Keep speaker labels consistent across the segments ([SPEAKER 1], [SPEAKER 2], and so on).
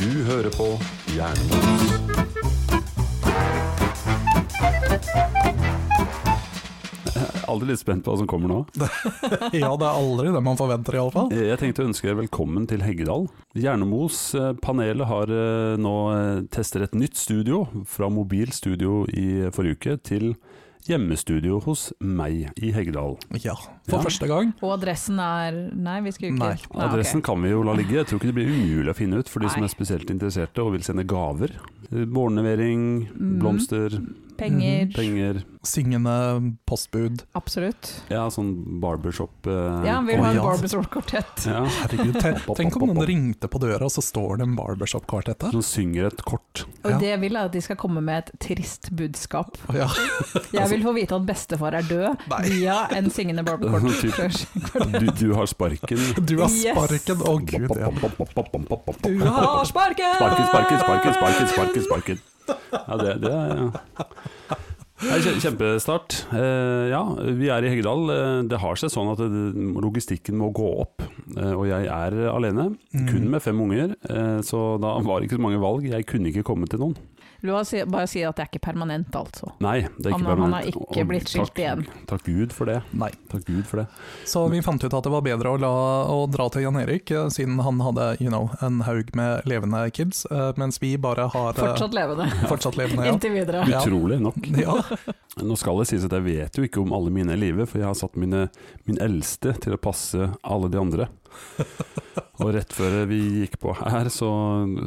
[SPEAKER 1] Du hører på Jernbanen. Aldri litt spent på hva som kommer nå.
[SPEAKER 2] Ja, det er aldri det man forventer, iallfall.
[SPEAKER 1] Eh, Jeg tenkte å ønske dere velkommen til Heggedal. Jernemos-panelet har eh, nå eh, tester et nytt studio, fra mobil studio i eh, forrige uke til hjemmestudio hos meg i Heggedal.
[SPEAKER 2] Ja, for
[SPEAKER 1] Ja.
[SPEAKER 2] første gang.
[SPEAKER 3] Og adressen er Nei, vi skulle ikke
[SPEAKER 2] Nei.
[SPEAKER 3] Ah, ok.
[SPEAKER 1] Adressen kan vi jo la ligge, jeg tror ikke det blir umulig å finne ut for de som
[SPEAKER 3] Nei.
[SPEAKER 1] er spesielt interesserte og vil sende gaver. Eh, Morgenlevering,
[SPEAKER 3] Mm.
[SPEAKER 1] blomster,
[SPEAKER 3] Penger.
[SPEAKER 1] Mhm, penger,
[SPEAKER 2] Syngende postbud.
[SPEAKER 3] Absolutt.
[SPEAKER 1] ja sånn barbershop. eh,
[SPEAKER 3] Ja, han vil ha en
[SPEAKER 2] ja.
[SPEAKER 3] Barbershop-kvartett.
[SPEAKER 1] Ja,
[SPEAKER 2] Herregud, te- tenk om noen ringte på døra, og så står det en barbershop-kvartett der.
[SPEAKER 1] som synger et kort.
[SPEAKER 2] Ja.
[SPEAKER 3] Og det jeg vil er at de skal komme med et trist budskap.
[SPEAKER 2] Å Ja.
[SPEAKER 3] Jeg
[SPEAKER 1] Altså-
[SPEAKER 3] vil få vite at bestefar er død
[SPEAKER 2] Nei.
[SPEAKER 3] via en syngende
[SPEAKER 1] Typ.
[SPEAKER 3] barbershop-kvartett.
[SPEAKER 1] Du, du har sparken.
[SPEAKER 2] Du har
[SPEAKER 3] Yes.
[SPEAKER 2] sparken! Å gud, ja.
[SPEAKER 3] Du har sparken!
[SPEAKER 1] Sparken, sparken, sparken, sparken, sparken, sparken. Ja, det, det er ja. Det er kje- Kjempestart. Eh, ja, vi er i Heggedal. Eh, Det har seg sånn at det- logistikken må gå opp. Eh, og jeg er alene,
[SPEAKER 2] Mm.
[SPEAKER 1] kun med fem unger. Eh, så da var det ikke så mange valg. Jeg kunne ikke komme til noen.
[SPEAKER 3] Du har si, bare si at det er ikke permanent, altså.
[SPEAKER 1] Nei, det er ikke
[SPEAKER 3] Han, han har
[SPEAKER 1] permanent.
[SPEAKER 3] ikke
[SPEAKER 1] Og
[SPEAKER 3] blitt skilt
[SPEAKER 1] takk-
[SPEAKER 3] igjen.
[SPEAKER 1] Takk Gud for det.
[SPEAKER 2] Nei.
[SPEAKER 1] Takk Gud for det.
[SPEAKER 2] Så vi fant ut at det var bedre å, la, å dra til Jan Erik, eh, siden han hadde you know, en haug med levende kids, eh, mens vi bare har eh,
[SPEAKER 3] Fortsatt levende.
[SPEAKER 2] fortsatt levende. Ja.
[SPEAKER 3] Inntil videre.
[SPEAKER 2] Ja.
[SPEAKER 1] Utrolig nok.
[SPEAKER 2] Ja.
[SPEAKER 1] Nå skal det sies at jeg vet jo ikke om alle mine er i live, for jeg har satt mine, min eldste til å passe alle de andre. Og rett før vi gikk på her, så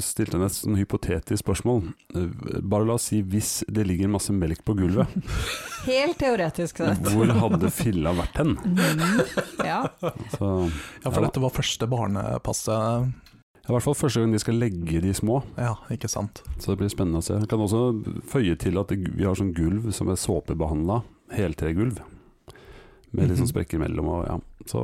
[SPEAKER 1] stilte han et sånn hypotetisk spørsmål. Eh, Bare la oss si hvis det ligger masse melk på gulvet,
[SPEAKER 3] Helt teoretisk sett.
[SPEAKER 1] hvor hadde filla vært hen?
[SPEAKER 3] Mm. Ja.
[SPEAKER 1] Så det
[SPEAKER 2] ja, for dette var første barnepasset.
[SPEAKER 1] er i hvert fall første gang de skal legge de små,
[SPEAKER 2] Ja, ikke sant.
[SPEAKER 1] så det blir spennende å se. Jeg kan også føye til at vi har sånn gulv som er såpebehandla, heltregulv, med
[SPEAKER 3] Mhm.
[SPEAKER 1] litt sånn sprekker imellom og ja. Så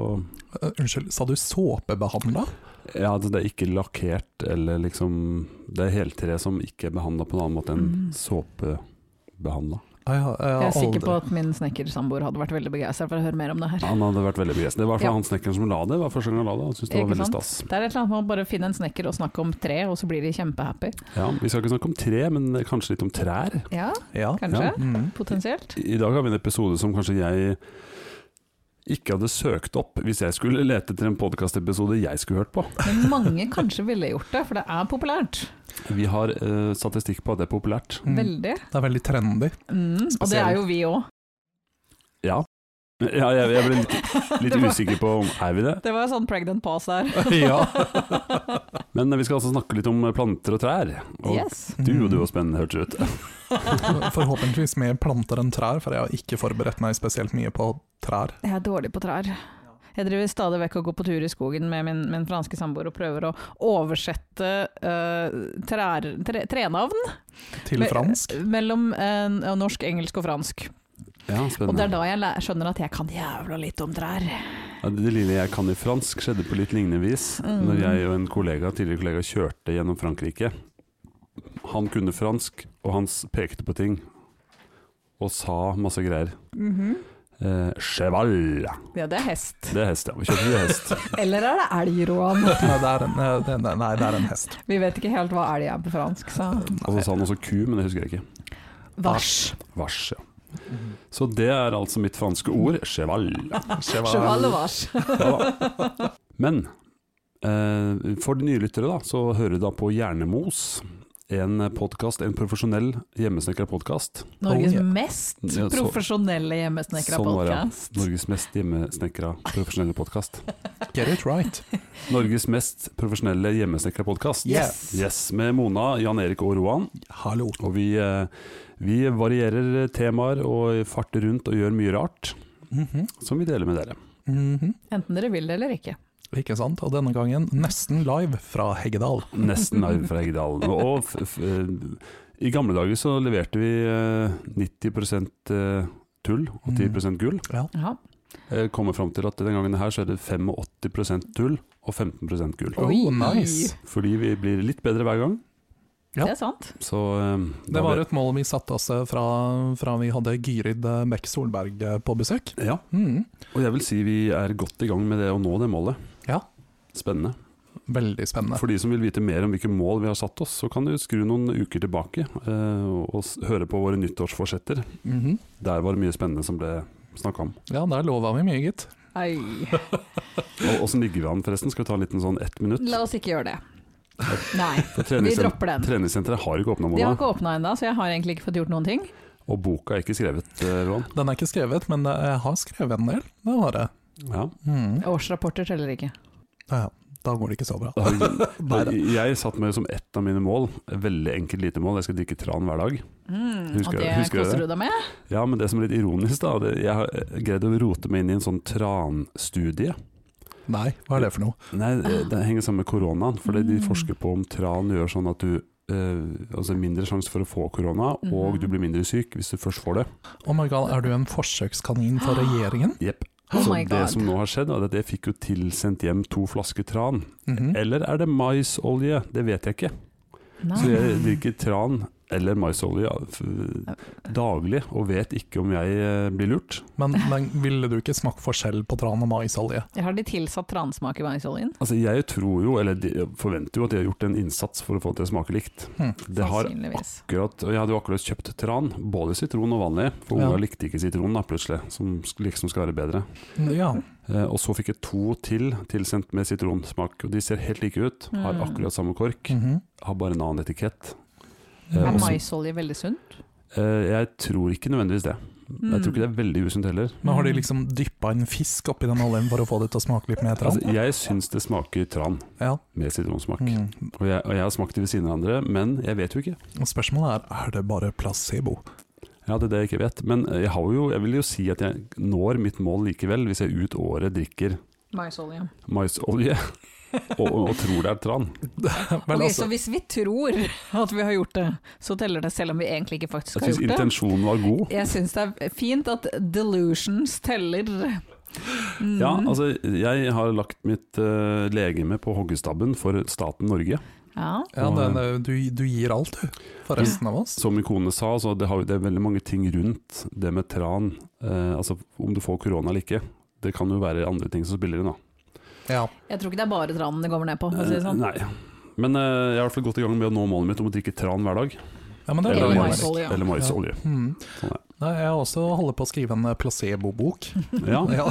[SPEAKER 2] Eh, unnskyld, sa du såpebehandla?
[SPEAKER 1] Ja, altså det er ikke lakkert eller liksom Det er heltre som ikke er behandla på en annen måte enn
[SPEAKER 3] Mm.
[SPEAKER 1] såpebehandla.
[SPEAKER 2] Ah, ja, jeg har
[SPEAKER 3] Jeg er sikker
[SPEAKER 2] aldri-
[SPEAKER 3] på at min snekkersamboer hadde vært veldig begeistra for å høre mer om det her.
[SPEAKER 1] Han hadde vært veldig begeistret. Det var i hvert fall
[SPEAKER 3] Ja.
[SPEAKER 1] han snekkeren som la det. var første gang han la det, Han syntes det var
[SPEAKER 3] Ikke
[SPEAKER 1] veldig
[SPEAKER 3] sant?
[SPEAKER 1] stas.
[SPEAKER 3] Det er et eller annet med å bare finne en snekker og snakke om tre, og så blir de kjempehappy.
[SPEAKER 1] Ja, vi skal ikke snakke om tre, men kanskje litt om trær.
[SPEAKER 3] Ja,
[SPEAKER 2] Ja.
[SPEAKER 1] Ja.
[SPEAKER 3] kanskje?
[SPEAKER 2] Mm.
[SPEAKER 3] Potensielt.
[SPEAKER 1] I dag har vi en episode som kanskje jeg ikke hadde søkt opp hvis jeg skulle lete etter en podkastepisode jeg skulle hørt på.
[SPEAKER 3] Men mange kanskje ville gjort det, for det er populært.
[SPEAKER 1] Vi har eh, statistikk på at det er populært.
[SPEAKER 2] Mm.
[SPEAKER 3] Veldig.
[SPEAKER 2] Det er veldig trendy.
[SPEAKER 3] Mm. Og det er jo vi òg.
[SPEAKER 1] Ja. ja jeg, jeg ble litt, litt
[SPEAKER 3] Det var-
[SPEAKER 1] usikker på om er vi det.
[SPEAKER 3] Det var sånn pregnant pause der.
[SPEAKER 2] ja.
[SPEAKER 1] Men vi skal altså snakke litt om planter og trær. Og
[SPEAKER 3] Yes.
[SPEAKER 1] du og du og spennende hørtes ut.
[SPEAKER 2] Mm. Forhåpentligvis mer planter enn trær, for jeg har ikke forberedt meg spesielt mye på trær.
[SPEAKER 3] Jeg er dårlig på trær. Jeg driver stadig vekk og går på tur i skogen med min, min franske samboer og prøver å oversette eh, trær, tre, trenavn
[SPEAKER 2] Til
[SPEAKER 3] Me-
[SPEAKER 2] fransk.
[SPEAKER 3] mellom eh, norsk, engelsk og fransk.
[SPEAKER 1] Ja,
[SPEAKER 3] Og det er
[SPEAKER 1] spennende.
[SPEAKER 3] da jeg læ- skjønner at jeg kan jævla litt om trær.
[SPEAKER 1] Ja, det lille jeg kan i fransk skjedde på litt lignende vis
[SPEAKER 3] Mm.
[SPEAKER 1] når jeg og en kollega, tidligere kollega kjørte gjennom Frankrike. Han kunne fransk, og han s- pekte på ting og sa masse greier. Eh, cheval,
[SPEAKER 3] Mhm. Ja, det er hest.
[SPEAKER 1] det er hest, ja. Vi kjørte til hest.
[SPEAKER 3] Eller er det elg, Roan?
[SPEAKER 2] Nei, det er en, eh, det- nei, nei, det er en hest.
[SPEAKER 3] Vi vet ikke helt hva elg er på fransk, så
[SPEAKER 1] Og så sa han også ku, men det husker jeg ikke.
[SPEAKER 3] Vars.
[SPEAKER 1] Vars, ja. Så det er altså mitt franske ord, cheval.
[SPEAKER 3] Cheval og vars.
[SPEAKER 1] Ja da. Men eh, for de nye lyttere da, så hører du da på Hjernemos, en podcast, en profesjonell hjemmesnekra podcast.
[SPEAKER 3] Norges
[SPEAKER 2] Oh, ja.
[SPEAKER 3] mest
[SPEAKER 1] Ja, så-
[SPEAKER 3] profesjonelle hjemmesnekra
[SPEAKER 1] Sånn var det, ja.
[SPEAKER 3] podcast.
[SPEAKER 1] Norges mest hjemmesnekra profesjonelle podcast.
[SPEAKER 2] Get it right.
[SPEAKER 1] Norges mest profesjonelle hjemmesnekra podcast.
[SPEAKER 3] Yes.
[SPEAKER 1] Yes, med Mona, Jan Erik og Roan.
[SPEAKER 2] Hallo.
[SPEAKER 1] Og vi, eh, vi varierer temaer og farter rundt og gjør mye rart,
[SPEAKER 2] Mhm.
[SPEAKER 1] som vi deler med dere.
[SPEAKER 2] Mhm.
[SPEAKER 3] Enten dere vil det eller ikke.
[SPEAKER 2] Ikke sant? Og denne gangen nesten live fra Heggedal.
[SPEAKER 1] Nesten arv fra Heggedalen. Og f f eh, i gamle dager så leverte vi eh, 90 eh, tull og 10 gull.
[SPEAKER 2] Ja.
[SPEAKER 3] Ja.
[SPEAKER 1] Eh, Kommer fram til at den gangen her så er det 85 tull og 15 gull.
[SPEAKER 2] Oh, nice.
[SPEAKER 1] Fordi vi blir litt bedre hver gang.
[SPEAKER 2] Ja.
[SPEAKER 3] Det er sant.
[SPEAKER 1] Så eh,
[SPEAKER 2] Det
[SPEAKER 1] da
[SPEAKER 2] var
[SPEAKER 1] ble-
[SPEAKER 2] et mål vi satte oss eh, fra, fra vi hadde Gyrid eh, Bekk Solberg eh, på besøk.
[SPEAKER 1] Ja,
[SPEAKER 2] Mm.
[SPEAKER 1] og jeg vil si vi er godt i gang med det å nå det målet.
[SPEAKER 2] Ja.
[SPEAKER 1] Spennende.
[SPEAKER 2] Veldig spennende.
[SPEAKER 1] For de som vil vite mer om hvilke mål vi har satt oss, så kan du skru noen uker tilbake eh, og s- høre på våre nyttårsforsetter.
[SPEAKER 2] Mhm.
[SPEAKER 1] Der var det mye spennende som ble snakka om.
[SPEAKER 2] Ja, der lova vi mye, gitt.
[SPEAKER 3] Ei.
[SPEAKER 1] Og åssen ligger vi an, forresten? Skal vi ta en liten sånn ett minutt?
[SPEAKER 3] La oss ikke gjøre det. Nei,
[SPEAKER 1] For
[SPEAKER 3] vi
[SPEAKER 1] treningssen-
[SPEAKER 3] dropper den.
[SPEAKER 1] Treningssenteret har ikke åpna,
[SPEAKER 3] De har
[SPEAKER 1] Mona.
[SPEAKER 3] ikke åpna ennå, så jeg har egentlig ikke fått gjort noen ting.
[SPEAKER 1] Og boka er ikke skrevet, eh, Roan.
[SPEAKER 2] Den er ikke skrevet, men eh, jeg har skrevet en del. Det har jeg.
[SPEAKER 1] Ja.
[SPEAKER 2] Mm.
[SPEAKER 3] Årsrapporter teller ikke.
[SPEAKER 2] Ja, ja. da går det ikke så bra.
[SPEAKER 1] Jeg, jeg satt med som ett av mine mål, et veldig enkelt lite mål, jeg skal drikke tran hver dag.
[SPEAKER 3] Mm,
[SPEAKER 1] Husker
[SPEAKER 3] og det
[SPEAKER 1] jeg- husker jeg
[SPEAKER 3] koser
[SPEAKER 1] det?
[SPEAKER 3] du deg med?
[SPEAKER 1] Ja, men det som er litt ironisk, da, det, jeg har eh, greid å rote meg inn i en sånn transtudie.
[SPEAKER 2] Nei, hva er det for noe?
[SPEAKER 1] Nei, det det henger sammen med koronaen. For det de
[SPEAKER 3] Ah. Mm.
[SPEAKER 1] forsker på om tran gjør sånn at du eh, Altså mindre sjanse for å få korona, og
[SPEAKER 3] Mhm.
[SPEAKER 1] du blir mindre syk hvis du først får det.
[SPEAKER 2] Oh my god, er du en forsøkskanin for regjeringen?
[SPEAKER 1] Jepp.
[SPEAKER 3] Oh
[SPEAKER 1] Så
[SPEAKER 3] my
[SPEAKER 1] det
[SPEAKER 3] god.
[SPEAKER 1] som nå har skjedd, er at jeg fikk jo tilsendt hjem to flasker tran.
[SPEAKER 2] Mhm.
[SPEAKER 1] Eller er det maisolje? Det vet jeg ikke.
[SPEAKER 3] Ah.
[SPEAKER 1] Så jeg drikker tran eller maisolje f- daglig, og vet ikke om jeg eh, blir lurt.
[SPEAKER 2] Men, men ville du ikke smake forskjell på tran og maisolje?
[SPEAKER 3] Jeg har de tilsatt transmak i vanningsoljen.
[SPEAKER 1] Altså Jeg tror jo, eller de- forventer jo at de har gjort en innsats for å få det til å smake likt.
[SPEAKER 2] Mhm.
[SPEAKER 1] Det har
[SPEAKER 3] Sannsynligvis.
[SPEAKER 1] akkurat, og jeg hadde jo akkurat kjøpt tran, både sitron og vanlig, for
[SPEAKER 2] Ja.
[SPEAKER 1] unga likte ikke sitron da, plutselig, som sk- liksom skal være bedre.
[SPEAKER 2] Mm, Ja.
[SPEAKER 1] Eh, og så fikk jeg to til tilsendt med sitronsmak, og de ser helt like ut, har
[SPEAKER 3] Mm.
[SPEAKER 1] akkurat samme kork,
[SPEAKER 2] Mhm.
[SPEAKER 1] har bare en annen etikett.
[SPEAKER 2] Ja,
[SPEAKER 3] Er
[SPEAKER 1] også-
[SPEAKER 3] maisolje veldig sunt?
[SPEAKER 1] Eh, jeg tror ikke nødvendigvis det. Jeg tror ikke det er veldig usunt heller.
[SPEAKER 2] Men har de liksom dyppa en fisk oppi den oljen for å få det til å smake litt mer tran?
[SPEAKER 1] Altså, jeg syns det smaker tran
[SPEAKER 2] Ja.
[SPEAKER 1] med sitronsmak,
[SPEAKER 2] Mm.
[SPEAKER 1] og, jeg, og jeg har smakt det ved siden av hverandre, men jeg vet jo ikke.
[SPEAKER 2] Og spørsmålet er, er det bare placebo?
[SPEAKER 1] Ja, det er det jeg ikke vet, men eh, jeg, har jo, jeg vil jo si at jeg når mitt mål likevel, hvis jeg ut året drikker
[SPEAKER 3] Mm. Maisolje.
[SPEAKER 1] maisolje og, og, og tror det er tran.
[SPEAKER 2] Vel,
[SPEAKER 3] Ok,
[SPEAKER 2] altså,
[SPEAKER 3] så hvis vi tror at vi har gjort det, så teller det selv om vi egentlig ikke faktisk
[SPEAKER 1] Jeg
[SPEAKER 3] har
[SPEAKER 1] syns
[SPEAKER 3] gjort det?
[SPEAKER 1] intensjonen var god.
[SPEAKER 3] Jeg syns det er fint at delusions teller. Mm.
[SPEAKER 1] Ja, altså jeg har lagt mitt eh, legeme på hoggestabben for staten Norge.
[SPEAKER 3] Ja.
[SPEAKER 2] ja, den, eh, du, du gir alt, du, for resten av oss.
[SPEAKER 1] Som min kone sa, så det, har, jo- det er veldig mange ting rundt det med tran. eh, altså om du får korona eller ikke. Det kan jo være andre ting som spiller inn, da.
[SPEAKER 2] Ja.
[SPEAKER 3] Jeg tror ikke det er bare tranen det kommer ned på, for å si det
[SPEAKER 1] Eh,
[SPEAKER 3] sånn.
[SPEAKER 1] Nei. Men eh, jeg er i hvert fall godt i gang med å nå målet mitt om å drikke tran hver dag.
[SPEAKER 2] ja, men det er
[SPEAKER 1] Eller
[SPEAKER 2] bra,
[SPEAKER 1] mais.
[SPEAKER 2] Henrik.
[SPEAKER 3] maisolje.
[SPEAKER 1] Eller maisolje.
[SPEAKER 2] Mm.
[SPEAKER 1] Sånn er
[SPEAKER 2] Nei, jeg også holder på å skrive en eh, placebo-bok.
[SPEAKER 1] Ja,
[SPEAKER 2] Ja.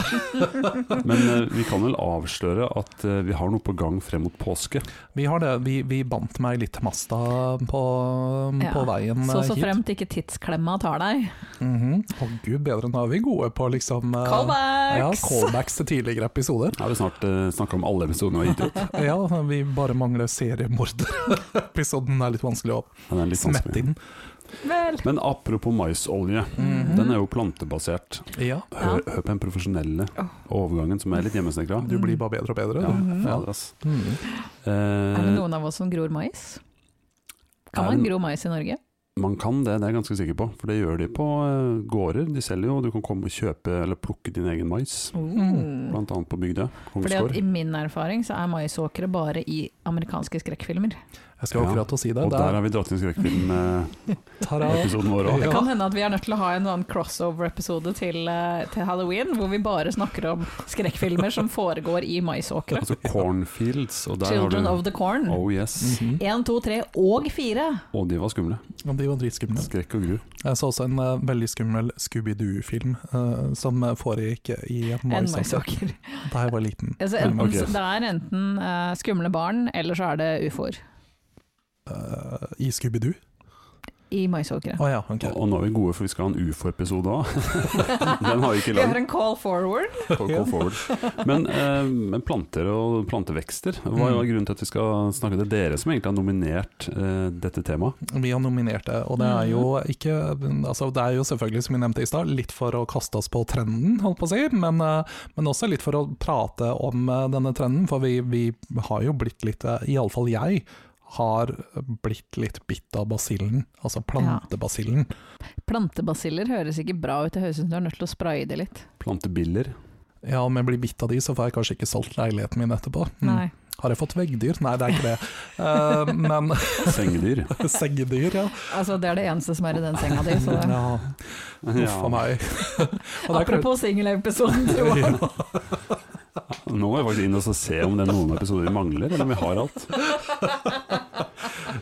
[SPEAKER 1] men eh, vi kan vel avsløre at eh, vi har noe på gang frem mot påske.
[SPEAKER 2] Vi har det. Vi, vi bandt meg litt masta på, på
[SPEAKER 3] Ja.
[SPEAKER 2] veien
[SPEAKER 3] Så
[SPEAKER 2] eh,
[SPEAKER 3] så
[SPEAKER 2] hit.
[SPEAKER 3] fremt ikke tidsklemma tar deg.
[SPEAKER 2] Mhm. Å gud bedre, nå er vi gode på liksom eh, Ja,
[SPEAKER 3] Callbacks!
[SPEAKER 2] callbacks til tidligere episoder.
[SPEAKER 1] Da har vi snart eh, snakka om alle episodene vi har gitt ut.
[SPEAKER 2] Ja, vi bare mangler seriemorder. Episoden er litt vanskelig å
[SPEAKER 1] Ja, den er litt vanskelig.
[SPEAKER 2] smette inn.
[SPEAKER 3] Vel.
[SPEAKER 1] Men apropos maisolje,
[SPEAKER 3] Mm.
[SPEAKER 2] Mhm.
[SPEAKER 1] den er jo plantebasert.
[SPEAKER 2] Ja,
[SPEAKER 1] Hør, hør på den profesjonelle overgangen som er litt hjemmesnekra.
[SPEAKER 2] du blir bare bedre og bedre.
[SPEAKER 1] Ja,
[SPEAKER 2] du.
[SPEAKER 1] fader, ass.
[SPEAKER 2] Mm.
[SPEAKER 1] Eh,
[SPEAKER 3] Mm-hmm. Er det noen av oss som gror mais? Kan
[SPEAKER 1] Er
[SPEAKER 3] man
[SPEAKER 1] det-
[SPEAKER 3] gro mais i Norge?
[SPEAKER 1] man kan det, det er jeg ganske sikker på. For det gjør de på eh, gårder. De selger jo, du kan komme og kjøpe eller plukke din egen mais.
[SPEAKER 3] Mm.
[SPEAKER 1] Blant annet på Bygdøy.
[SPEAKER 3] Fordi at
[SPEAKER 1] Kongsgård.
[SPEAKER 3] I min erfaring så er maisåkre bare i amerikanske skrekkfilmer.
[SPEAKER 2] Jeg skal akkurat til å si det.
[SPEAKER 1] Og
[SPEAKER 2] Det
[SPEAKER 1] der
[SPEAKER 2] er
[SPEAKER 1] har vi dratt inn skrekkfilm-episoden
[SPEAKER 2] Tara.
[SPEAKER 1] vår òg.
[SPEAKER 2] Ja.
[SPEAKER 3] Det kan hende at vi er nødt til å ha en sånn crossover-episode til, eh, til halloween, hvor vi bare snakker om skrekkfilmer som foregår i maisåkre.
[SPEAKER 1] Altså Cornfields, og der
[SPEAKER 3] Children
[SPEAKER 1] har
[SPEAKER 3] of Mm. the Corn.
[SPEAKER 1] du Oh yes.
[SPEAKER 2] Mhm.
[SPEAKER 3] Én, to, tre og fire.
[SPEAKER 1] Og de var skumle.
[SPEAKER 2] Og de var dritskumle.
[SPEAKER 1] Skrekk og gru.
[SPEAKER 2] Jeg så også en eh, veldig skummel Scooby-Doo-film eh, som eh, foregikk i en
[SPEAKER 3] En
[SPEAKER 2] maisåker.
[SPEAKER 3] maisåker.
[SPEAKER 2] Da jeg var liten.
[SPEAKER 3] Altså, enten,
[SPEAKER 1] Ok.
[SPEAKER 3] så Det er enten eh, skumle barn, eller så er det ufoer
[SPEAKER 2] Eh, I Scooby-Doo?
[SPEAKER 3] i maisåkre.
[SPEAKER 2] Å ja, ok.
[SPEAKER 1] Og nå er vi gode, for vi skal ha en ufo-episode òg. Den har vi ikke
[SPEAKER 3] Vi
[SPEAKER 1] lagd.
[SPEAKER 3] har en call forward.
[SPEAKER 1] Call- call forward. Men, eh, men planter og plantevekster, hva
[SPEAKER 3] Mm.
[SPEAKER 1] er jo grunnen til at vi skal snakke til dere som egentlig har nominert eh, dette temaet?
[SPEAKER 2] Vi har nominert det, og det er jo ikke altså Det er jo selvfølgelig, som vi nevnte i stad, litt for å kaste oss på trenden, holdt på å si, men, eh, men også litt for å prate om eh, denne trenden, for vi, vi har jo blitt litt eh, i alle fall jeg har blitt litt bitt av basillen, altså plantebasillen.
[SPEAKER 3] Plantebasiller høres ikke bra ut, det høres ut som du er nødt til å spraye det litt.
[SPEAKER 1] Plantebiller.
[SPEAKER 2] Ja, om jeg blir bitt av de, så får jeg kanskje ikke solgt leiligheten min etterpå. Mm.
[SPEAKER 3] Nei.
[SPEAKER 2] Har jeg fått veggdyr? Nei, det er ikke det. Eh, men
[SPEAKER 1] Sengedyr.
[SPEAKER 2] sengedyr, ja.
[SPEAKER 3] Altså, det er det eneste som er i den senga di. Så.
[SPEAKER 2] ja. Uff a
[SPEAKER 1] Ja.
[SPEAKER 2] meg. Og det er klart-
[SPEAKER 3] Apropos singelepisoden, tror jeg.
[SPEAKER 1] Nå må jeg faktisk inn og så se om det er noen episoder vi mangler, eller om vi har alt.
[SPEAKER 2] Ja,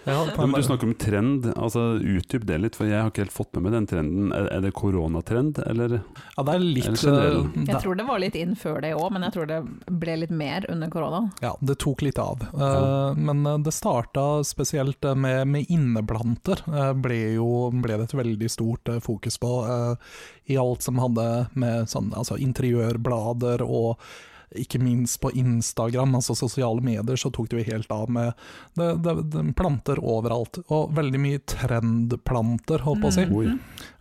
[SPEAKER 1] Ja, men du snakker om trend, altså utdyp det litt, for jeg har ikke helt fått med meg den trenden. Er, er det koronatrend, eller?
[SPEAKER 2] ja, det er
[SPEAKER 1] Eller
[SPEAKER 2] litt
[SPEAKER 1] generell.
[SPEAKER 2] eh, det-
[SPEAKER 3] Jeg tror det var litt inn før det òg, men jeg tror det ble litt mer under korona.
[SPEAKER 2] Ja, det tok litt av. Eh,
[SPEAKER 1] Ja.
[SPEAKER 2] Men eh, det starta spesielt eh, med, med inneplanter. eh, ble jo ble det et veldig stort eh, fokus på eh, i alt som hadde med sånn, altså interiørblader og ikke minst på Instagram, altså sosiale medier, så tok det jo helt av med det, det, det, planter overalt. Og veldig mye trendplanter, holdt på å si.
[SPEAKER 3] Mm.
[SPEAKER 1] Oi.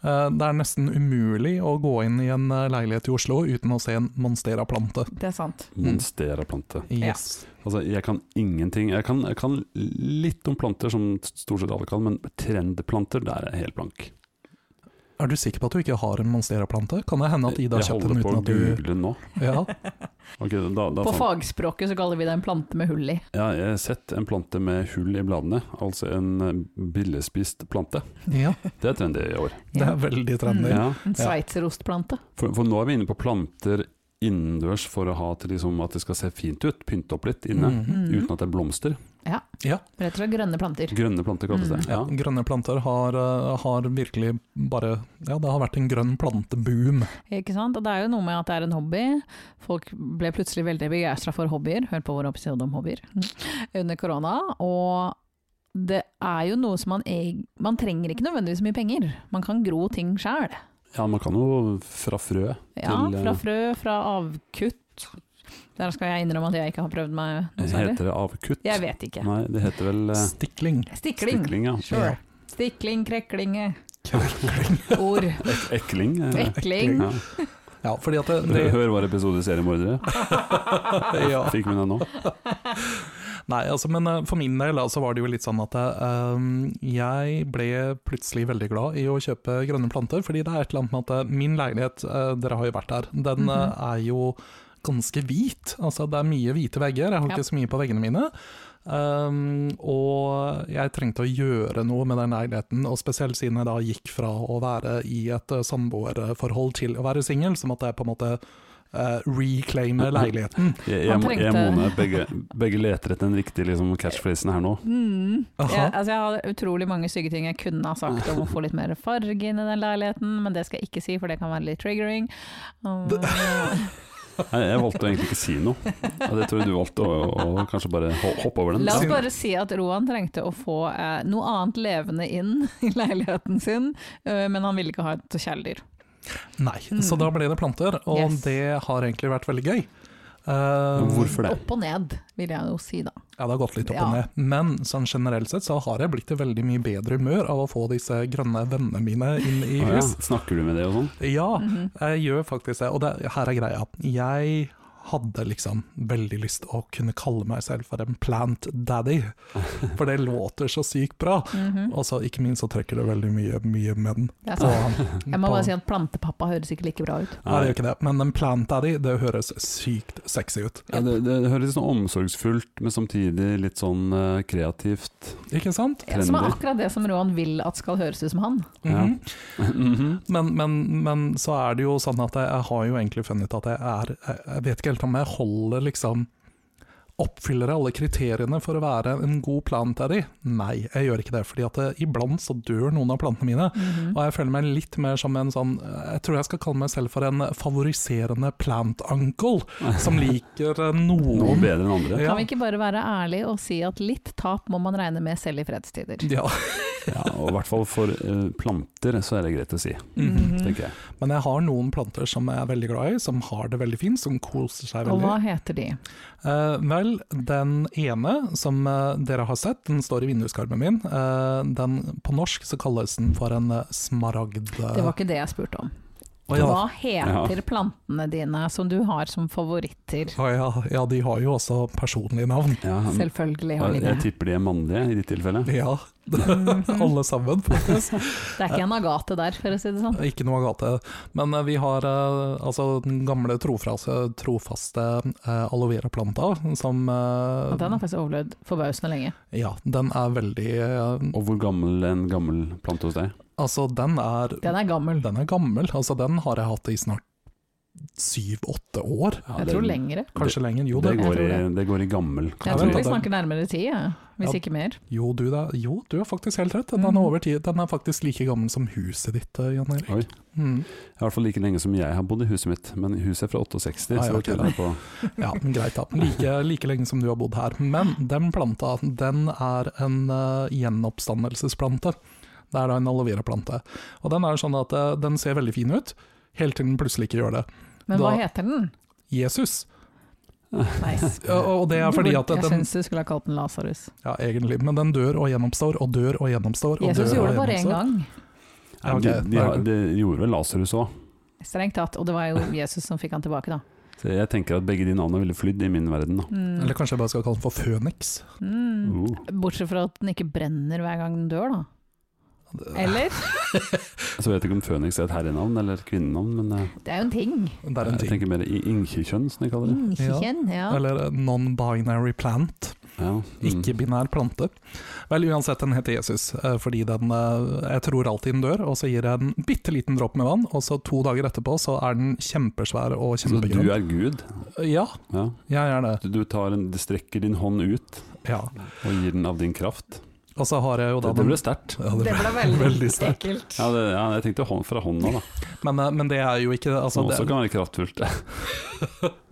[SPEAKER 2] Eh, Det er nesten umulig å gå inn i en eh, leilighet i Oslo uten å se en monstera-plante.
[SPEAKER 3] Det er sant.
[SPEAKER 1] Monstera-plante.
[SPEAKER 2] Yes.
[SPEAKER 1] Altså, jeg kan ingenting. Jeg kan, jeg kan litt om planter, som stort sett alle kan, men trendplanter, der er jeg helt blank.
[SPEAKER 2] Er du sikker på at du ikke har en monstera-plante? Kan det hende at Ida har
[SPEAKER 1] jeg
[SPEAKER 2] kjøpt
[SPEAKER 1] holder
[SPEAKER 2] den
[SPEAKER 1] på
[SPEAKER 2] uten
[SPEAKER 1] å
[SPEAKER 2] at du
[SPEAKER 1] google nå.
[SPEAKER 2] ja.
[SPEAKER 1] Ok, da, da
[SPEAKER 3] På
[SPEAKER 1] fant-
[SPEAKER 3] fagspråket så kaller vi det en plante med hull i.
[SPEAKER 1] ja, jeg har sett en plante med hull i bladene, altså en eh, billigspist plante.
[SPEAKER 2] ja,
[SPEAKER 1] Det er trendy i år.
[SPEAKER 2] det er veldig trendy.
[SPEAKER 1] Ja.
[SPEAKER 3] En sveitserostplante.
[SPEAKER 1] For, for nå er vi inne på planter innendørs for å ha til liksom at det skal se fint ut, pynte opp litt inne.
[SPEAKER 2] Mhm.
[SPEAKER 3] Mhm.
[SPEAKER 1] Uten at det er blomster.
[SPEAKER 3] Rett og slett grønne planter.
[SPEAKER 1] Grønne planter kalles det.
[SPEAKER 3] Mm.
[SPEAKER 2] Ja,
[SPEAKER 1] Ja.
[SPEAKER 2] grønne planter har, eh, har virkelig bare Ja, det har vært en grønn planteboom.
[SPEAKER 3] Ikke sant? Og det er jo noe med at det er en hobby. Folk ble plutselig veldig begeistra for hobbyer. Hør på vår episode om hobbyer Mm. under korona. Og det er jo noe som man eg... Man trenger ikke nødvendigvis mye penger. Man kan gro ting sjæl.
[SPEAKER 1] ja, man kan jo fra frø.
[SPEAKER 3] Ja,
[SPEAKER 1] Til, eh,
[SPEAKER 3] fra frø, fra avkutt. Der skal jeg innrømme at jeg ikke har prøvd meg noe særlig.
[SPEAKER 1] Heter det avkutt?
[SPEAKER 3] Jeg vet ikke.
[SPEAKER 1] Nei, det heter vel eh,
[SPEAKER 2] Stikling.
[SPEAKER 3] Stikling.
[SPEAKER 1] stikling. ja.
[SPEAKER 3] Sure. Stikling, kreklinge. Ord.
[SPEAKER 1] Ek ekling. eh,
[SPEAKER 3] Ekling.
[SPEAKER 1] Ja.
[SPEAKER 2] Ja, fordi at det, det,
[SPEAKER 1] Hør hør hver episode i Seriemordere.
[SPEAKER 2] ja.
[SPEAKER 1] Fikk vi den nå?
[SPEAKER 2] Nei, altså, men eh, for min del altså, var det jo litt sånn at eh, jeg ble plutselig veldig glad i å kjøpe grønne planter, fordi det er et eller annet med at eh, min leilighet, eh, dere har jo vært der, den eh,
[SPEAKER 3] Mhm.
[SPEAKER 2] er jo ganske hvit. Altså, det er mye hvite vegger, jeg har
[SPEAKER 3] Ja.
[SPEAKER 2] ikke så mye på veggene mine. Um, og jeg trengte å gjøre noe med den leiligheten, og spesielt siden jeg da gikk fra å være i et eh, samboerforhold til å være singel, så måtte jeg på en måte eh,
[SPEAKER 3] Mm,
[SPEAKER 2] reclaime leiligheten.
[SPEAKER 1] Jeg, jeg,
[SPEAKER 3] Han
[SPEAKER 1] må- jeg
[SPEAKER 3] trengte-
[SPEAKER 1] Mone, begge, begge leter etter den riktige liksom, catchphrasen her nå.
[SPEAKER 3] Mm. Jeg,
[SPEAKER 2] Aha.
[SPEAKER 3] altså jeg har utrolig mange stygge ting jeg kunne ha sagt om å få litt mer farge inn i den leiligheten, men det skal jeg ikke si, for det kan være litt triggering. Um,
[SPEAKER 1] Jeg, jeg valgte å egentlig ikke si noe. Ja, Det tror jeg du valgte å, å, å kanskje bare ho- hoppe over den.
[SPEAKER 3] la oss bare si at Roan trengte å få eh, noe annet levende inn i leiligheten sin, eh, men han ville ikke ha et kjæledyr.
[SPEAKER 2] Nei,
[SPEAKER 3] Mm.
[SPEAKER 2] så da ble det planter, og
[SPEAKER 3] Yes.
[SPEAKER 2] det har egentlig vært veldig gøy. Eh,
[SPEAKER 1] Hvorfor det?
[SPEAKER 3] Opp og ned, vil jeg jo si da.
[SPEAKER 2] Ja, det har gått litt opp og
[SPEAKER 3] Ja.
[SPEAKER 2] ned. Men sånn generelt sett så har jeg blitt i veldig mye bedre humør av å få disse grønne vennene mine inn i
[SPEAKER 1] Å, Ah, ja.
[SPEAKER 2] hus.
[SPEAKER 1] Snakker du med det og sånn?
[SPEAKER 2] Ja,
[SPEAKER 3] Mhm.
[SPEAKER 2] jeg gjør faktisk det. Og det, her er greia. Jeg hadde liksom veldig lyst til å kunne kalle meg selv for en plant daddy, for det låter så sykt bra.
[SPEAKER 3] Mhm.
[SPEAKER 2] Og så ikke minst så trekker det veldig mye, mye menn.
[SPEAKER 3] Det er
[SPEAKER 2] på-
[SPEAKER 3] sant. Altså, Jeg må
[SPEAKER 2] på-
[SPEAKER 3] bare si at plantepappa høres ikke like bra ut.
[SPEAKER 2] Nei, det gjør ikke det. Men en plant daddy, det høres sykt sexy ut.
[SPEAKER 1] Ja, det, det høres litt sånn omsorgsfullt, men samtidig litt sånn eh, kreativt.
[SPEAKER 2] Ikke sant?
[SPEAKER 3] Ja, Som er
[SPEAKER 1] Trendy.
[SPEAKER 3] akkurat det som Roan vil at skal høres ut som han.
[SPEAKER 2] Mhm.
[SPEAKER 1] Mhm.
[SPEAKER 2] Men, men, men så er det jo sånn at jeg, jeg har jo egentlig funnet ut at jeg er jeg- Jeg vet ikke helt om jeg holder liksom Oppfyller jeg alle kriteriene for å være en god plantaddy? Nei, jeg gjør ikke det. fordi at eh, iblant så dør noen av plantene mine.
[SPEAKER 3] Mhm.
[SPEAKER 2] Og jeg føler meg litt mer som en sånn eh, Jeg tror jeg skal kalle meg selv for en favoriserende plant uncle, som liker eh,
[SPEAKER 1] Noe
[SPEAKER 2] noen
[SPEAKER 1] bedre enn andre.
[SPEAKER 2] Ja.
[SPEAKER 3] Kan vi ikke bare være ærlige og si at litt tap må man regne med selv i fredstider?
[SPEAKER 2] Ja.
[SPEAKER 1] Ja, og i hvert fall for eh, planter så er det greit å si,
[SPEAKER 2] Mhm.
[SPEAKER 3] Mhm.
[SPEAKER 1] tenker jeg.
[SPEAKER 2] Men jeg har noen planter som jeg er veldig glad i, som har det veldig fint, som koser seg veldig.
[SPEAKER 3] Og hva heter de?
[SPEAKER 2] Eh, vel, den ene som eh, dere har sett, den står i vinduskarmen min. Eh, den, på norsk så kalles den for en eh, smaragd...
[SPEAKER 3] Det var ikke det jeg spurte om.
[SPEAKER 2] Å ja.
[SPEAKER 3] Hva heter plantene dine som du har som favoritter?
[SPEAKER 2] Å ja, ja, de har jo også personlige navn.
[SPEAKER 1] Ja,
[SPEAKER 3] Selvfølgelig har de
[SPEAKER 1] jeg, jeg
[SPEAKER 3] det.
[SPEAKER 1] tipper de er mannlige i ditt tilfelle.
[SPEAKER 2] Ja,
[SPEAKER 3] Mhm.
[SPEAKER 2] alle sammen, faktisk.
[SPEAKER 3] Det er ikke en agate der, for å si det sånn.
[SPEAKER 2] Ikke noe gate. Men eh, vi har eh, altså den gamle trofrase, trofaste eh, aloe vera-planta, som eh,
[SPEAKER 3] Og den har faktisk overlevd forbausende lenge.
[SPEAKER 2] Ja, den er veldig eh,
[SPEAKER 1] Og hvor gammel en gammel plante hos deg?
[SPEAKER 2] Altså, den er,
[SPEAKER 3] Den er gammel.
[SPEAKER 2] den er gammel. Altså, den har jeg hatt i snart syv-åtte år.
[SPEAKER 1] Ja,
[SPEAKER 3] Jeg
[SPEAKER 1] det-
[SPEAKER 3] tror lengre.
[SPEAKER 2] Kanskje lenger. Jo,
[SPEAKER 1] det
[SPEAKER 2] det,
[SPEAKER 1] går,
[SPEAKER 3] Jeg
[SPEAKER 1] i,
[SPEAKER 3] tror
[SPEAKER 1] det går i gammel
[SPEAKER 3] Jeg
[SPEAKER 2] men
[SPEAKER 3] tror
[SPEAKER 1] kategori.
[SPEAKER 3] vi
[SPEAKER 2] da-
[SPEAKER 3] snakker nærmere ti, jeg. hvis
[SPEAKER 2] Ja.
[SPEAKER 3] ikke mer.
[SPEAKER 2] jo, du, det, jo, du er faktisk helt rett. Den
[SPEAKER 3] Mhm.
[SPEAKER 2] er, over tid. Den er faktisk like gammel som huset ditt, eh, Jan Erik.
[SPEAKER 1] Oi.
[SPEAKER 2] Mm.
[SPEAKER 1] I hvert fall like lenge som jeg har bodd i huset mitt, men huset er fra 68,
[SPEAKER 2] Ah, ja,
[SPEAKER 1] så det
[SPEAKER 2] ok.
[SPEAKER 1] teller jeg på.
[SPEAKER 2] Ja, greit da. Like, like lenge som du har bodd her. Men den planta, den er en eh, gjenoppstandelsesplante. Det er da en aloe vera-plante. Og den er sånn at eh, den ser veldig fin ut, helt til den plutselig ikke gjør det.
[SPEAKER 3] Men hva
[SPEAKER 2] Da-
[SPEAKER 3] heter den?
[SPEAKER 2] Jesus.
[SPEAKER 3] Nice.
[SPEAKER 2] Ja, og det er fordi at
[SPEAKER 3] Jeg
[SPEAKER 2] den
[SPEAKER 3] syns du skulle ha kalt den Lasarus.
[SPEAKER 2] Ja, egentlig, men den dør og gjenoppstår og dør og gjenoppstår. Og
[SPEAKER 3] Jesus
[SPEAKER 2] dør
[SPEAKER 3] gjorde
[SPEAKER 2] og
[SPEAKER 3] det bare én
[SPEAKER 2] gjenoppstår.
[SPEAKER 3] gang,
[SPEAKER 1] Nei, men
[SPEAKER 2] ok,
[SPEAKER 1] de, de, har-
[SPEAKER 2] da-
[SPEAKER 1] de gjorde vel Lasarus òg,
[SPEAKER 3] strengt tatt. Og det var jo Jesus som fikk han tilbake, da.
[SPEAKER 1] så jeg tenker at begge de navnene ville flydd i min verden. Da.
[SPEAKER 3] Mm.
[SPEAKER 2] Eller kanskje jeg bare skal kalle den for Føniks.
[SPEAKER 3] Mm.
[SPEAKER 1] Uh.
[SPEAKER 3] Bortsett fra at den ikke brenner hver gang den dør, da. Eller?
[SPEAKER 1] Så vet jeg ikke om Føniks er et herrenavn eller et kvinnenavn, men eh,
[SPEAKER 3] Det er jo en ting.
[SPEAKER 2] Det er en
[SPEAKER 1] jeg
[SPEAKER 2] ting. Mm.
[SPEAKER 1] tenker mer i inkjekjønn, som de kaller det.
[SPEAKER 3] Inkjen, ja.
[SPEAKER 2] Eller non-binary plant,
[SPEAKER 1] Ja. mm.
[SPEAKER 2] ikke-binær plante. Vel, uansett, den heter Jesus, eh, fordi den eh, Jeg tror alltid den dør, og så gir jeg en bitte liten dråpe med vann, og så to dager etterpå så er den kjempesvær og
[SPEAKER 1] Så du
[SPEAKER 2] kjempegrønn.
[SPEAKER 1] er Gud?
[SPEAKER 2] Ja,
[SPEAKER 1] Ja.
[SPEAKER 2] jeg er det.
[SPEAKER 1] Du, du tar en, du strekker din hånd ut
[SPEAKER 2] Ja.
[SPEAKER 1] og gir den av din kraft.
[SPEAKER 2] Og så har jeg jo da
[SPEAKER 1] Det, det ble sterkt.
[SPEAKER 2] Ja, det
[SPEAKER 3] Det
[SPEAKER 2] ble-
[SPEAKER 3] ble veldig
[SPEAKER 2] veldig sterkt.
[SPEAKER 3] ekkelt.
[SPEAKER 1] Ja, det, ja, jeg tenkte hånd fra hånda, da.
[SPEAKER 2] men, eh, men det er jo ikke altså,
[SPEAKER 1] Som også
[SPEAKER 2] det,
[SPEAKER 1] kan være kraftfullt.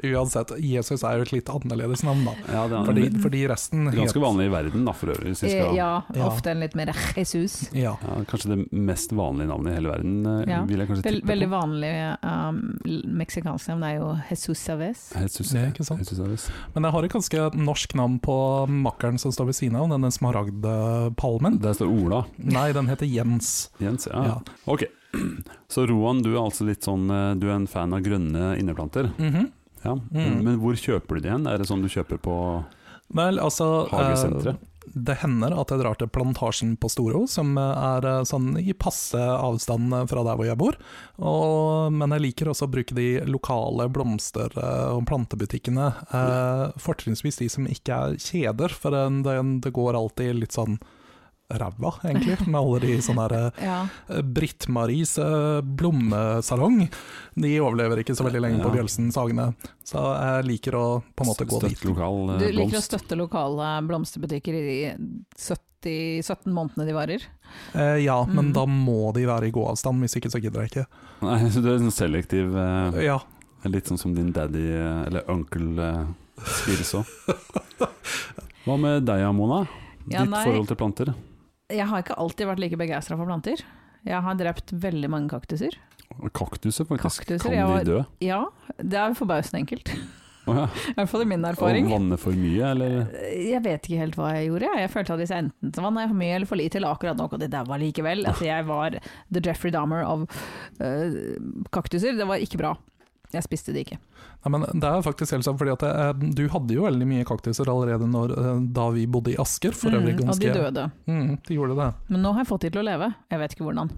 [SPEAKER 2] Uansett, Jesus er jo et litt annerledes navn, da.
[SPEAKER 1] Ja, det er
[SPEAKER 2] Fordi, fordi resten
[SPEAKER 1] ganske vanlig i verden, da, for øvrig. Hvis vi
[SPEAKER 3] Eh,
[SPEAKER 1] skal, ja.
[SPEAKER 3] Ja,
[SPEAKER 2] Ja.
[SPEAKER 3] ofte en litt mer eh, Jesus.
[SPEAKER 2] Ja.
[SPEAKER 1] kanskje det mest vanlige navnet i hele verden, eh,
[SPEAKER 3] Ja.
[SPEAKER 1] vil jeg kanskje
[SPEAKER 3] Vel,
[SPEAKER 1] tippe
[SPEAKER 3] veldig
[SPEAKER 1] på.
[SPEAKER 3] vanlig um, meksikansk navn er jo Jesus Saves.
[SPEAKER 1] Jesus,
[SPEAKER 2] Det er ikke sant.
[SPEAKER 1] Jesus er det.
[SPEAKER 2] Men jeg har et ganske norsk navn på makkeren som står ved siden av, denne smaragdpalmen.
[SPEAKER 1] Der står Ola.
[SPEAKER 2] Nei, den heter Jens.
[SPEAKER 1] Jens, ja.
[SPEAKER 2] Ja.
[SPEAKER 1] Ok. Så Roan, du er altså litt sånn eh, Du er en fan av grønne inneplanter.
[SPEAKER 2] Mhm.
[SPEAKER 1] Ja.
[SPEAKER 2] Mm.
[SPEAKER 1] Men hvor kjøper du de hen? Er det sånn du kjøper på
[SPEAKER 2] Vel, altså eh,
[SPEAKER 1] hagesenteret?
[SPEAKER 2] Det hender at jeg drar til Plantasjen på Storo, som eh, er eh, sånn i passe avstand eh, fra der hvor jeg bor. Og, men jeg liker også å bruke de lokale blomster- eh, og plantebutikkene. Eh, fortrinnsvis de som ikke er kjeder, for eh, det, det går alltid litt sånn ræva, egentlig, med alle de sånne her, eh,
[SPEAKER 3] Ja.
[SPEAKER 2] Eh, Britt-Maries eh, blommesalong. De overlever ikke så veldig lenge på
[SPEAKER 1] Ja.
[SPEAKER 2] Bjølsens Hagne, så jeg liker å på en måte gå dit.
[SPEAKER 1] Støtt lokal eh,
[SPEAKER 3] Du liker å
[SPEAKER 1] blomst.
[SPEAKER 3] støtte lokale blomsterbutikker i de 70, 17 månedene de varer.
[SPEAKER 2] Eh, ja, men
[SPEAKER 3] Mm.
[SPEAKER 2] da må de være i gåavstand, hvis ikke så gidder jeg ikke.
[SPEAKER 1] Nei, så du er sånn selektiv. eh,
[SPEAKER 2] Ja,
[SPEAKER 1] Litt sånn som din daddy eh, eller onkel eh, Svireså. Hva med deg, Mona? Ditt
[SPEAKER 3] Ja, nei.
[SPEAKER 1] forhold til planter?
[SPEAKER 3] Jeg har ikke alltid vært like begeistra for planter. Jeg har drept veldig mange kaktuser.
[SPEAKER 1] Kaktuser, faktisk.
[SPEAKER 3] Kaktuser,
[SPEAKER 1] kan de
[SPEAKER 3] jeg var-
[SPEAKER 1] dø?
[SPEAKER 3] Ja, det er forbausende enkelt.
[SPEAKER 1] Å ja.
[SPEAKER 3] I hvert fall i min
[SPEAKER 1] Og
[SPEAKER 3] erfaring.
[SPEAKER 1] vanne for mye, eller?
[SPEAKER 3] Jeg vet ikke helt hva jeg gjorde. jeg. Jeg følte at hvis jeg enten så vann jeg for mye eller for lite, eller akkurat nok, og det daua likevel. Altså, jeg var the Jeffrey Dahmer av øh, kaktuser. Det var ikke bra. Jeg spiste de ikke.
[SPEAKER 2] Nei, men Det er faktisk helt sant, fordi at eh, du hadde jo veldig mye kaktuser allerede når, eh, da vi bodde i Asker. For øvrig
[SPEAKER 3] Mm, og
[SPEAKER 2] ganske
[SPEAKER 3] de døde.
[SPEAKER 2] Mm, de gjorde det.
[SPEAKER 3] Men nå har jeg fått de til å leve. Jeg vet ikke hvordan.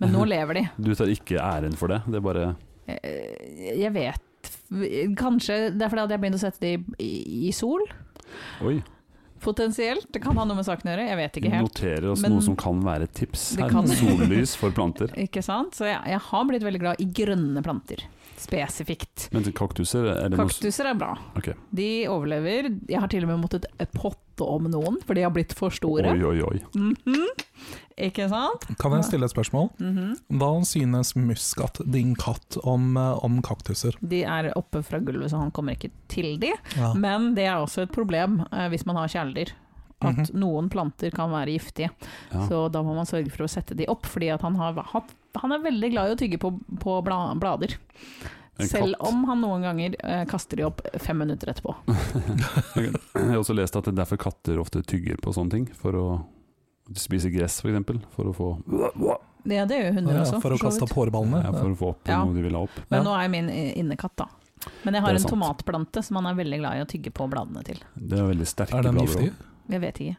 [SPEAKER 3] Men
[SPEAKER 2] Mhm.
[SPEAKER 3] nå lever de.
[SPEAKER 1] Du tar ikke æren for det, det er bare
[SPEAKER 3] Eh, Jeg vet Kanskje det er fordi at jeg begynte å sette de i, i sol,
[SPEAKER 1] Oi,
[SPEAKER 3] potensielt. Det kan ha noe med saken å gjøre, jeg vet ikke helt.
[SPEAKER 1] noterer oss
[SPEAKER 3] Men-
[SPEAKER 1] noe som kan være et tips
[SPEAKER 3] Det
[SPEAKER 1] her.
[SPEAKER 3] kan-
[SPEAKER 1] Sollys for planter.
[SPEAKER 3] Ikke sant? Så jeg, jeg har blitt veldig glad i grønne planter, spesifikt.
[SPEAKER 1] Men kaktuser, er det noe s-
[SPEAKER 3] Kaktuser er bra.
[SPEAKER 1] Ok.
[SPEAKER 3] De overlever. Jeg har til og med måttet potte om noen, for de har blitt for store.
[SPEAKER 1] Oi, oi, oi.
[SPEAKER 3] Mhm. Ikke sant?
[SPEAKER 2] Kan jeg stille et spørsmål?
[SPEAKER 3] Mhm.
[SPEAKER 2] Hva synes Muskat, din katt, om, eh, om kaktuser?
[SPEAKER 3] De er oppe fra gulvet, så han kommer ikke til de.
[SPEAKER 2] Ja.
[SPEAKER 3] Men det er også et problem eh, hvis man har kjæledyr. At
[SPEAKER 2] Mhm.
[SPEAKER 3] noen planter kan være giftige,
[SPEAKER 1] Ja.
[SPEAKER 3] så da må man sørge for å sette de opp. Fordi at han, har, hatt- han er veldig glad i å tygge på, på bla, blader.
[SPEAKER 1] En
[SPEAKER 3] Selv
[SPEAKER 1] katt.
[SPEAKER 3] om han noen ganger eh, kaster de opp fem minutter etterpå.
[SPEAKER 1] Jeg har også lest at det er derfor katter ofte tygger på sånne ting. For å spise gress, f.eks. For å få
[SPEAKER 3] Ja, det gjør jo hunder
[SPEAKER 2] Ja,
[SPEAKER 3] også.
[SPEAKER 2] for å
[SPEAKER 3] så vidt.
[SPEAKER 2] kaste opp hårballene.
[SPEAKER 1] Ja, for å få opp
[SPEAKER 3] Ja.
[SPEAKER 1] noe de vil ha opp.
[SPEAKER 3] Men
[SPEAKER 2] Ja.
[SPEAKER 3] nå er jo min eh, innekatt, da. Men jeg
[SPEAKER 1] Det
[SPEAKER 3] har
[SPEAKER 1] er
[SPEAKER 3] en
[SPEAKER 1] sant.
[SPEAKER 3] tomatplante som han er veldig glad i å tygge på bladene til.
[SPEAKER 1] Det er veldig sterke
[SPEAKER 2] Er de
[SPEAKER 1] blader
[SPEAKER 2] giftige?
[SPEAKER 1] også.
[SPEAKER 3] Jeg vet ikke.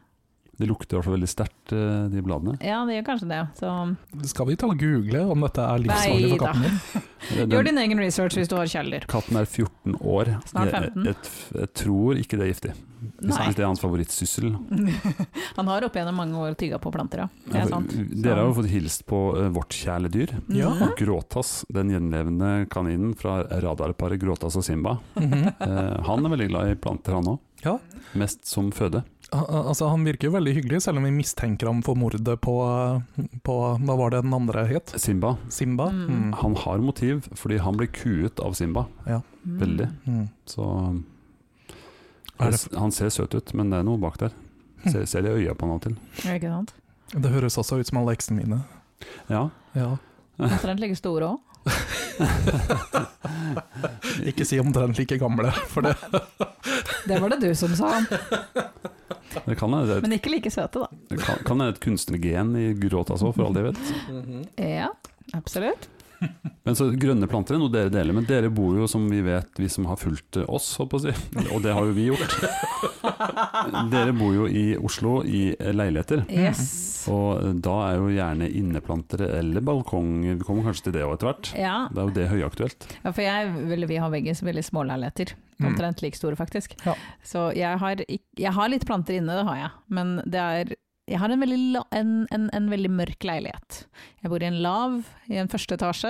[SPEAKER 1] Det lukter i hvert fall veldig sterkt, eh, de bladene.
[SPEAKER 3] Ja, det gjør kanskje det. Så
[SPEAKER 2] Skal vi ta og google om dette er livsfarlig
[SPEAKER 3] Nei
[SPEAKER 2] for
[SPEAKER 3] da.
[SPEAKER 2] katten din?
[SPEAKER 1] Den-
[SPEAKER 3] gjør din egen research hvis du har kjeller.
[SPEAKER 1] Katten er 14 år.
[SPEAKER 3] Snart
[SPEAKER 1] Jeg-
[SPEAKER 3] 15.
[SPEAKER 1] Jeg, jeg, jeg tror ikke det er giftig. Hvis
[SPEAKER 3] Nei.
[SPEAKER 1] hvis det er hans favorittsyssel.
[SPEAKER 3] Han har opp gjennom mange år tygga på planter, ja. Det er sant.
[SPEAKER 1] Dere har jo fått hilst på eh, vårt kjæledyr.
[SPEAKER 2] Ja.
[SPEAKER 3] Mhm.
[SPEAKER 1] Gråtass, den gjenlevende kaninen fra radarparet Gråtass og Simba.
[SPEAKER 2] Mhm.
[SPEAKER 1] Eh, han er veldig glad i planter, han òg.
[SPEAKER 2] Ja.
[SPEAKER 1] Mest som føde.
[SPEAKER 2] Al- al- Altså, han virker jo veldig hyggelig, selv om vi mistenker ham for mordet på, eh, på Hva var det den andre het?
[SPEAKER 1] Simba.
[SPEAKER 2] Simba?
[SPEAKER 3] Mm.
[SPEAKER 2] Mm.
[SPEAKER 1] Han har motiv, fordi han blir kuet av Simba.
[SPEAKER 3] Mm.
[SPEAKER 1] Veldig.
[SPEAKER 2] Mm.
[SPEAKER 1] Så
[SPEAKER 2] Er
[SPEAKER 1] han,
[SPEAKER 2] det- Hm.
[SPEAKER 1] han ser søt ut, men det er noe bak der. Ser, ser det i øya på han av og til.
[SPEAKER 3] Ja, Ikke sant?
[SPEAKER 2] Det høres også ut som alle leksene mine.
[SPEAKER 1] Ja.
[SPEAKER 2] Ja.
[SPEAKER 3] Omtrent like store òg.
[SPEAKER 2] Ikke si omtrent like gamle, for det
[SPEAKER 3] Det var det du som sa.
[SPEAKER 1] Det kan være et,
[SPEAKER 3] Men ikke like søte, da.
[SPEAKER 1] det kan, kan være et kunstnergen i Gråtass òg, for all det jeg vet.
[SPEAKER 3] Ja, absolutt.
[SPEAKER 1] Men så Grønne planter er noe dere deler, men dere bor jo som vi vet, vi som har fulgt eh, oss, holdt på å si. og det har jo vi gjort. Dere bor jo i Oslo i eh, leiligheter,
[SPEAKER 3] Yes.
[SPEAKER 1] og eh, da er jo gjerne inneplanter eller balkong Vi kommer kanskje til det også etter hvert.
[SPEAKER 3] Ja,
[SPEAKER 1] Det er jo det høyaktuelt.
[SPEAKER 3] Ja, for jeg, eller vi har begge så veldig små leiligheter.
[SPEAKER 2] Mm.
[SPEAKER 3] Omtrent like store, faktisk.
[SPEAKER 2] Ja.
[SPEAKER 3] Så jeg har, ikk- jeg har litt planter inne, det har jeg. Men det er jeg har en veldig, la- en, en, en veldig mørk leilighet. Jeg bor i en lav i en første etasje.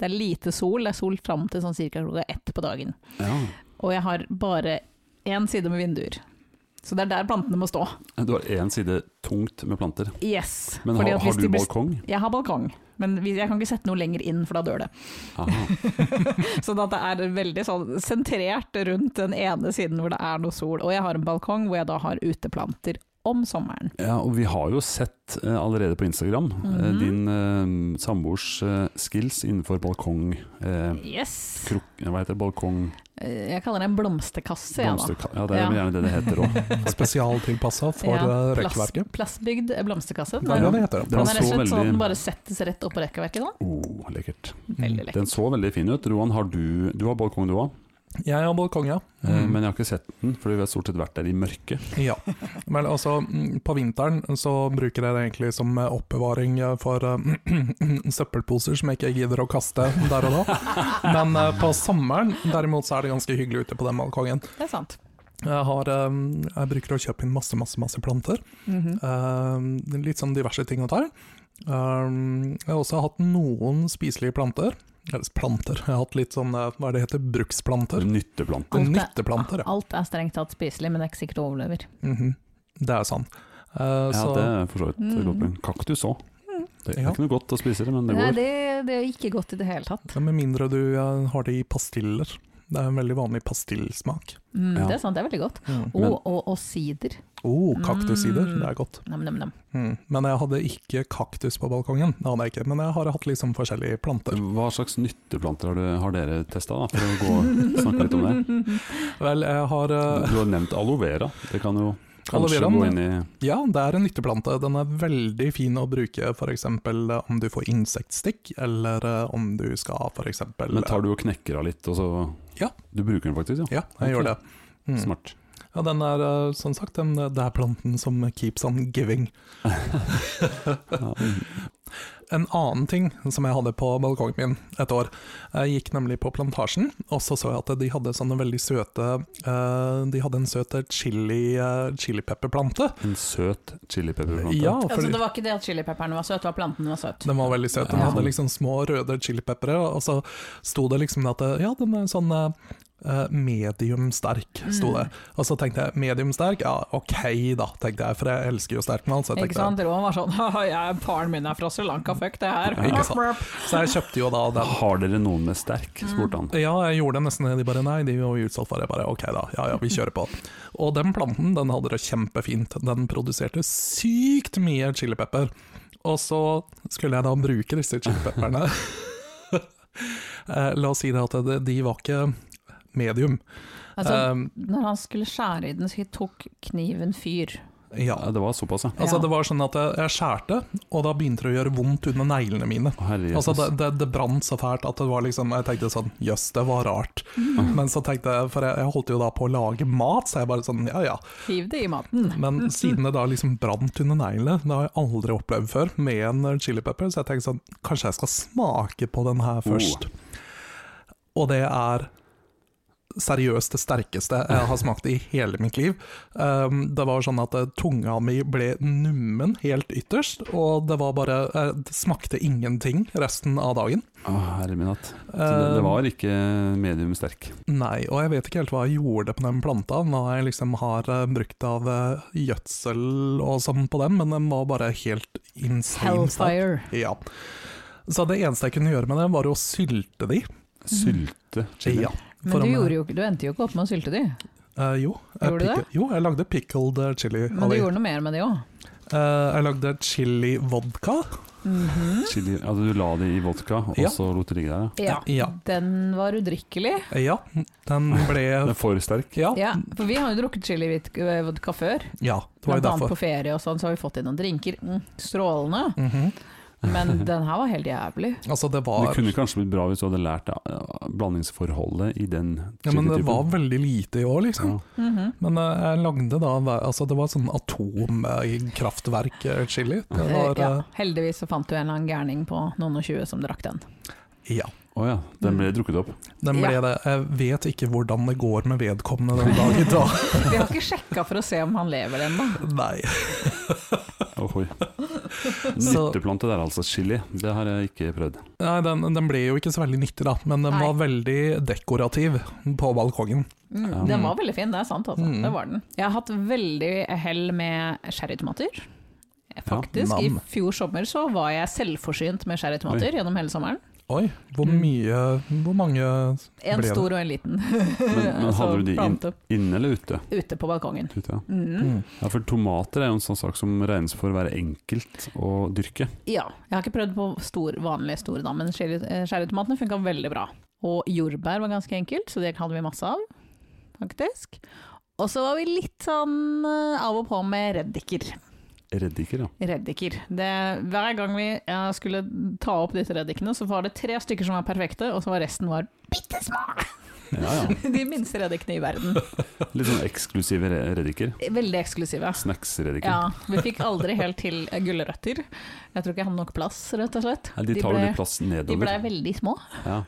[SPEAKER 3] Det er lite sol. Det er sol fram til sånn cirka klokka ett på dagen.
[SPEAKER 1] Ja.
[SPEAKER 3] Og jeg har bare én side med vinduer. Så det er der plantene må stå.
[SPEAKER 1] Eh, Du har én side tungt med planter.
[SPEAKER 3] Yes.
[SPEAKER 1] Men
[SPEAKER 3] Fordi
[SPEAKER 1] har,
[SPEAKER 3] at hvis
[SPEAKER 1] har du
[SPEAKER 3] de blir-
[SPEAKER 1] balkong?
[SPEAKER 3] Jeg har balkong. Men vi- jeg kan ikke sette noe lenger inn, for da dør det.
[SPEAKER 1] Aha.
[SPEAKER 3] Sånn at det er veldig sånn sentrert rundt den ene siden hvor det er noe sol. Og jeg har en balkong hvor jeg da har uteplanter om sommeren.
[SPEAKER 1] Ja, og vi har jo sett eh, allerede på Instagram eh,
[SPEAKER 3] Mhm.
[SPEAKER 1] din eh, samboers eh, skills innenfor balkong... Eh,
[SPEAKER 3] Yes!
[SPEAKER 1] krok, hva heter det? Balkong...
[SPEAKER 3] Eh, Jeg kaller det en blomsterkasse, jeg da.
[SPEAKER 1] Blomsterka- Ja, det er jo
[SPEAKER 3] Ja.
[SPEAKER 1] gjerne det det heter òg.
[SPEAKER 2] spesialtilpassa Mm. for
[SPEAKER 3] Ja,
[SPEAKER 2] eh,
[SPEAKER 3] plass-
[SPEAKER 2] rekkverket.
[SPEAKER 3] Plassbygd eh, blomsterkasse.
[SPEAKER 2] Det
[SPEAKER 1] Ja.
[SPEAKER 2] er det
[SPEAKER 3] Den,
[SPEAKER 2] det heter.
[SPEAKER 1] Den så
[SPEAKER 3] den er rett og slett sånn at
[SPEAKER 1] veldig-
[SPEAKER 3] den bare settes rett oppå rekkverket. da.
[SPEAKER 1] Oh, lekkert.
[SPEAKER 2] Mm.
[SPEAKER 3] Veldig
[SPEAKER 1] Den
[SPEAKER 3] lekkert.
[SPEAKER 1] så veldig fin ut. Roan, har du, du har balkong du òg,
[SPEAKER 2] Jeg har balkong, ja.
[SPEAKER 1] Eh,
[SPEAKER 2] Mm.
[SPEAKER 1] men jeg har ikke sett den, fordi vi har stort sett vært der i mørket.
[SPEAKER 2] Ja. Men altså, mm, på vinteren så bruker jeg det egentlig som eh, oppbevaring eh, for eh, søppelposer som jeg ikke gidder å kaste der og da. Men eh, på sommeren derimot så er det ganske hyggelig ute på den balkongen.
[SPEAKER 3] Det er sant.
[SPEAKER 2] Jeg, har, eh, jeg bruker å kjøpe inn masse, masse, masse planter.
[SPEAKER 3] Mhm.
[SPEAKER 2] Eh, Litt sånn diverse ting og tær. Um, Jeg har også hatt noen spiselige planter. Eller planter, jeg har hatt litt sånn, eh, hva er det heter, bruksplanter.
[SPEAKER 1] Nytteplanter.
[SPEAKER 3] Alt er-
[SPEAKER 2] Nytteplanter, ja.
[SPEAKER 3] Alt er strengt tatt spiselig, men det er ikke sikkert det overlever.
[SPEAKER 2] Mhm. Det er sant. Eh,
[SPEAKER 1] Ja,
[SPEAKER 2] så-
[SPEAKER 1] det er for så vidt et
[SPEAKER 3] Mm.
[SPEAKER 1] godt poeng. Kaktus òg. Det er
[SPEAKER 2] Ja.
[SPEAKER 1] ikke noe godt å spise det, men det
[SPEAKER 3] Nei,
[SPEAKER 1] går.
[SPEAKER 3] det, det er ikke godt i det hele tatt.
[SPEAKER 2] Ja, med mindre du eh, har det i pastiller. Det er en veldig vanlig pastillsmak.
[SPEAKER 3] Mm,
[SPEAKER 1] Ja.
[SPEAKER 3] Det er sant, det er veldig godt.
[SPEAKER 2] Mm.
[SPEAKER 3] Og,
[SPEAKER 1] Men-
[SPEAKER 3] og, og sider.
[SPEAKER 2] Oh, kaktusider,
[SPEAKER 3] Mm.
[SPEAKER 2] det er godt.
[SPEAKER 3] Nam, nam, nam.
[SPEAKER 2] Mm. Men jeg hadde ikke kaktus på balkongen, det hadde jeg ikke. Men jeg har hatt liksom forskjellige planter.
[SPEAKER 1] Hva slags nytteplanter har, du, har dere testa, for å gå snakke litt om det?
[SPEAKER 2] Vel, jeg har eh,
[SPEAKER 1] Du har nevnt aloe vera. Det kan jo
[SPEAKER 2] Aloe
[SPEAKER 1] kanskje
[SPEAKER 2] veraen,
[SPEAKER 1] gå inn i
[SPEAKER 2] Ja, det er en nytteplante. Den er veldig fin å bruke f.eks. om du får insektstikk, eller eh, om du skal f.eks.
[SPEAKER 1] Men tar du og knekker av litt, og så
[SPEAKER 2] Ja.
[SPEAKER 1] Du bruker den faktisk, ja.
[SPEAKER 2] Ja, jeg gjør det. Mm.
[SPEAKER 1] Smart.
[SPEAKER 2] Ja, den er eh, som sagt den, det er planten som keeps on giving.
[SPEAKER 1] Ja.
[SPEAKER 2] En annen ting som jeg hadde på balkongen min et år Jeg gikk nemlig på plantasjen, og så så jeg at de hadde sånne veldig søte eh, De hadde en søt chili, eh, chilipepperplante.
[SPEAKER 1] En søt chilipepperplante.
[SPEAKER 2] Ja,
[SPEAKER 3] Altså,
[SPEAKER 2] fordi
[SPEAKER 3] det var ikke det at chilipepperen var søt, det var planten var søt.
[SPEAKER 2] den var veldig søt. Den
[SPEAKER 3] Ja.
[SPEAKER 2] hadde liksom små røde chilipeppere, og så sto det liksom at eh, ja, den er sånn eh, medium sterk,
[SPEAKER 3] Mm.
[SPEAKER 2] sto det. Og så tenkte jeg medium sterk, ja ok da, tenkte jeg, for jeg elsker jo sterk mat. Så jeg
[SPEAKER 3] Ikke
[SPEAKER 2] tenkte
[SPEAKER 3] sant? Roan var sånn «Haha, jeg, Faren min er fra Sri Lanka, fuck det her.
[SPEAKER 2] Ikke sant. Så jeg kjøpte jo da den.
[SPEAKER 1] Har dere noen med sterk? spurte han.
[SPEAKER 2] Ja, jeg gjorde det nesten. De bare nei, de var jo utsolgt for det. Jeg bare ok, da. Ja ja, vi kjører på. Og den planten, den hadde det kjempefint. Den produserte sykt mye chilipepper. Og så skulle jeg da bruke disse chilipepperne. Eh, La oss si det at det- de var ikke medium.
[SPEAKER 3] Altså,
[SPEAKER 2] Eh,
[SPEAKER 3] når han skulle skjære i den, så tok kniven fyr.
[SPEAKER 2] Ja.
[SPEAKER 1] Ja, det var såpass, ja.
[SPEAKER 2] Altså,
[SPEAKER 3] Ja.
[SPEAKER 2] det var sånn at jeg jeg skjærte, og da begynte det å gjøre vondt under neglene mine.
[SPEAKER 1] Å, herre
[SPEAKER 2] Altså,
[SPEAKER 1] Jesus.
[SPEAKER 2] det, det, det brant så fælt at det var liksom, jeg tenkte sånn Jøss, det var rart.
[SPEAKER 3] Mm.
[SPEAKER 2] Men så tenkte jeg, for jeg, jeg holdt jo da på å lage mat, så jeg bare sånn ja ja.
[SPEAKER 3] Hiv det i maten.
[SPEAKER 2] Men siden det da liksom brant under neglene, det har jeg aldri opplevd før med en eh, chili pepper, så jeg tenkte sånn Kanskje jeg skal smake på den
[SPEAKER 1] Oh.
[SPEAKER 2] her først. Og det er seriøst det sterkeste jeg har smakt i hele mitt liv. Um, det var sånn at eh, tunga mi ble nummen helt ytterst, og det var bare eh, Det smakte ingenting resten av dagen.
[SPEAKER 1] Å, herre min hatt. Så det, det var ikke medium sterk.
[SPEAKER 2] Nei, og jeg vet ikke helt hva jeg gjorde på den planta, hva jeg liksom har eh, brukt av eh, gjødsel og sånn på den, men den var bare helt insane. sterk.
[SPEAKER 3] Hellfire.
[SPEAKER 2] Ja. Så det eneste jeg kunne gjøre med det, var å sylte de.
[SPEAKER 1] Sylte chili.
[SPEAKER 2] Ja.
[SPEAKER 3] Men
[SPEAKER 2] For
[SPEAKER 3] du,
[SPEAKER 2] om-
[SPEAKER 3] gjorde jo, ikke- du endte jo ikke opp med å sylte de.
[SPEAKER 2] Eh, jo, jeg
[SPEAKER 3] Gjorde du
[SPEAKER 2] pickle- jo, jeg lagde pickled eh, chili.
[SPEAKER 3] Men
[SPEAKER 2] av
[SPEAKER 3] du
[SPEAKER 2] de.
[SPEAKER 3] gjorde noe mer med de òg.
[SPEAKER 2] Eh, jeg lagde chili vodka.
[SPEAKER 1] chili. Altså, du la det i vodka, og
[SPEAKER 2] Mhm. Ja.
[SPEAKER 1] så lot det ligge der.
[SPEAKER 3] Mhm. Ja.
[SPEAKER 2] Ja.
[SPEAKER 3] Den var udrikkelig.
[SPEAKER 2] Eh, Ja,
[SPEAKER 1] Ja.
[SPEAKER 2] den
[SPEAKER 1] Den
[SPEAKER 2] ble
[SPEAKER 1] er for sterk.
[SPEAKER 2] Ja,
[SPEAKER 3] Ja, for vi har jo drukket chili-vodka før.
[SPEAKER 2] ja det var jo
[SPEAKER 3] Blant annet
[SPEAKER 2] derfor.
[SPEAKER 3] på ferie og sånn, så har vi fått inn noen drinker. Mm, strålende.
[SPEAKER 2] Mhm.
[SPEAKER 3] Men den her var helt jævlig.
[SPEAKER 2] Altså, det
[SPEAKER 1] Det
[SPEAKER 2] var
[SPEAKER 1] kunne kanskje blitt bra hvis du hadde lært eh, blandingsforholdet i den
[SPEAKER 2] ja, Men det
[SPEAKER 1] chilitypen.
[SPEAKER 2] var veldig lite i år, liksom.
[SPEAKER 1] Ja.
[SPEAKER 3] Mhm.
[SPEAKER 2] Men eh, jeg lagde da hver- altså Det var sånn atomkraftverk-chili. Det
[SPEAKER 3] Eh,
[SPEAKER 2] var
[SPEAKER 3] ja,
[SPEAKER 2] eh,
[SPEAKER 3] heldigvis så fant du en eller annen gærning på noen og tjue som drakk den.
[SPEAKER 2] eh, Ja.
[SPEAKER 1] Å ja, den
[SPEAKER 2] Mm.
[SPEAKER 1] ble drukket opp.
[SPEAKER 2] Den ble
[SPEAKER 3] Ja.
[SPEAKER 2] det. Jeg vet ikke hvordan det går med vedkommende den dag i dag.
[SPEAKER 3] Vi har ikke sjekka for å se om han lever ennå.
[SPEAKER 2] Nei.
[SPEAKER 1] Ohoi.
[SPEAKER 2] Så-
[SPEAKER 1] Nytteplante der, altså. Chili. Det har jeg ikke prøvd.
[SPEAKER 2] Nei, den, den ble jo ikke så veldig nyttig, da, men den
[SPEAKER 3] Nei.
[SPEAKER 2] var veldig dekorativ på balkongen.
[SPEAKER 3] Mm, den var veldig fin, det er sant altså.
[SPEAKER 2] Mm.
[SPEAKER 3] Det var den. Jeg har hatt veldig hell med sherrytomater. Faktisk.
[SPEAKER 2] Ja, nam.
[SPEAKER 3] I fjor sommer så var jeg selvforsynt med sherrytomater gjennom hele sommeren.
[SPEAKER 2] Oi, hvor
[SPEAKER 3] Mm.
[SPEAKER 2] mye Hvor mange
[SPEAKER 3] En
[SPEAKER 2] Ble det?
[SPEAKER 3] stor og en liten.
[SPEAKER 1] Men, men
[SPEAKER 3] Så
[SPEAKER 1] hadde du de inn,
[SPEAKER 3] plante
[SPEAKER 1] inne eller ute?
[SPEAKER 3] Ute på balkongen.
[SPEAKER 1] ute ja.
[SPEAKER 3] Mm.
[SPEAKER 2] mm.
[SPEAKER 1] ja, for tomater er jo en sånn sak som regnes for å være enkelt å dyrke.
[SPEAKER 3] Ja, jeg har ikke prøvd på stor, vanlig store da, men cherry- eh, cherrytomatene funka veldig bra. Og jordbær var ganske enkelt, så det hadde vi masse av, faktisk. Og så var vi litt sånn eh, av og på med reddiker.
[SPEAKER 1] Reddiker, ja.
[SPEAKER 3] Reddiker. Det, hver gang vi eh, skulle ta opp disse reddikene, så var det tre stykker som var perfekte, og så var resten var bitte små!
[SPEAKER 1] ja, ja.
[SPEAKER 3] De minste reddikene i verden.
[SPEAKER 1] Litt sånn eksklusive re- reddiker.
[SPEAKER 3] Veldig eksklusive.
[SPEAKER 1] Snacks-reddiker.
[SPEAKER 3] Ja, vi fikk aldri helt til eh, gulrøtter. Jeg tror ikke jeg hadde nok plass, rett og slett.
[SPEAKER 1] Nei, de tar jo
[SPEAKER 3] ble,
[SPEAKER 1] litt plass
[SPEAKER 3] de ble
[SPEAKER 1] nedover.
[SPEAKER 3] veldig små.
[SPEAKER 1] Ja.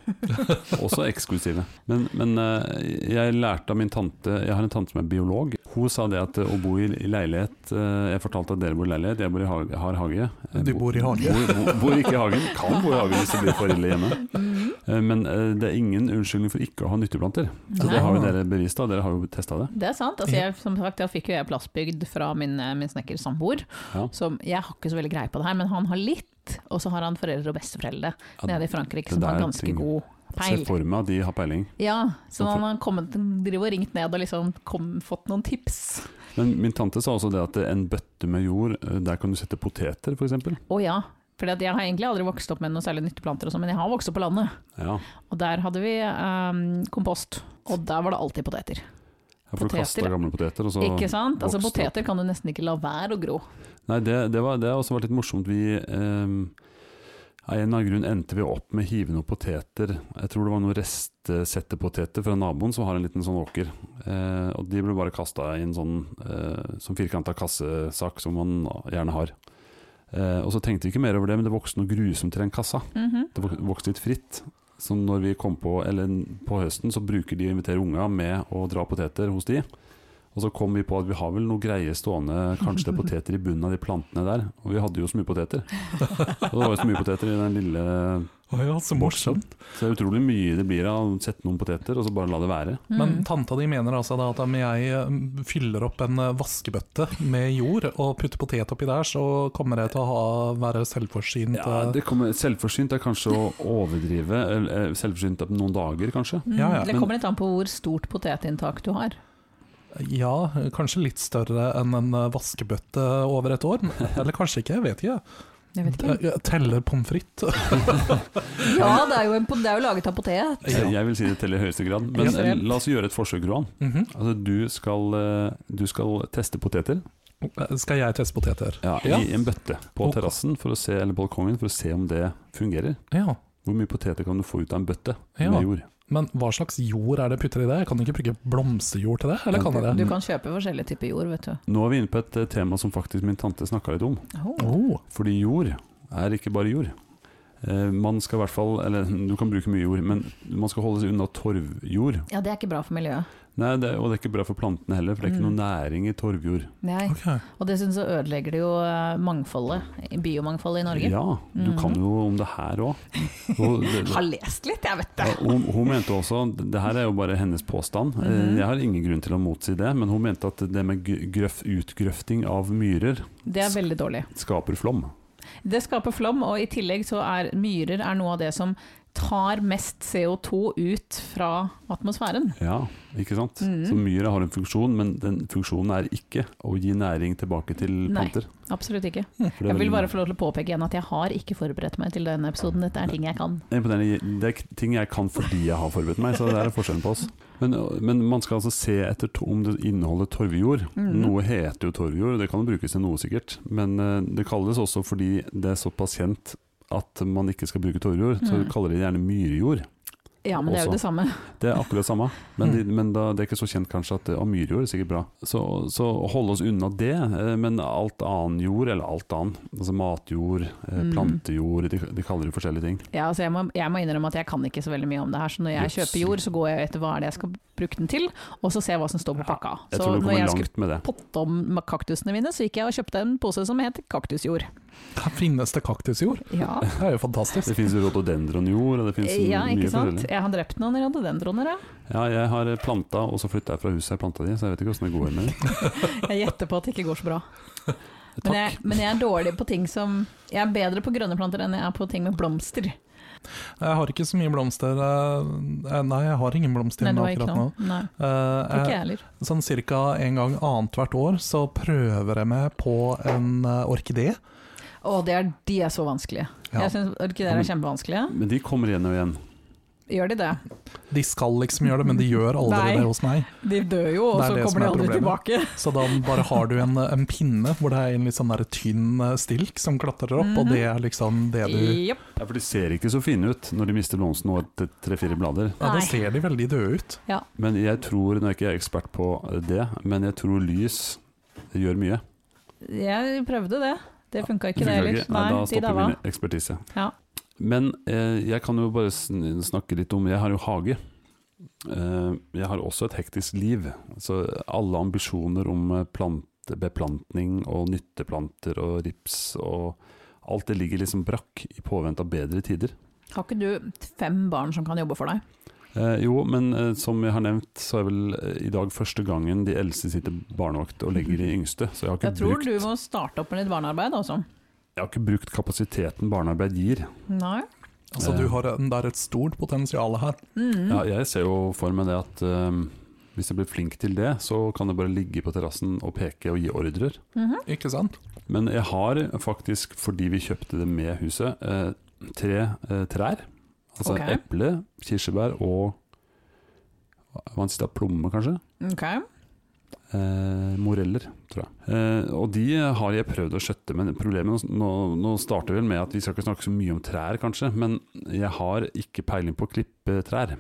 [SPEAKER 1] Også eksklusive. Men, men eh, jeg lærte av min tante Jeg har en tante som er biolog. Hun sa det at eh, å bo i i leilighet eh, Jeg fortalte at dere bor i leilighet, jeg bor i hage, har hage. Jeg
[SPEAKER 2] Du bor i hage.
[SPEAKER 1] Bor, bor, bor ikke i hagen. Kan bo i hagen hvis det blir for ille hjemme.
[SPEAKER 3] Mhm.
[SPEAKER 1] Eh, Men eh, det er ingen unnskyldning for ikke å ha nytteplanter. Så
[SPEAKER 3] Nei.
[SPEAKER 1] det har jo dere bevist, da. Dere har jo testa det.
[SPEAKER 3] Det er sant. Altså, jeg, som sagt, jeg fikk jo jeg plastbygd fra min, eh, min snekkersamboer.
[SPEAKER 1] Ja.
[SPEAKER 3] Så jeg har ikke så veldig greie på det her, men han har litt. Og så har han foreldre og besteforeldre
[SPEAKER 1] Ja,
[SPEAKER 3] nede i Frankrike
[SPEAKER 1] det
[SPEAKER 3] som
[SPEAKER 1] der
[SPEAKER 3] har
[SPEAKER 1] er
[SPEAKER 3] ganske
[SPEAKER 1] ting.
[SPEAKER 3] god
[SPEAKER 1] Se
[SPEAKER 3] peil.
[SPEAKER 1] for meg at de har peiling.
[SPEAKER 3] Ja, så
[SPEAKER 1] Så for-
[SPEAKER 3] han har kommet, driver og ringt ned og liksom kom, fått noen tips.
[SPEAKER 1] Men min tante sa også det at eh, en bøtte med jord, eh, der kan du sette poteter f.eks.
[SPEAKER 3] Å ja. For jeg har egentlig aldri vokst opp med noen særlig nytteplanter, og sånn, men jeg har vokst opp på landet.
[SPEAKER 1] Ja.
[SPEAKER 3] Og der hadde vi ehm, kompost, og der var det alltid poteter.
[SPEAKER 1] Ja, For du
[SPEAKER 3] Poteter,
[SPEAKER 1] kasta
[SPEAKER 3] ja.
[SPEAKER 1] gamle poteter, og så
[SPEAKER 3] ikke sant? Altså
[SPEAKER 1] vokste opp.
[SPEAKER 3] Poteter kan du nesten ikke la være å gro.
[SPEAKER 1] Nei, det, det, var, det har også vært litt morsomt. Vi ehm, av en eller annen grunn endte vi opp med å hive noen poteter. Jeg tror det var noen restsettepoteter fra naboen som har en liten sånn åker. Eh, og de ble bare kasta i en sånn, eh, sånn firkanta kassesak som man gjerne har. Eh, og så tenkte vi ikke mer over det, men det vokste noe grusomt til den kassa.
[SPEAKER 3] Mhm.
[SPEAKER 1] Det vok- vokste litt fritt. Så når vi kom på, eller på høsten, så bruker de å invitere unga med å dra poteter hos de. Og så kom vi på at vi har vel noe greie stående, kanskje det er poteter i bunnen av de plantene der. Og vi hadde jo så mye poteter. Og det var jo så mye poteter i den lille
[SPEAKER 2] Å ja, så morsomt.
[SPEAKER 1] Så det er utrolig mye det blir av å sette noen poteter, og så bare la det være.
[SPEAKER 2] Mm.
[SPEAKER 3] Mm.
[SPEAKER 2] Men tanta di mener altså da at om jeg eh, fyller opp en eh, vaskebøtte med jord og putter potet oppi der, så kommer jeg til å ha, være selvforsynt.
[SPEAKER 1] Ja,
[SPEAKER 2] eh,
[SPEAKER 1] det kommer, selvforsynt er kanskje å overdrive. eller, eh, Selvforsynt er på noen dager, kanskje.
[SPEAKER 3] Mm,
[SPEAKER 2] Ja, ja,
[SPEAKER 3] det
[SPEAKER 1] men-
[SPEAKER 3] kommer litt an på hvor stort potetinntak du har.
[SPEAKER 2] ja, kanskje litt større enn en eh, vaskebøtte over et år. Eller kanskje ikke, jeg vet ikke.
[SPEAKER 3] Jeg vet ikke.
[SPEAKER 2] Eh, jeg Teller pommes frites.
[SPEAKER 3] Ja, det er jo, en, det er jo laget av potet.
[SPEAKER 1] Jeg, jeg vil si det til i høyeste grad. Men
[SPEAKER 3] Ja.
[SPEAKER 1] eh, la oss gjøre et forsøk, Roan.
[SPEAKER 2] Mhm.
[SPEAKER 1] Altså, du skal, eh, du skal teste poteter.
[SPEAKER 2] Skal jeg teste poteter?
[SPEAKER 1] Ja,
[SPEAKER 2] Ja.
[SPEAKER 1] I en bøtte på
[SPEAKER 2] Ok.
[SPEAKER 1] terrassen for å se, eller balkongen for å se om det fungerer.
[SPEAKER 2] Ja.
[SPEAKER 1] Hvor mye poteter kan du få ut av en bøtte
[SPEAKER 2] Ja.
[SPEAKER 1] med jord?
[SPEAKER 2] Men hva slags jord er det jeg putter i det? Jeg kan ikke bruke blomsterjord til det, eller kan jeg
[SPEAKER 3] Du
[SPEAKER 2] det?
[SPEAKER 3] kan kjøpe forskjellige typer jord, vet du.
[SPEAKER 1] Nå er vi inne på et eh, tema som faktisk min tante snakka litt om.
[SPEAKER 3] Oh.
[SPEAKER 2] Oh,
[SPEAKER 1] Fordi jord er ikke bare jord. Eh, Man skal i hvert fall, eller Du kan bruke mye jord, men man skal holde seg unna torvjord.
[SPEAKER 3] Ja, det er ikke bra for miljøet.
[SPEAKER 1] Nei, det, Og det er ikke bra for plantene heller, for det er ikke
[SPEAKER 3] Mm.
[SPEAKER 1] noe næring i torvjord.
[SPEAKER 3] Nei.
[SPEAKER 2] ok.
[SPEAKER 3] Og dessuten så ødelegger det jo eh, mangfoldet, biomangfoldet i Norge.
[SPEAKER 1] Ja, du
[SPEAKER 3] Mhm.
[SPEAKER 2] Mm.
[SPEAKER 1] kan jo om det her òg. Og det- det-
[SPEAKER 3] Har lest litt, jeg vet det!
[SPEAKER 1] ja, hun, hun mente også, det her er jo bare hennes påstand, Eh,
[SPEAKER 3] Mhm.
[SPEAKER 1] jeg har ingen grunn til å motsi det, men hun mente at det med gr- grøff, utgrøfting av myrer
[SPEAKER 3] Det er veldig dårlig.
[SPEAKER 1] skaper flom.
[SPEAKER 3] Det skaper flom, og i tillegg så er myrer er noe av det som tar mest CO2 ut fra atmosfæren.
[SPEAKER 1] Ja, ikke sant?
[SPEAKER 3] Mhm.
[SPEAKER 1] Så myra har en funksjon, men den funksjonen er ikke å gi næring tilbake til
[SPEAKER 3] Nei.
[SPEAKER 1] planter.
[SPEAKER 3] Absolutt ikke.
[SPEAKER 1] For det er
[SPEAKER 3] Jeg
[SPEAKER 1] veldig-
[SPEAKER 3] vil bare få lov til å påpeke igjen at jeg har ikke forberedt meg til denne episoden. Dette er ting jeg kan.
[SPEAKER 1] Det er Imponerende. Det er ting jeg kan fordi jeg har forberedt meg, så der er forskjellen på oss. Men, men man skal altså se etter to- om det inneholder torvjord.
[SPEAKER 3] Mhm.
[SPEAKER 1] Mm. Noe heter jo torvjord, det kan jo brukes til noe sikkert. Men eh, det kalles også fordi det er såpass kjent at man ikke skal bruke torvjord, så
[SPEAKER 3] Mhm.
[SPEAKER 1] kaller de det gjerne myrjord.
[SPEAKER 3] Ja, men det er jo
[SPEAKER 1] Også.
[SPEAKER 3] det samme.
[SPEAKER 1] Det er akkurat det samme,
[SPEAKER 3] Mm.
[SPEAKER 1] men, de, men da, det er ikke så kjent kanskje at ja, myrjord er sikkert bra. Så, så holde oss unna det, eh, men alt annen jord, eller alt annet, altså matjord, eh,
[SPEAKER 3] Mhm.
[SPEAKER 1] plantejord, de, de kaller det forskjellige ting.
[SPEAKER 3] Ja, altså jeg, må, jeg må innrømme at jeg kan ikke så veldig mye om det her, så når jeg
[SPEAKER 1] Yes.
[SPEAKER 3] kjøper jord, så går jeg etter hva er det jeg skal bruke den til, og så ser jeg hva som står på pakka.
[SPEAKER 1] Jeg
[SPEAKER 3] Så
[SPEAKER 1] tror du
[SPEAKER 3] når
[SPEAKER 1] kommer
[SPEAKER 3] jeg skulle
[SPEAKER 1] langt med det.
[SPEAKER 3] potte om kaktusene mine, så gikk jeg og kjøpte en pose som het kaktusjord.
[SPEAKER 2] Her finnes det kaktusjord.
[SPEAKER 3] Ja,
[SPEAKER 2] Det er jo fantastisk.
[SPEAKER 1] Det finnes jo rhododendronjord, og det finnes
[SPEAKER 3] Eh, ja
[SPEAKER 1] mye
[SPEAKER 3] ikke sant?
[SPEAKER 1] forskjellig.
[SPEAKER 3] Jeg har drept noen rhododendroner, jeg.
[SPEAKER 1] Ja, jeg har planta, og så flytta jeg fra huset jeg planta de, så jeg vet ikke åssen det går med det.
[SPEAKER 3] Jeg gjetter på at det ikke går så bra. Men
[SPEAKER 1] Takk.
[SPEAKER 3] jeg, men jeg er dårlig på ting som Jeg er bedre på grønne planter enn jeg er på ting med blomster.
[SPEAKER 2] Jeg har ikke så mye blomster eh, eh, Nei, jeg har ingen blomster
[SPEAKER 3] Nei,
[SPEAKER 2] hjemme
[SPEAKER 3] det var ikke
[SPEAKER 2] akkurat nå.
[SPEAKER 3] noe. Nei,
[SPEAKER 2] Eh,
[SPEAKER 3] tror ikke
[SPEAKER 2] jeg,
[SPEAKER 3] jeg heller.
[SPEAKER 2] sånn cirka en gang annethvert år så prøver jeg meg på en eh, orkidé.
[SPEAKER 3] Å, det er, de er så vanskelige.
[SPEAKER 2] Ja. Mm.
[SPEAKER 3] Jeg syns orkideer er kjempevanskelige.
[SPEAKER 1] Men de kommer igjen og igjen.
[SPEAKER 3] Gjør de det?
[SPEAKER 2] De skal liksom gjøre det, men de gjør aldri
[SPEAKER 3] Nei.
[SPEAKER 2] det hos meg.
[SPEAKER 3] De dør jo, og
[SPEAKER 2] Det er
[SPEAKER 3] så
[SPEAKER 2] det som
[SPEAKER 3] kommer de
[SPEAKER 2] er
[SPEAKER 3] aldri
[SPEAKER 2] problemet.
[SPEAKER 3] tilbake.
[SPEAKER 2] Så da bare har du en, en pinne hvor det er en litt sånn der tynn eh, stilk som klatrer opp, og
[SPEAKER 3] Mhm.
[SPEAKER 2] det er liksom det du
[SPEAKER 3] Japp.
[SPEAKER 1] Ja, for de ser ikke så fine ut når de mister blomsten og etter tre-fire blader.
[SPEAKER 2] ja, Da
[SPEAKER 3] Nei.
[SPEAKER 2] ser de veldig døde ut.
[SPEAKER 1] Men jeg tror, nå er ikke jeg ekspert på det, men jeg tror lys gjør mye.
[SPEAKER 3] Jeg prøvde det. Det funka ikke, det
[SPEAKER 1] Funker
[SPEAKER 3] heller.
[SPEAKER 1] ikke? Nei, da
[SPEAKER 3] Nei, de
[SPEAKER 1] stopper
[SPEAKER 3] daua.
[SPEAKER 1] min ekspertise.
[SPEAKER 3] Ja.
[SPEAKER 1] Men eh, jeg kan jo bare sn- snakke litt om Jeg har jo hage. Eh, jeg har også et hektisk liv. Så alle ambisjoner om eh, plante, beplantning og nytteplanter og rips og Alt det ligger liksom brakk i påvente av bedre tider.
[SPEAKER 3] Har ikke du fem barn som kan jobbe for deg?
[SPEAKER 1] Eh, jo, men eh, som jeg har nevnt, så er vel eh, i dag første gangen de eldste sitter barnevakt og legger de yngste. Så jeg har ikke,
[SPEAKER 3] Jeg tror
[SPEAKER 1] brukt,
[SPEAKER 3] du må starte opp med litt barnearbeid altså. også.
[SPEAKER 1] jeg har ikke brukt kapasiteten barnearbeid gir.
[SPEAKER 3] Nei.
[SPEAKER 2] Altså,
[SPEAKER 1] Ja.
[SPEAKER 2] du har en, det er et stort potensial her.
[SPEAKER 3] Mm.
[SPEAKER 1] Ja, jeg ser jo for meg det at eh, hvis jeg blir flink til det, så kan jeg bare ligge på terrassen og peke og gi ordrer.
[SPEAKER 3] Mhm.
[SPEAKER 2] Ikke sant?
[SPEAKER 1] Men jeg har faktisk, fordi vi kjøpte det med huset, eh, tre eh, trær. Altså
[SPEAKER 3] Ok.
[SPEAKER 1] eple, kirsebær og hva en sted av plomme, kanskje.
[SPEAKER 3] Ok.
[SPEAKER 1] Eh, moreller, tror jeg. Eh, og de har jeg prøvd å skjøtte, men problemet nå, nå starter vel med at vi skal ikke snakke så mye om trær, kanskje, men jeg har ikke peiling på å klippe trær.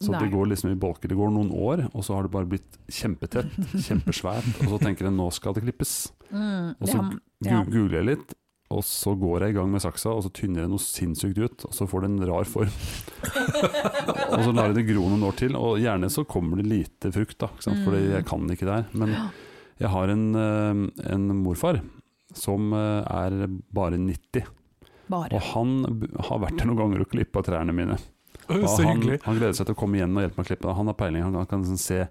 [SPEAKER 1] Så
[SPEAKER 3] Nei.
[SPEAKER 1] det går liksom i bolker. Det går noen år, og så har det bare blitt kjempetett, kjempesvært. Og så tenker jeg nå skal det klippes.
[SPEAKER 3] Mm.
[SPEAKER 1] Og så
[SPEAKER 3] Ja,
[SPEAKER 1] Gu-
[SPEAKER 3] ja.
[SPEAKER 1] Googler jeg litt, og så går jeg i gang med saksa, og så tynner jeg noe sinnssykt ut, og så får det en rar form. og så lar jeg det gro noen år til, og gjerne så kommer det lite frukt, da, ikke sant? fordi
[SPEAKER 3] Mm.
[SPEAKER 1] jeg kan ikke det her. Men jeg har en, eh, en morfar som eh, er bare 90,
[SPEAKER 3] Bare.
[SPEAKER 1] og han b- har vært der noen ganger og klippa trærne mine.
[SPEAKER 2] Å,
[SPEAKER 1] Og
[SPEAKER 2] Så
[SPEAKER 1] han,
[SPEAKER 2] hyggelig.
[SPEAKER 1] han gleder seg til å komme igjen og hjelpe meg å klippe. Han har peiling, han, han kan sånn se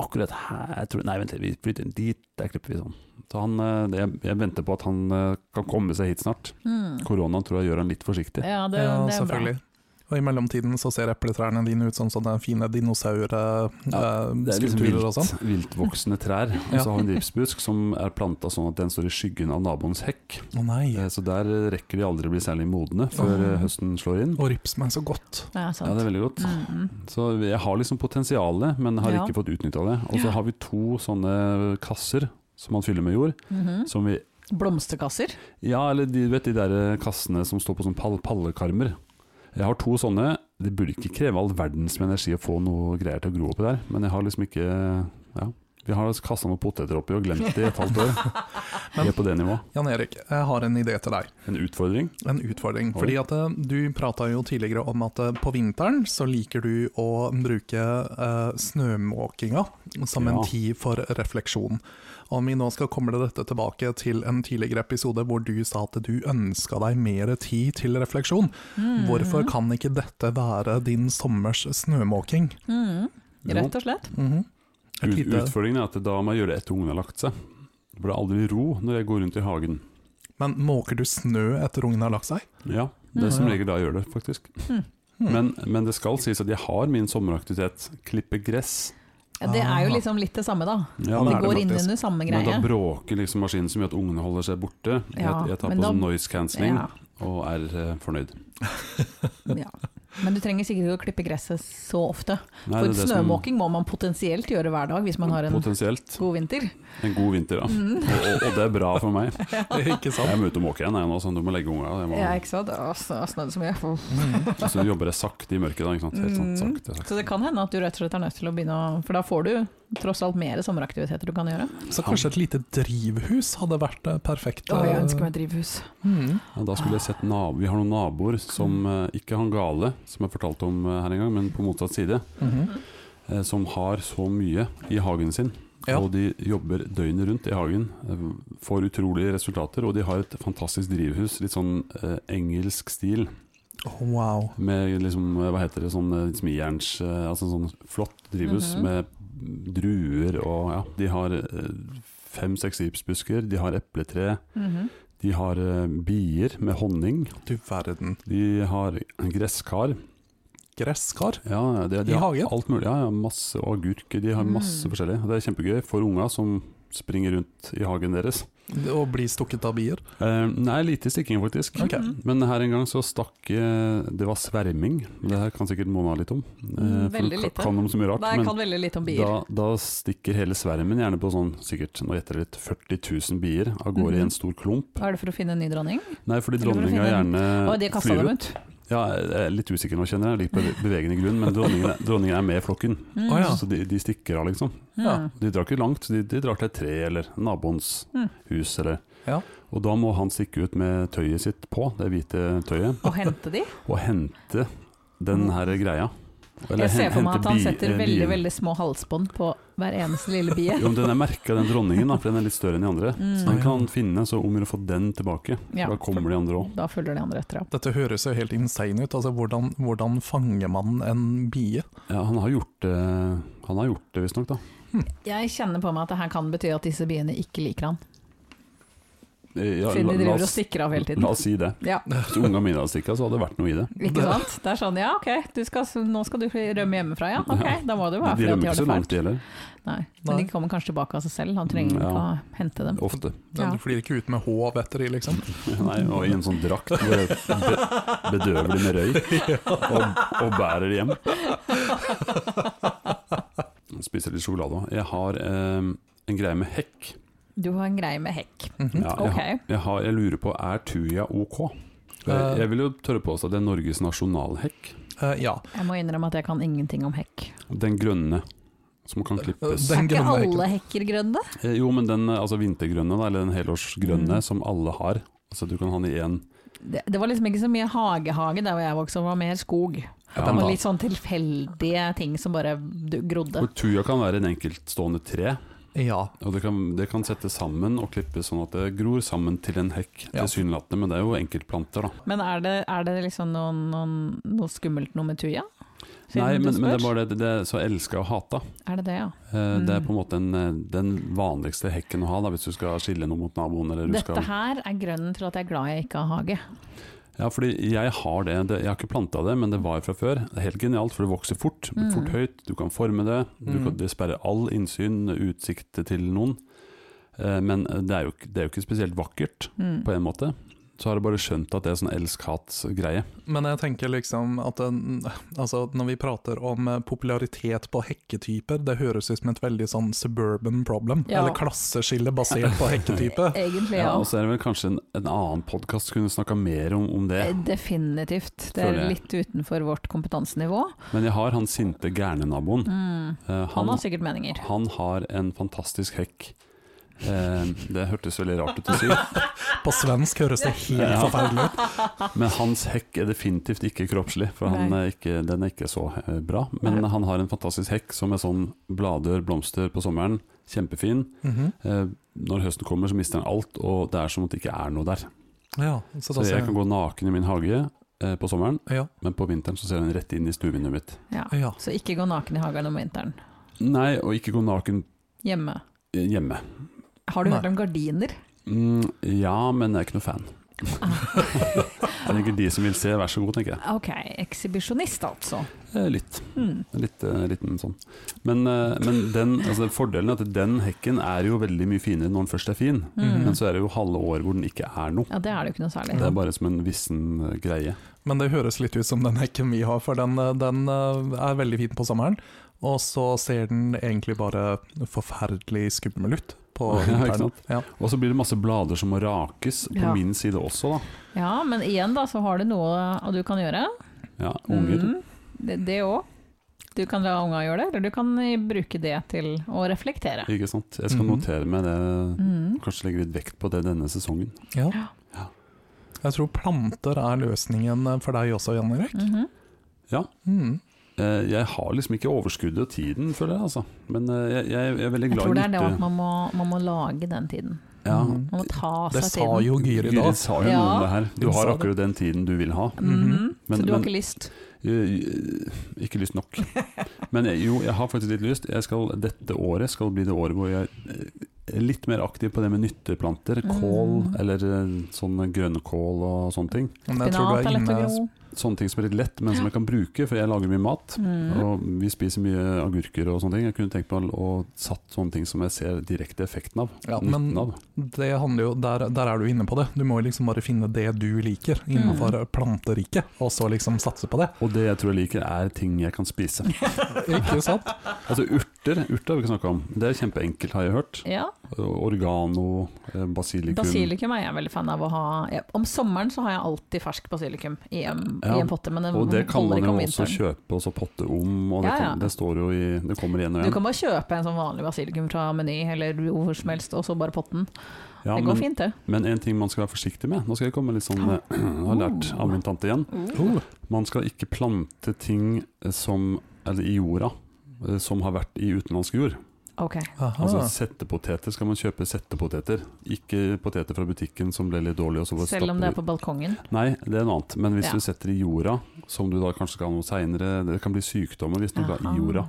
[SPEAKER 1] akkurat her jeg tror, Nei, vent litt, vi flytter den dit, der klipper vi sånn. Så han, eh, det- jeg, jeg venter på at han eh, kan komme seg hit snart.
[SPEAKER 3] Mm.
[SPEAKER 1] Koronaen tror jeg gjør han litt forsiktig.
[SPEAKER 3] Ja, det,
[SPEAKER 2] Ja,
[SPEAKER 3] det er bra.
[SPEAKER 2] selvfølgelig. Og I mellomtiden så ser epletrærne dine ut som sånne fine
[SPEAKER 1] Ja, Det er liksom
[SPEAKER 2] dinosaurskulpturer og sånn.
[SPEAKER 1] vilt, viltvoksende trær. Og
[SPEAKER 2] Ja.
[SPEAKER 1] så har vi en dripsbusk som er planta sånn at den står i skyggen av naboens hekk.
[SPEAKER 2] Å nei.
[SPEAKER 1] Eh, Så der eh, rekker de aldri å bli særlig modne før
[SPEAKER 2] Åh.
[SPEAKER 1] eh, høsten slår inn.
[SPEAKER 2] Og rips meg så godt.
[SPEAKER 3] Ja,
[SPEAKER 1] Ja, det
[SPEAKER 3] sant.
[SPEAKER 1] er veldig godt.
[SPEAKER 3] Mm, mm.
[SPEAKER 1] Så jeg har liksom potensialet, men har
[SPEAKER 3] Ja.
[SPEAKER 1] ikke fått utnytta det. Og
[SPEAKER 3] Ja.
[SPEAKER 1] så har vi to sånne kasser som man fyller med jord.
[SPEAKER 2] Mm.
[SPEAKER 3] Mhm.
[SPEAKER 1] Som vi
[SPEAKER 3] Blomsterkasser.
[SPEAKER 1] Ja, eller de, vet, de der eh, kassene som står på sånne pall pallekarmer. Jeg har to sånne. Det burde ikke kreve all verdens med energi å få noe greier til å gro oppi der, men jeg har liksom ikke Ja. Vi har altså kassa noen poteter oppi og glemt det i et halvt år. Vi er på det nivået.
[SPEAKER 2] Jan Erik, jeg har en idé til deg.
[SPEAKER 1] En utfordring.
[SPEAKER 2] En utfordring.
[SPEAKER 1] Oi.
[SPEAKER 2] Fordi at eh, du prata jo tidligere om at eh, på vinteren så liker du å bruke eh, snømåkinga som
[SPEAKER 1] Ja.
[SPEAKER 2] en tid for refleksjon. Om vi nå skal komme dette tilbake til en tidligere episode hvor du sa at du ønska deg mer tid til refleksjon.
[SPEAKER 3] Mhm.
[SPEAKER 2] Hvorfor kan ikke dette være din sommers snømåking?
[SPEAKER 3] Mhm. Rett og slett.
[SPEAKER 2] Mhm. Et
[SPEAKER 1] Ut,
[SPEAKER 2] lite-
[SPEAKER 1] utfordringen er at da må jeg gjøre det etter ungen har lagt seg. Det blir aldri ro når jeg går rundt i hagen.
[SPEAKER 2] Men måker du snø etter ungen har lagt seg?
[SPEAKER 1] Ja, det er som
[SPEAKER 2] Mm.
[SPEAKER 1] regel da jeg gjør det, faktisk.
[SPEAKER 3] Mm.
[SPEAKER 2] Hmm.
[SPEAKER 1] Men, men det skal sies at jeg har min sommeraktivitet. Klippe gress.
[SPEAKER 3] Ja, Det er jo
[SPEAKER 2] Ah.
[SPEAKER 3] liksom litt det samme, da.
[SPEAKER 1] Ja,
[SPEAKER 2] Det
[SPEAKER 3] Det
[SPEAKER 2] er
[SPEAKER 3] går inn
[SPEAKER 2] faktisk.
[SPEAKER 3] under samme
[SPEAKER 1] Men da
[SPEAKER 3] greie.
[SPEAKER 1] bråker liksom maskinen så mye at ungene holder seg borte.
[SPEAKER 3] Ja,
[SPEAKER 1] jeg, jeg tar
[SPEAKER 3] men
[SPEAKER 1] på
[SPEAKER 3] da-
[SPEAKER 1] sånn noise cancelling
[SPEAKER 3] Ja,
[SPEAKER 1] og er eh, fornøyd.
[SPEAKER 3] ja. Men du trenger sikkert ikke å klippe gresset så ofte.
[SPEAKER 1] Nei,
[SPEAKER 3] For
[SPEAKER 1] det er det som-
[SPEAKER 3] snømåking må man potensielt gjøre hver dag hvis man har en
[SPEAKER 1] Potensielt
[SPEAKER 3] god vinter.
[SPEAKER 1] en god vinter, ja.
[SPEAKER 3] Mm.
[SPEAKER 1] Og, og, og det er bra for meg.
[SPEAKER 2] ikke sant?
[SPEAKER 1] Jeg må ut og måke igjen, jeg nå, så du må legge unga. Jeg
[SPEAKER 3] Ja,
[SPEAKER 1] må,
[SPEAKER 3] ikke sant? Å, sn- snødde så mye. Uff.
[SPEAKER 1] så jobber jeg sakte i mørket da, ikke sant. Helt sånn,
[SPEAKER 3] Mm.
[SPEAKER 1] sakte, sakte.
[SPEAKER 3] Så det kan hende at du rett og slett er nødt til å begynne å For da får du tross alt mer sommeraktiviteter du kan gjøre.
[SPEAKER 2] Så kanskje et lite drivhus hadde vært eh, perfekt?
[SPEAKER 3] Å, jeg
[SPEAKER 2] eh,
[SPEAKER 3] ønsker meg drivhus.
[SPEAKER 2] mhm.
[SPEAKER 1] Ja, da skulle jeg sett nabo, Vi har noen naboer som
[SPEAKER 3] Mm.
[SPEAKER 1] eh, ikke han gale, som jeg fortalte om eh, her en gang, men på motsatt side,
[SPEAKER 2] Mhm.
[SPEAKER 1] eh, som har så mye i hagen sin.
[SPEAKER 2] Ja.
[SPEAKER 1] Og de jobber døgnet rundt i hagen, eh, får utrolige resultater. Og de har et fantastisk drivhus, litt sånn eh, engelsk stil.
[SPEAKER 2] Å, Oh, Wow.
[SPEAKER 1] Med liksom, eh, hva heter det, sånn eh, smijerns eh, Altså sånn flott drivhus
[SPEAKER 3] Mhm.
[SPEAKER 1] med druer og ja. De har eh, fem-seks gipsbusker, de har epletre,
[SPEAKER 3] Mhm.
[SPEAKER 1] de har eh, bier med honning,
[SPEAKER 2] Du verden.
[SPEAKER 1] de har gresskar.
[SPEAKER 2] Gresskar?
[SPEAKER 1] Ja, de, de
[SPEAKER 2] I
[SPEAKER 1] har
[SPEAKER 2] hagen?
[SPEAKER 1] Alt mulig. Ja, ja, masse og agurker, de har
[SPEAKER 3] Mm.
[SPEAKER 1] masse forskjellig. Det er kjempegøy for unga som springer rundt i hagen deres.
[SPEAKER 2] Å bli stukket av bier?
[SPEAKER 1] Eh, nei, lite stikking faktisk.
[SPEAKER 2] Ok.
[SPEAKER 3] Mhm.
[SPEAKER 1] Men her en gang så stakk eh, Det var sverming. Det her kan sikkert Mona litt om. Eh,
[SPEAKER 3] Mm,
[SPEAKER 1] for hun
[SPEAKER 3] veldig
[SPEAKER 1] ka-
[SPEAKER 3] lite.
[SPEAKER 1] Kan om så mye rart.
[SPEAKER 3] Nei,
[SPEAKER 1] men-
[SPEAKER 3] jeg kan veldig lite om bier.
[SPEAKER 1] Da, da stikker hele svermen gjerne på sånn sikkert, nå gjetter jeg litt, 40 000 bier av gårde i
[SPEAKER 3] Mhm.
[SPEAKER 1] en stor klump.
[SPEAKER 3] Da er det for å finne en ny dronning.
[SPEAKER 1] Nei, fordi
[SPEAKER 3] Eller for å
[SPEAKER 1] dronninga
[SPEAKER 3] finne en-
[SPEAKER 1] gjerne
[SPEAKER 3] Å, de kasta
[SPEAKER 1] flyr
[SPEAKER 3] dem
[SPEAKER 1] ut.
[SPEAKER 3] ut.
[SPEAKER 1] Ja, jeg er litt usikker nå, kjenner jeg. Litt beve- bevegende grunn. Men dronningen, er- dronningen er med i flokken,
[SPEAKER 3] Mm.
[SPEAKER 2] Å, ja.
[SPEAKER 1] så de, de stikker av, liksom.
[SPEAKER 2] Ja.
[SPEAKER 3] Mm.
[SPEAKER 1] De drar ikke langt, de, de drar til et tre eller naboens
[SPEAKER 3] Mhm.
[SPEAKER 1] hus eller
[SPEAKER 2] Ja.
[SPEAKER 1] Og da må han stikke ut med tøyet sitt på, det hvite tøyet,
[SPEAKER 3] Og hente de.
[SPEAKER 1] og hente den her greia. Eller
[SPEAKER 3] Mm. Jeg ser
[SPEAKER 1] hen-
[SPEAKER 3] for meg
[SPEAKER 1] hente
[SPEAKER 3] at han
[SPEAKER 1] bi-
[SPEAKER 3] setter
[SPEAKER 1] eh, bien.
[SPEAKER 3] veldig veldig små halsbånd på hver eneste lille bie.
[SPEAKER 1] Jo, men Den er merka, den dronningen, da, for den er litt større enn de andre. Så
[SPEAKER 3] Mm.
[SPEAKER 1] den kan finne, så om å få den tilbake.
[SPEAKER 3] Ja,
[SPEAKER 1] da kommer de andre òg.
[SPEAKER 3] Da følger de andre etter. ja.
[SPEAKER 2] Dette høres jo helt insane ut. Altså, hvordan, hvordan fanger man en bie?
[SPEAKER 1] Ja, han har gjort det, Han har gjort det visstnok, da.
[SPEAKER 3] Jeg kjenner på meg at det her kan bety at disse biene ikke liker han.
[SPEAKER 1] Eh, Ja,
[SPEAKER 3] Siden de
[SPEAKER 1] la- la
[SPEAKER 3] driver og
[SPEAKER 1] oss-
[SPEAKER 3] stikker av hele tiden.
[SPEAKER 1] La oss si det.
[SPEAKER 3] Ja,
[SPEAKER 1] Hvis unga mine hadde stikka, så hadde det vært noe i det.
[SPEAKER 3] ikke sant? Det er sånn, ja ok, du skal, nå skal du rømme hjemmefra, ja. Ok, da må det jo være
[SPEAKER 1] De
[SPEAKER 3] fordi at
[SPEAKER 1] rømmer ikke
[SPEAKER 3] de har
[SPEAKER 1] så
[SPEAKER 3] det
[SPEAKER 1] langt,
[SPEAKER 3] fælt.
[SPEAKER 1] de heller.
[SPEAKER 3] Nei, men
[SPEAKER 2] Nei.
[SPEAKER 3] de kommer kanskje tilbake av seg selv, han trenger
[SPEAKER 1] Mm,
[SPEAKER 3] ikke
[SPEAKER 1] ja.
[SPEAKER 3] å hente dem.
[SPEAKER 1] Ofte.
[SPEAKER 2] Den
[SPEAKER 3] Ja.
[SPEAKER 2] flyr ikke ut med håv etter de, liksom.
[SPEAKER 1] Nei, og i en sånn drakt hvor jeg be- bedøver de med røyk og, og bærer de hjem. Jeg Spiser litt sjokolade òg. Jeg har eh, en greie med hekk.
[SPEAKER 3] Du har en greie med hekk.
[SPEAKER 1] Ja, jeg,
[SPEAKER 2] Mhm.
[SPEAKER 3] Mm, Ok.
[SPEAKER 1] har- jeg, har, jeg lurer på, er tuja ok?
[SPEAKER 2] Eh.
[SPEAKER 1] Jeg, jeg vil jo tørre påstå at det er Norges nasjonalhekk.
[SPEAKER 2] Eh, ja.
[SPEAKER 3] Jeg må innrømme at jeg kan ingenting om hekk.
[SPEAKER 1] Den grønne som kan klippes.
[SPEAKER 2] Den
[SPEAKER 3] er ikke
[SPEAKER 2] grønne hekken.
[SPEAKER 3] alle hekker grønne?
[SPEAKER 1] Eh, Jo, men den eh, altså vintergrønne, da, eller den helårsgrønne
[SPEAKER 3] Mm.
[SPEAKER 1] som alle har. Altså du kan ha den i én
[SPEAKER 3] Det, det var liksom ikke så mye hagehage der hvor jeg vokste opp, det var mer skog.
[SPEAKER 1] Ja, men
[SPEAKER 3] Det var
[SPEAKER 1] da-
[SPEAKER 3] litt sånn tilfeldige ting som bare du- grodde.
[SPEAKER 1] For tuja kan være en enkeltstående tre,
[SPEAKER 2] ja.
[SPEAKER 1] og det kan, det kan settes sammen og klippes sånn at det gror sammen til en hekk.
[SPEAKER 2] Ja.
[SPEAKER 1] Tilsynelatende, men det er jo enkeltplanter, da.
[SPEAKER 3] Men er det, er det liksom noen, noen, noe skummelt noe med tuja? Siden
[SPEAKER 1] Nei,
[SPEAKER 3] du
[SPEAKER 1] men, men det er
[SPEAKER 3] spør.
[SPEAKER 1] bare det, det er så elska og hata.
[SPEAKER 3] Er det det, ja?
[SPEAKER 1] Eh, Det er
[SPEAKER 3] Mm.
[SPEAKER 1] på en måte en, eh, den vanligste hekken å ha da, hvis du skal skille noe mot naboen. Eller du
[SPEAKER 3] Dette
[SPEAKER 1] skal,
[SPEAKER 3] her er grunnen til at jeg er glad jeg ikke har hage.
[SPEAKER 1] ja, fordi jeg har det, det Jeg har ikke planta det, men det var fra før. Det er helt genialt, for det vokser fort.
[SPEAKER 3] Mm.
[SPEAKER 1] Fort høyt, du kan forme det. Du
[SPEAKER 2] Mm.
[SPEAKER 1] kan, det sperrer all innsyn, utsikt til noen. Eh, Men det er, jo, ikke- det er jo ikke spesielt vakkert.
[SPEAKER 3] Mm.
[SPEAKER 1] på en måte. så har jeg bare skjønt at det er sånn elsk-hat-greie.
[SPEAKER 2] Men jeg tenker liksom at en, altså når vi prater om eh, popularitet på hekketyper, det høres ut som et veldig sånn suburban problem,
[SPEAKER 3] Ja.
[SPEAKER 2] eller klasseskille basert på hekketype.
[SPEAKER 3] Egentlig,
[SPEAKER 1] Ja. altså,
[SPEAKER 3] ja.
[SPEAKER 1] og så er det vel kanskje en, en annen podkast som kunne snakka mer om, om
[SPEAKER 3] Eh,
[SPEAKER 1] det.
[SPEAKER 3] Definitivt. Det
[SPEAKER 1] Føler jeg.
[SPEAKER 3] er litt utenfor vårt kompetansenivå.
[SPEAKER 1] Men jeg har han sinte gærne naboen.
[SPEAKER 3] Mm.
[SPEAKER 1] Eh,
[SPEAKER 3] Han
[SPEAKER 1] han,
[SPEAKER 3] har sikkert meninger.
[SPEAKER 1] han har en fantastisk hekk. Eh, det hørtes veldig rart ut å si,
[SPEAKER 2] På svensk høres det helt
[SPEAKER 1] Ja.
[SPEAKER 2] forferdelig ut.
[SPEAKER 1] men hans hekk er definitivt ikke kroppslig, for han
[SPEAKER 3] Nei.
[SPEAKER 1] er ikke, den er ikke så eh, bra. Men
[SPEAKER 3] Nei.
[SPEAKER 1] han har en fantastisk hekk som er sånn blader, blomster på sommeren, kjempefin.
[SPEAKER 2] Mhm.
[SPEAKER 1] Eh, når høsten kommer, så mister han alt, og det er som om det ikke er noe der.
[SPEAKER 2] Ja, så da
[SPEAKER 1] Så jeg
[SPEAKER 2] ser
[SPEAKER 1] kan gå naken i min hage eh, på sommeren,
[SPEAKER 2] Ja,
[SPEAKER 1] men på vinteren så ser han rett inn i stuevinduet mitt.
[SPEAKER 3] Ja.
[SPEAKER 2] ja.
[SPEAKER 3] Så ikke gå naken i hagen om vinteren.
[SPEAKER 1] Nei, og ikke gå naken
[SPEAKER 3] Hjemme.
[SPEAKER 1] eh, hjemme.
[SPEAKER 3] Har du
[SPEAKER 2] Nei.
[SPEAKER 3] hørt om gardiner?
[SPEAKER 1] Mm, ja, men jeg er ikke noe fan. Jeg tenker de som vil se, vær så god, tenker jeg.
[SPEAKER 3] Ok, ekshibisjonist altså.
[SPEAKER 1] Eh, Litt.
[SPEAKER 3] Mm.
[SPEAKER 1] Litt, eh, liten sånn. Men, eh, men den, altså, fordelen er at den hekken er jo veldig mye finere når den først er fin.
[SPEAKER 3] Mm.
[SPEAKER 1] Men så er det jo halve år hvor den ikke er noe.
[SPEAKER 3] Ja, det er det jo ikke noe særlig.
[SPEAKER 1] Det er bare som en vissen eh, greie.
[SPEAKER 2] Men det høres litt ut som den hekken vi har, for den, eh, den eh, er veldig fin på sommeren, og så ser den egentlig bare forferdelig skummel ut på
[SPEAKER 1] Ja, ikke
[SPEAKER 2] vinteren.
[SPEAKER 1] sant?
[SPEAKER 2] Ja,
[SPEAKER 1] Og så blir det masse blader som må rakes, på
[SPEAKER 3] Ja.
[SPEAKER 1] min side også, da.
[SPEAKER 3] Ja, men igjen da, så har du noe du kan gjøre.
[SPEAKER 1] Ja, unger.
[SPEAKER 3] Mm. Det- Det òg. Du kan la unga gjøre det, eller du kan eh, bruke det til å reflektere.
[SPEAKER 1] Ikke sant. Jeg skal
[SPEAKER 2] Mhm.
[SPEAKER 1] notere meg det.
[SPEAKER 3] Mm.
[SPEAKER 1] Kanskje legge litt vekt på det denne sesongen.
[SPEAKER 2] ja.
[SPEAKER 1] Ja.
[SPEAKER 2] Jeg tror planter er løsningen eh, for deg også, Jan Erik.
[SPEAKER 3] Mhm.
[SPEAKER 2] Mm.
[SPEAKER 1] Eh, Jeg har liksom ikke overskuddet og tiden, føler jeg, altså. Men eh, jeg, jeg jeg er veldig
[SPEAKER 3] Jeg
[SPEAKER 1] glad
[SPEAKER 3] tror det er det
[SPEAKER 1] nytte.
[SPEAKER 3] at man må, man må lage den tiden.
[SPEAKER 1] Ja.
[SPEAKER 2] Mm.
[SPEAKER 3] Man må ta
[SPEAKER 2] Det
[SPEAKER 3] seg
[SPEAKER 2] sa
[SPEAKER 3] tiden.
[SPEAKER 2] jo Gyri da.
[SPEAKER 1] Gyrid sa jo noe
[SPEAKER 3] Ja.
[SPEAKER 1] om det her. Du
[SPEAKER 2] Hun
[SPEAKER 1] har
[SPEAKER 2] sa det.
[SPEAKER 1] akkurat den tiden du vil ha.
[SPEAKER 3] Mhm.
[SPEAKER 1] Men-
[SPEAKER 3] så du har
[SPEAKER 1] men-
[SPEAKER 3] ikke lyst?
[SPEAKER 1] Eh, Ikke lyst nok. Men jeg, jo, jeg har faktisk litt lyst. Jeg skal, dette året skal bli det året hvor jeg eh, er litt mer aktiv på det med nytteplanter. Kål,
[SPEAKER 3] Mm.
[SPEAKER 1] eller eh, sånn grønnkål og sånne ting.
[SPEAKER 2] Men jeg tror du
[SPEAKER 3] Spinat er
[SPEAKER 2] er
[SPEAKER 3] lett å
[SPEAKER 2] inne
[SPEAKER 3] gro.
[SPEAKER 1] Sånne ting som er litt lett, men som jeg kan bruke, for jeg lager mye mat.
[SPEAKER 3] Mm.
[SPEAKER 1] Og vi spiser mye agurker og sånne ting. Jeg kunne tenkt meg å å satt sånne ting som jeg ser direkte effekten av.
[SPEAKER 2] Ja,
[SPEAKER 1] nytten
[SPEAKER 2] men-
[SPEAKER 1] av.
[SPEAKER 2] Det handler jo, der, der er du inne på det. Du må jo liksom bare finne det du liker innenfor planteriket, og så liksom satse på det.
[SPEAKER 1] Og det jeg tror jeg liker, er ting jeg kan spise.
[SPEAKER 2] Ikke sant?
[SPEAKER 1] Altså urter, urter har vi ikke snakka om. Det er kjempeenkelt, har jeg hørt.
[SPEAKER 3] Ja,
[SPEAKER 1] Organo, eh, basilikum.
[SPEAKER 3] basilikum er jeg veldig fan av å ha. Ja, om sommeren så har jeg alltid fersk basilikum i en,
[SPEAKER 1] Ja,
[SPEAKER 3] i en potte, men den
[SPEAKER 1] Og det kan
[SPEAKER 3] holder
[SPEAKER 1] man
[SPEAKER 3] ikke
[SPEAKER 1] jo
[SPEAKER 3] om
[SPEAKER 1] også
[SPEAKER 3] vinteren.
[SPEAKER 1] kjøpe og så potte om, og det,
[SPEAKER 3] Ja, ja.
[SPEAKER 1] kan, det står jo i Det kommer igjen og
[SPEAKER 3] Du
[SPEAKER 1] igjen.
[SPEAKER 3] kan bare kjøpe en sånn vanlig basilikum fra Meny eller hvor som helst, og så bare potten.
[SPEAKER 1] Ja,
[SPEAKER 3] det går
[SPEAKER 1] men,
[SPEAKER 3] fint, det.
[SPEAKER 1] men en ting man skal være forsiktig med Nå skal jeg komme litt sånn eh, Jeg har lært av min tante igjen.
[SPEAKER 3] Mm.
[SPEAKER 2] Oh,
[SPEAKER 1] Man skal ikke plante ting eh, som Eller i jorda eh, som har vært i utenlandsk jord.
[SPEAKER 3] Ok.
[SPEAKER 2] aha.
[SPEAKER 3] Ah.
[SPEAKER 1] Altså settepoteter skal man kjøpe settepoteter, ikke poteter fra butikken som ble litt dårlige. og så bare
[SPEAKER 3] Selv om det er
[SPEAKER 1] stapper
[SPEAKER 3] på balkongen.
[SPEAKER 1] de- Nei, det er noe annet. Men hvis
[SPEAKER 3] Ja.
[SPEAKER 1] du setter i jorda, som du da kanskje skal ha noe seinere Det kan bli sykdommer hvis du ikke har
[SPEAKER 3] Aha.
[SPEAKER 1] i jorda,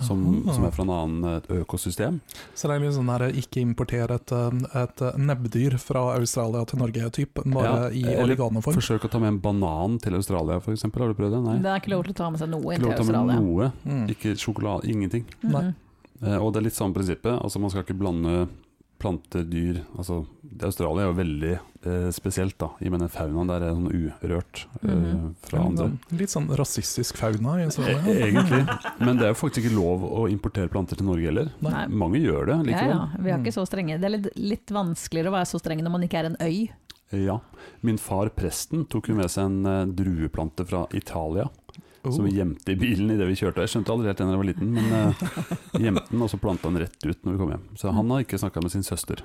[SPEAKER 1] som,
[SPEAKER 2] Aha.
[SPEAKER 1] som er fra en annen eh, et økosystem.
[SPEAKER 2] Så det er litt sånn her ikke importere et, eh, et eh, nebbdyr fra Australia til Norge, typ, bare i
[SPEAKER 1] eller
[SPEAKER 2] oreganoform.
[SPEAKER 1] Forsøk å ta med en banan til Australia, f.eks. Har du prøvd det? Nei.
[SPEAKER 3] Det er ikke lov til å ta med seg noe
[SPEAKER 1] Ikke
[SPEAKER 3] inn til
[SPEAKER 1] lov til å ta
[SPEAKER 3] Australia.
[SPEAKER 1] med noe.
[SPEAKER 2] Mm.
[SPEAKER 1] Ikke sjokolade, ingenting.
[SPEAKER 3] Mhm.
[SPEAKER 2] Nei.
[SPEAKER 1] Eh, Og det er litt samme prinsippet. Altså Man skal ikke blande planter, dyr altså, det Australia er jo veldig eh, spesielt, da. I og med den faunaen der er sånn urørt eh,
[SPEAKER 3] Mhm.
[SPEAKER 1] fra andre.
[SPEAKER 2] Litt sånn rasistisk fauna i
[SPEAKER 1] E
[SPEAKER 2] Australia.
[SPEAKER 1] egentlig. Men det er jo faktisk ikke lov å importere planter til Norge heller.
[SPEAKER 3] Nei.
[SPEAKER 1] Mange gjør det
[SPEAKER 3] Ja,
[SPEAKER 1] likevel. Mm.
[SPEAKER 3] ja. Vi er ikke så strenge. Det er litt, litt vanskeligere å være så streng når man ikke er en øy.
[SPEAKER 1] Ja, Min far presten tok jo med seg en eh, drueplante fra Italia.
[SPEAKER 2] Oh.
[SPEAKER 1] Som vi gjemte i bilen idet vi kjørte. Jeg skjønte aldri helt det da jeg var liten, men eh, gjemte den, og så planta den rett ut når vi kom hjem. Så han har ikke snakka med sin søster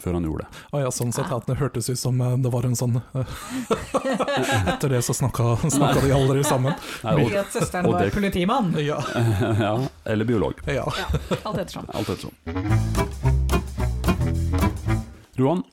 [SPEAKER 1] før han gjorde det.
[SPEAKER 2] Å ja, sånn sett at det hørtes ut som eh, det var en sånn eh, Etter det så snakka, snakka de aldri sammen.
[SPEAKER 1] Nei, og,
[SPEAKER 3] at søsteren
[SPEAKER 1] og var det-
[SPEAKER 3] politimann.
[SPEAKER 2] Ja.
[SPEAKER 1] ja, eller biolog.
[SPEAKER 2] ja.
[SPEAKER 3] Alt ettersom.
[SPEAKER 1] Alt ettersom. Roan,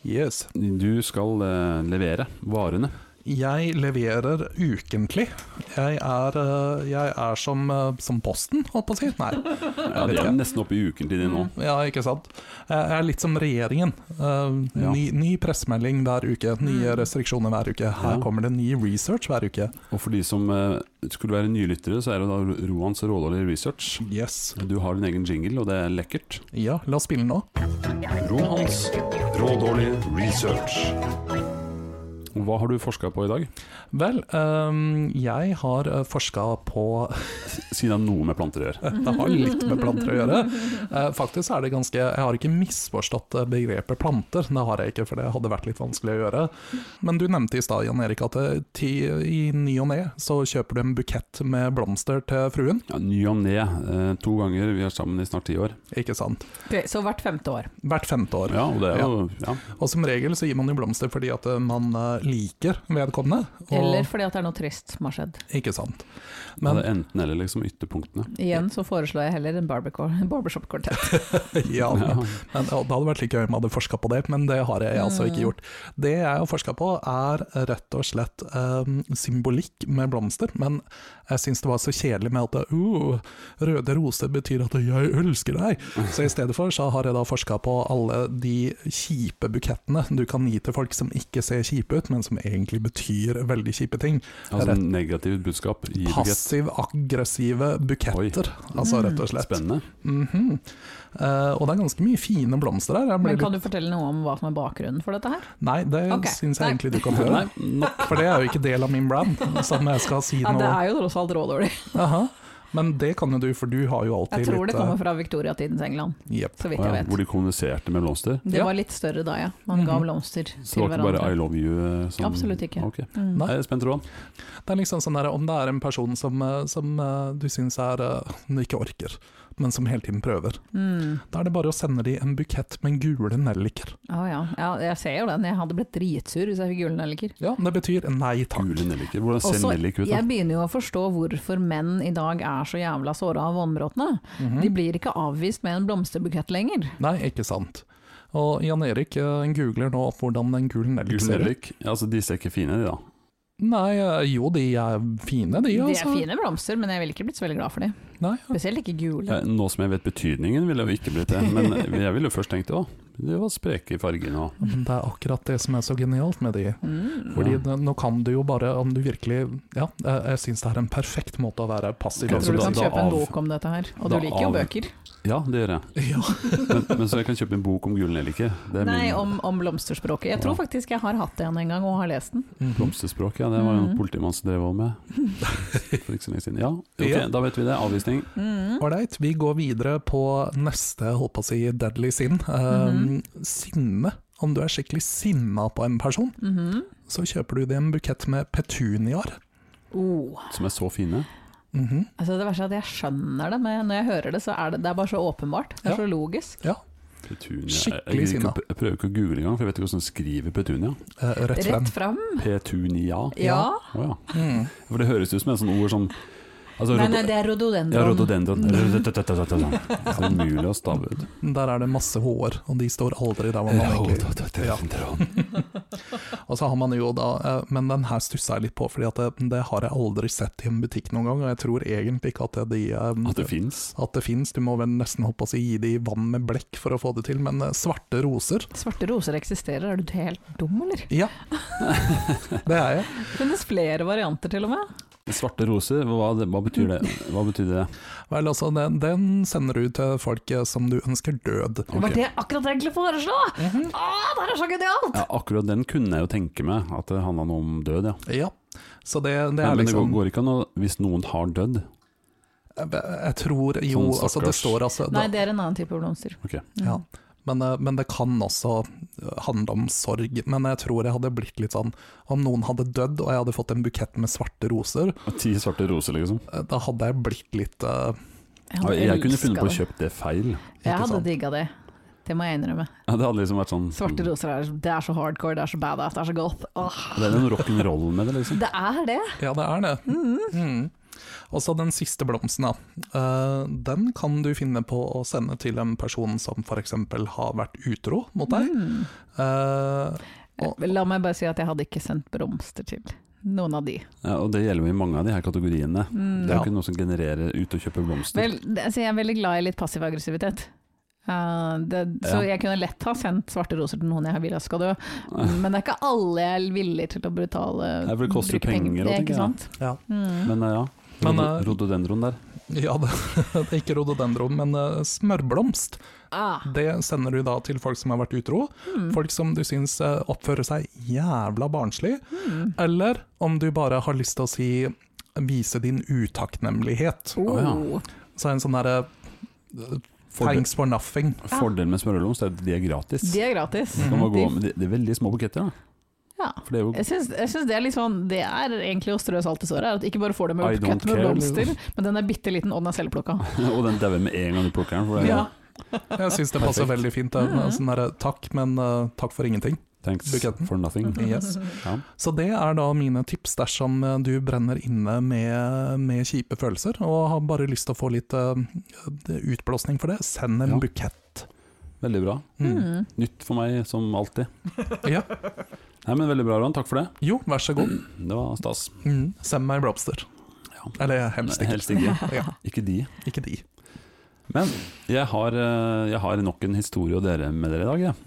[SPEAKER 2] Yes.
[SPEAKER 1] du skal eh, levere varene
[SPEAKER 2] Jeg leverer ukentlig. Jeg er, eh, jeg er som, eh, som Posten, holdt på å si. Nei.
[SPEAKER 1] Ja, de er nesten oppe i uken til de nå.
[SPEAKER 2] Ja, ikke sant. Jeg er litt som regjeringen. Eh,
[SPEAKER 1] Ja.
[SPEAKER 2] ny, ny pressemelding hver uke, nye restriksjoner hver uke. Her
[SPEAKER 1] Ja.
[SPEAKER 2] kommer det ny research hver uke.
[SPEAKER 1] Og for de som eh, skulle være nylyttere, så er det da Ro- Roans rådårlig research.
[SPEAKER 2] Yes.
[SPEAKER 1] Du har din egen jingle, og det er lekkert.
[SPEAKER 2] Ja, la oss spille nå.
[SPEAKER 1] Roans rådårlig research. Hva har du forska på i dag?
[SPEAKER 2] Vel, eh, jeg har forska på
[SPEAKER 1] Si det har noe med planter å gjøre.
[SPEAKER 2] Det har litt med planter å gjøre. Eh, Faktisk så er det ganske Jeg har ikke misforstått eh, begrepet planter, det har jeg ikke, for det hadde vært litt vanskelig å gjøre. Men du nevnte i stad, Jan Erik, at eh, ti- i ny og ne så kjøper du en bukett med blomster til fruen,
[SPEAKER 1] Ja, ny og ne. eh, To ganger. Vi er sammen i snart ti år.
[SPEAKER 2] ikke sant?
[SPEAKER 3] Ok, så hvert femte år.
[SPEAKER 2] Hvert femte år.
[SPEAKER 1] Ja, og det er jo ja.
[SPEAKER 2] Og som regel så gir man jo blomster fordi at eh, man eh, liker vedkommende. Og,
[SPEAKER 3] Eller fordi at det er noe trist som har skjedd.
[SPEAKER 2] Ikke sant.
[SPEAKER 1] Ja,
[SPEAKER 2] Men
[SPEAKER 1] det er enten eller, liksom. Ytterpunktene.
[SPEAKER 3] Igjen så foreslår jeg heller en barbeco- en barbershop-kvartett.
[SPEAKER 2] ja,
[SPEAKER 1] Ja.
[SPEAKER 2] men, men, og det hadde vært like gøy om jeg hadde forska på det, men det har jeg altså ikke gjort. Det jeg har forska på er rett og slett eh, symbolikk med blomster, men jeg syns det var så kjedelig med at uh, røde roser betyr at jeg elsker deg. Så i stedet for så har jeg da forska på alle de kjipe bukettene du kan gi til folk som ikke ser kjipe ut, men som egentlig betyr veldig kjipe ting.
[SPEAKER 1] Altså negativt budskap i bukett.
[SPEAKER 2] Passiv-aggressive buketter, altså rett og slett.
[SPEAKER 1] Spennende.
[SPEAKER 2] Mhm. Eh, og det er ganske mye fine blomster her. Jeg ble
[SPEAKER 3] Men kan
[SPEAKER 2] litt...
[SPEAKER 3] du fortelle noe om hva som er bakgrunnen for dette her?
[SPEAKER 2] Nei, det
[SPEAKER 3] Ok,
[SPEAKER 2] syns jeg
[SPEAKER 3] nei.
[SPEAKER 2] egentlig du kan få
[SPEAKER 1] Nei,
[SPEAKER 2] gjøre.
[SPEAKER 1] nok.
[SPEAKER 2] For det er jo ikke del av min brand, som jeg skal si
[SPEAKER 3] Ja, det
[SPEAKER 2] noe
[SPEAKER 3] er jo tross alt rådårlig.
[SPEAKER 2] Aha. Men det kan jo du, for du har jo alltid
[SPEAKER 3] Jeg tror det
[SPEAKER 2] litt eh,
[SPEAKER 3] kommer fra viktoriatidens England,
[SPEAKER 2] Jepp.
[SPEAKER 3] så vidt
[SPEAKER 1] Å
[SPEAKER 3] jeg
[SPEAKER 1] ja,
[SPEAKER 3] vet.
[SPEAKER 1] hvor de kommuniserte med blomster.
[SPEAKER 3] Det
[SPEAKER 2] Ja.
[SPEAKER 3] var litt større da, ja. Man ga
[SPEAKER 2] Mhm.
[SPEAKER 3] blomster
[SPEAKER 1] Så det
[SPEAKER 3] til
[SPEAKER 1] var ikke bare I
[SPEAKER 3] hverandre.
[SPEAKER 1] love you? eh, Som,
[SPEAKER 3] Absolutt ikke.
[SPEAKER 1] Ok.
[SPEAKER 3] Mm.
[SPEAKER 2] Nei.
[SPEAKER 1] Jeg er spent, Roan.
[SPEAKER 2] Det er liksom sånn der, om det er en person som, eh, som eh, du syns er eh, du ikke orker, men som hele tiden prøver,
[SPEAKER 3] Mm.
[SPEAKER 2] da er det bare å sende de en bukett med gule nelliker.
[SPEAKER 3] Å ja. ja, jeg ser jo den. Jeg hadde blitt dritsur hvis jeg fikk gule nelliker.
[SPEAKER 2] Ja, det betyr nei takk.
[SPEAKER 1] Gule nelliker. Hvordan ser
[SPEAKER 3] Også-
[SPEAKER 1] nellik ut? da?
[SPEAKER 3] Jeg begynner jo å forstå hvorfor menn i dag er så jævla såra av vannbråtene.
[SPEAKER 2] Mhm.
[SPEAKER 3] De blir ikke avvist med en blomsterbukett lenger.
[SPEAKER 2] Nei, ikke sant. Og Jan Erik eh, googler nå opp hvordan en gul nellik
[SPEAKER 1] Gul
[SPEAKER 2] ser ut.
[SPEAKER 1] nellik. Ja, altså, de ser ikke fine ut, de da.
[SPEAKER 2] Nei, eh, jo de er fine de,
[SPEAKER 3] De
[SPEAKER 2] altså.
[SPEAKER 3] er fine blomster, men jeg ville ikke blitt så veldig glad for dem.
[SPEAKER 2] Nei, ja.
[SPEAKER 3] Spesielt ikke gule.
[SPEAKER 1] Eh, Nå som jeg vet betydningen, ville jeg jo ikke blitt det. Men jeg ville jo først tenkt å, de var spreke i fargene og
[SPEAKER 2] Men det er akkurat det som er så genialt med de.
[SPEAKER 3] Mm.
[SPEAKER 2] Fordi
[SPEAKER 1] Ja.
[SPEAKER 2] det, nå kan du jo bare, om du virkelig Ja, jeg, jeg syns det er en perfekt måte å være passiv
[SPEAKER 3] Jeg
[SPEAKER 1] Ok,
[SPEAKER 3] tror du
[SPEAKER 1] da-
[SPEAKER 3] kan
[SPEAKER 1] da
[SPEAKER 3] kjøpe en
[SPEAKER 1] av-
[SPEAKER 3] bok om dette her. Og
[SPEAKER 1] da
[SPEAKER 3] du liker jo
[SPEAKER 1] av-
[SPEAKER 3] bøker.
[SPEAKER 1] Ja, det gjør jeg.
[SPEAKER 2] Ja.
[SPEAKER 1] Men, men så jeg kan kjøpe en bok om gule nelliker. Det er
[SPEAKER 3] Nei,
[SPEAKER 1] min
[SPEAKER 3] om, om blomsterspråket. Jeg tror
[SPEAKER 1] Ja.
[SPEAKER 3] faktisk jeg har hatt den en gang og har lest den.
[SPEAKER 2] Mhm.
[SPEAKER 1] blomsterspråk. Ja, det var jo en
[SPEAKER 3] Mhm.
[SPEAKER 1] politimann som drev med for ikke så lenge siden. Ja, ok,
[SPEAKER 2] Ja.
[SPEAKER 1] da vet vi det. Avvisning.
[SPEAKER 3] Mm.
[SPEAKER 2] Ålreit, vi går videre på neste, holdt på å si, deadly sin. Um,
[SPEAKER 3] Mm-hmm.
[SPEAKER 2] Sinne. Om du er skikkelig sinna på en person,
[SPEAKER 3] Mhm.
[SPEAKER 2] så kjøper du deg en bukett med petuniaer.
[SPEAKER 3] oh.
[SPEAKER 1] Som er så fine.
[SPEAKER 2] Mhm.
[SPEAKER 3] Altså det verste er at jeg skjønner det, men når jeg hører det, så er det, det er bare så åpenbart. Det er
[SPEAKER 2] Ja.
[SPEAKER 3] så logisk.
[SPEAKER 2] Ja,
[SPEAKER 1] Petunia. Jeg,
[SPEAKER 2] Skikkelig
[SPEAKER 1] jeg, gidder ikke
[SPEAKER 2] sinna.
[SPEAKER 1] å- jeg prøver ikke å google engang, for jeg vet ikke hvordan man skriver petunia.
[SPEAKER 2] eh, rett frem.
[SPEAKER 3] Rett fram.
[SPEAKER 1] Petunia. Å
[SPEAKER 3] Ja.
[SPEAKER 1] ja.
[SPEAKER 2] Mm.
[SPEAKER 1] For det høres ut som et sånt ord som altså,
[SPEAKER 3] Nei,
[SPEAKER 1] rodo-
[SPEAKER 3] nei, det er Mm. rododendron.
[SPEAKER 1] ja, rododendron. Rododendron. Det er umulig å stave ut.
[SPEAKER 2] Der er det masse H-er, og de står aldri der hvor man egentlig Og så har man jo da, eh, men den her stussa jeg litt på, fordi at det, det har jeg aldri sett i en butikk noen gang, og jeg tror egentlig ikke at det, de, eh,
[SPEAKER 1] At det fins.
[SPEAKER 2] at det finnes. Du må vel nesten håpe å si gi de vann med blekk for å få det til, men eh, svarte roser,
[SPEAKER 3] Svarte roser eksisterer, er du helt dum, eller?
[SPEAKER 2] det er jeg.
[SPEAKER 3] Det finnes flere varianter, til og med.
[SPEAKER 1] Svarte roser, hva, det- hva betyr det? Hva betyr det?
[SPEAKER 2] Vel, altså, den, den sender du til folk eh, som du ønsker død.
[SPEAKER 3] Det var det jeg akkurat egentlig foreslo!
[SPEAKER 2] Mhm.
[SPEAKER 3] Åh, det her er så genialt!
[SPEAKER 1] Ja, akkurat den kunne jeg jo tenke meg, at det handla noe om død, ja.
[SPEAKER 2] Ja, så det, det
[SPEAKER 1] Nei,
[SPEAKER 2] er
[SPEAKER 1] men det går,
[SPEAKER 2] liksom
[SPEAKER 1] går ikke an å Hvis noen har dødd
[SPEAKER 2] Jeg, jeg tror jo,
[SPEAKER 1] Sånn
[SPEAKER 2] altså det
[SPEAKER 1] stakkars.
[SPEAKER 2] står altså
[SPEAKER 3] Nei, det er en annen type blomster.
[SPEAKER 1] Ok.
[SPEAKER 2] Ja. Men, eh, men det kan også eh, handle om sorg. Men jeg tror jeg hadde blitt litt sånn Om noen hadde dødd og jeg hadde fått en bukett med svarte roser,
[SPEAKER 1] Og Ti svarte roser, liksom.
[SPEAKER 2] eh, da hadde jeg blitt litt eh,
[SPEAKER 3] Jeg,
[SPEAKER 1] Ja,
[SPEAKER 3] hadde
[SPEAKER 1] Jeg kunne funnet
[SPEAKER 3] elsket
[SPEAKER 1] på å
[SPEAKER 3] det.
[SPEAKER 1] kjøpe det feil.
[SPEAKER 3] Jeg
[SPEAKER 2] Ikke
[SPEAKER 3] hadde
[SPEAKER 2] sant?
[SPEAKER 3] digga det. Det må jeg innrømme.
[SPEAKER 1] Ja, det hadde liksom vært sånn
[SPEAKER 3] Svarte roser er, liksom, det er så hardcore, det er så badass, det er så goth. Åh,
[SPEAKER 1] Det er noe rock'n'roll med det, liksom.
[SPEAKER 3] det er det!
[SPEAKER 2] Ja, det er det. Mm. Og så den siste blomsten, da. Eh, Den kan du finne på å
[SPEAKER 3] Mm.
[SPEAKER 2] sende til en person som f.eks. har vært utro mot deg. Eh, Og-
[SPEAKER 3] La meg bare si at jeg hadde ikke sendt blomster til noen av de.
[SPEAKER 1] Ja, og det gjelder jo i mange av de her kategoriene.
[SPEAKER 3] Mm.
[SPEAKER 1] Det er jo
[SPEAKER 2] Ja.
[SPEAKER 1] ikke noe som genererer ut og kjøper blomster.
[SPEAKER 3] Vel, det- altså, jeg er veldig glad i litt passiv aggressivitet. Eh, det, så jeg kunne lett ha sendt svarte roser til noen jeg ville skal dø, men det er ikke alle jeg er villig til å brutale
[SPEAKER 1] Nei, for det koster jo
[SPEAKER 3] bruke
[SPEAKER 1] penger
[SPEAKER 3] til,
[SPEAKER 1] og ting, ja.
[SPEAKER 3] ikke sant?
[SPEAKER 2] Ja.
[SPEAKER 3] Mm.
[SPEAKER 1] Men eh, ja,
[SPEAKER 2] Men,
[SPEAKER 1] Rhodo-
[SPEAKER 2] eh,
[SPEAKER 1] rhododendron der.
[SPEAKER 2] Ja, det, det er ikke rododendron, men eh, smørblomst.
[SPEAKER 3] ah,
[SPEAKER 2] Det sender du da til folk som har vært utro,
[SPEAKER 3] mm,
[SPEAKER 2] folk som du syns eh, oppfører seg jævla barnslig,
[SPEAKER 3] mm.
[SPEAKER 2] eller om du bare har lyst til å si vise din utakknemlighet.
[SPEAKER 3] Oh.
[SPEAKER 1] Å, ja.
[SPEAKER 2] Så er det en sånn derre
[SPEAKER 1] Fordel,
[SPEAKER 2] Thanks for nothing.
[SPEAKER 1] fordelen med smørblomst er at de er gratis.
[SPEAKER 3] De er gratis.
[SPEAKER 1] De, må gå, men de, de er veldig små buketter, da.
[SPEAKER 3] Ja.
[SPEAKER 1] For det er jo
[SPEAKER 3] Jeg syns, jeg syns det er litt sånn Det er egentlig å strø salt i såret. er At ikke bare får du
[SPEAKER 1] I
[SPEAKER 3] med
[SPEAKER 1] don't
[SPEAKER 3] buket med
[SPEAKER 1] care. liksom.
[SPEAKER 3] blomster, men den er bitte liten, og den er selvplukka.
[SPEAKER 1] Og den dauer med en gang du plukker den. For det er,
[SPEAKER 3] Eh. Ja.
[SPEAKER 2] Jeg syns det passer
[SPEAKER 1] Perfekt.
[SPEAKER 2] veldig fint. Det er en sånn derre takk, men eh, takk for ingenting.
[SPEAKER 1] Thanks
[SPEAKER 2] Buketten. Mhm.
[SPEAKER 1] for nothing.
[SPEAKER 2] Yes.
[SPEAKER 1] Ja.
[SPEAKER 2] Så det er da mine tips dersom eh, du brenner inne med, med kjipe følelser og har bare lyst til å få litt eh, utblåsning for det. Send en
[SPEAKER 1] Ja.
[SPEAKER 2] bukett.
[SPEAKER 1] Veldig bra.
[SPEAKER 2] Mm.
[SPEAKER 3] Mm.
[SPEAKER 1] Nytt for meg, som alltid.
[SPEAKER 2] Ja.
[SPEAKER 1] Nei, men Veldig bra, Ron. Takk for det.
[SPEAKER 2] Jo, vær så god.
[SPEAKER 1] Det var stas.
[SPEAKER 2] Mm. Send meg blomster.
[SPEAKER 1] Ja.
[SPEAKER 2] Eller helst
[SPEAKER 1] Nei,
[SPEAKER 2] ikke.
[SPEAKER 1] Helst ikke.
[SPEAKER 2] Ja,
[SPEAKER 1] Ikke de.
[SPEAKER 2] ikke de.
[SPEAKER 1] Men jeg har, eh, jeg har nok en historie å dele med dere i dag. Jeg.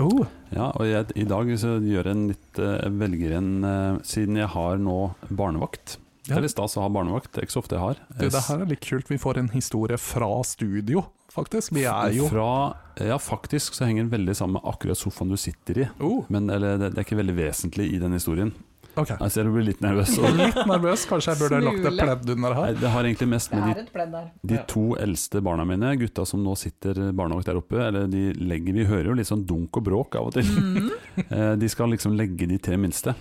[SPEAKER 2] Oh,
[SPEAKER 1] Ja, og jeg, i dag så gjør jeg en litt eh, velger en eh, Siden jeg har nå barnevakt. Det
[SPEAKER 2] Ja.
[SPEAKER 1] er litt stas å ha barnevakt, det er ikke så ofte jeg har.
[SPEAKER 2] du, det her er litt kult. Vi får en historie fra studio, faktisk. Vi er jo
[SPEAKER 1] Fra, ja, faktisk så henger den veldig sammen med akkurat sofaen du sitter i.
[SPEAKER 2] oh,
[SPEAKER 1] Men eller, det, det er ikke veldig vesentlig i den historien.
[SPEAKER 2] OK.
[SPEAKER 1] Jeg ser du blir litt nervøs.
[SPEAKER 2] Så litt nervøs. Kanskje jeg burde lagt et
[SPEAKER 3] Smule.
[SPEAKER 2] pledd under
[SPEAKER 1] Nei,
[SPEAKER 2] her.
[SPEAKER 1] det har egentlig mest med de
[SPEAKER 3] et pledd der.
[SPEAKER 1] De
[SPEAKER 2] Ja.
[SPEAKER 1] to eldste barna mine, gutta som nå sitter barnevakt der oppe, eller de legger, vi hører jo litt sånn dunk og bråk av og til.
[SPEAKER 3] Mm.
[SPEAKER 1] Eh, de skal liksom legge de tre minste.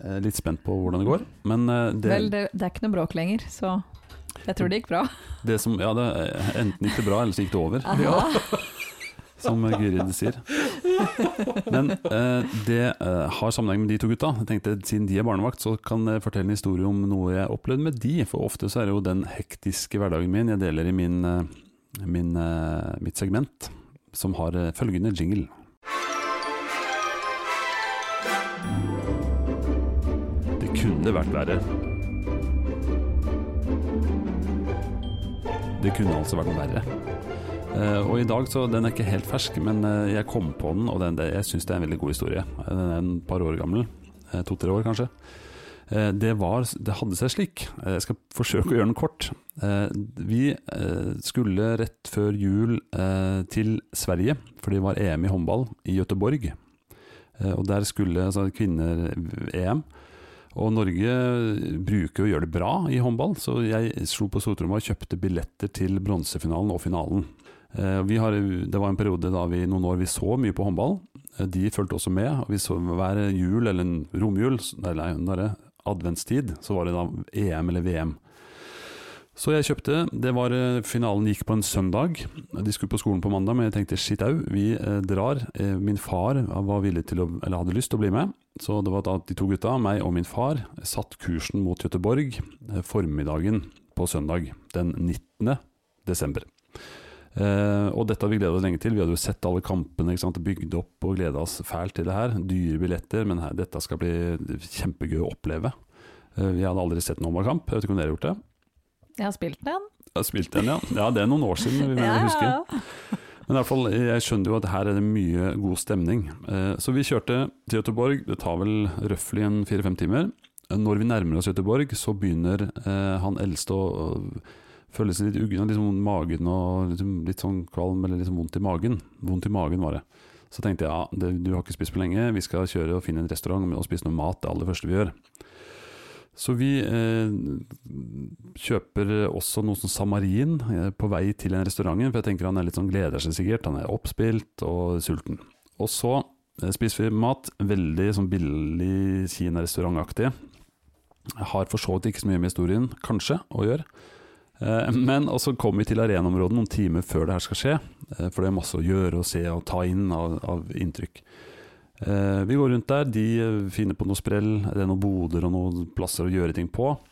[SPEAKER 1] Eh, Litt spent på hvordan det går. Men eh, det,
[SPEAKER 3] Vel, det, det er ikke noe bråk lenger, så jeg tror det gikk bra.
[SPEAKER 1] det som Ja, det, eh, enten gikk det bra, eller så gikk det over,
[SPEAKER 2] Ja.
[SPEAKER 1] som Gyrid sier. Men eh, det eh, har sammenheng med de to gutta. Jeg tenkte Siden de er barnevakt, så kan jeg fortelle en historie om noe jeg opplevde med de. For ofte så er det jo den hektiske hverdagen min jeg deler i min, eh, min, eh, mitt segment, som har eh, følgende jingle. Det kunne vært verre. Det kunne altså vært verre. Eh, og i dag, så Den er ikke helt fersk, men eh, jeg kom på den, og den, det- jeg syns det er en veldig god historie. Eh, Den er en par år gammel. eh, To-tre år, kanskje. Eh, det, var, det hadde seg slik. eh, jeg skal forsøke å gjøre den kort. Eh, vi eh, skulle rett før jul eh, til Sverige, for det var EM i håndball i Gøteborg. Eh, og der skulle altså, kvinner-EM. Og Norge eh, bruker å gjøre det bra i håndball, så jeg slo på stortromma og kjøpte billetter til bronsefinalen og finalen. Eh, Vi har, det var en periode da vi noen år vi så mye på håndball. Eh, De fulgte også med. og Vi så hver jul, eller en romjul, s- nei, nei, nå er det adventstid, så var det da EM eller VM. Så jeg kjøpte. det var, eh, Finalen gikk på en søndag. De skulle på skolen på mandag, men jeg tenkte skitt au, vi eh, drar. Eh, Min far var villig til å, eller hadde lyst til å bli med. Så det var da de to gutta, meg og min far, satt kursen mot Gøteborg eh, formiddagen på søndag den 19. desember. Eh, og dette har vi gleda oss lenge til. Vi hadde jo sett alle kampene, ikke sant? bygd opp og gleda oss fælt til det her. Dyre billetter, men her, dette skal bli kjempegøy å oppleve. Eh, vi hadde aldri sett en håndballkamp, jeg vet ikke om dere har gjort det?
[SPEAKER 3] Jeg har spilt den.
[SPEAKER 1] Jeg har spilt en, ja. ja. Det er noen år siden, vi mener, jeg
[SPEAKER 3] Ja, ja,
[SPEAKER 1] husker.
[SPEAKER 3] ja.
[SPEAKER 1] Men i hvert fall, jeg skjønner jo at her er det mye god stemning. Eh, Så vi kjørte til Göteborg, det tar vel røftlig en fire-fem timer. Eh, Når vi nærmer oss Göteborg, så begynner eh, han eldste å å føle seg litt uggen, og liksom vondt i magen og liksom litt sånn kvalm eller liksom vondt i magen. Vondt i magen var det. Så tenkte jeg ja, det, du har ikke spist på lenge, vi skal kjøre og finne en restaurant og spise noe mat, det aller første vi gjør. Så vi eh, kjøper også noe som samarin eh, på vei til den restauranten, for jeg tenker han er litt sånn gleder seg sikkert, han er oppspilt og sulten. Og så eh, spiser vi mat, veldig sånn billig Kina-restaurantaktig. Har for så vidt ikke så mye med historien, kanskje, å gjøre. Eh, Men og så kommer vi til arenaområdet noen timer før det her skal skje, eh, for det er masse å gjøre og se og ta inn av, av inntrykk. Eh, Vi går rundt der, de eh, finner på noe sprell, det er noen boder og noen plasser å gjøre ting på. Eh,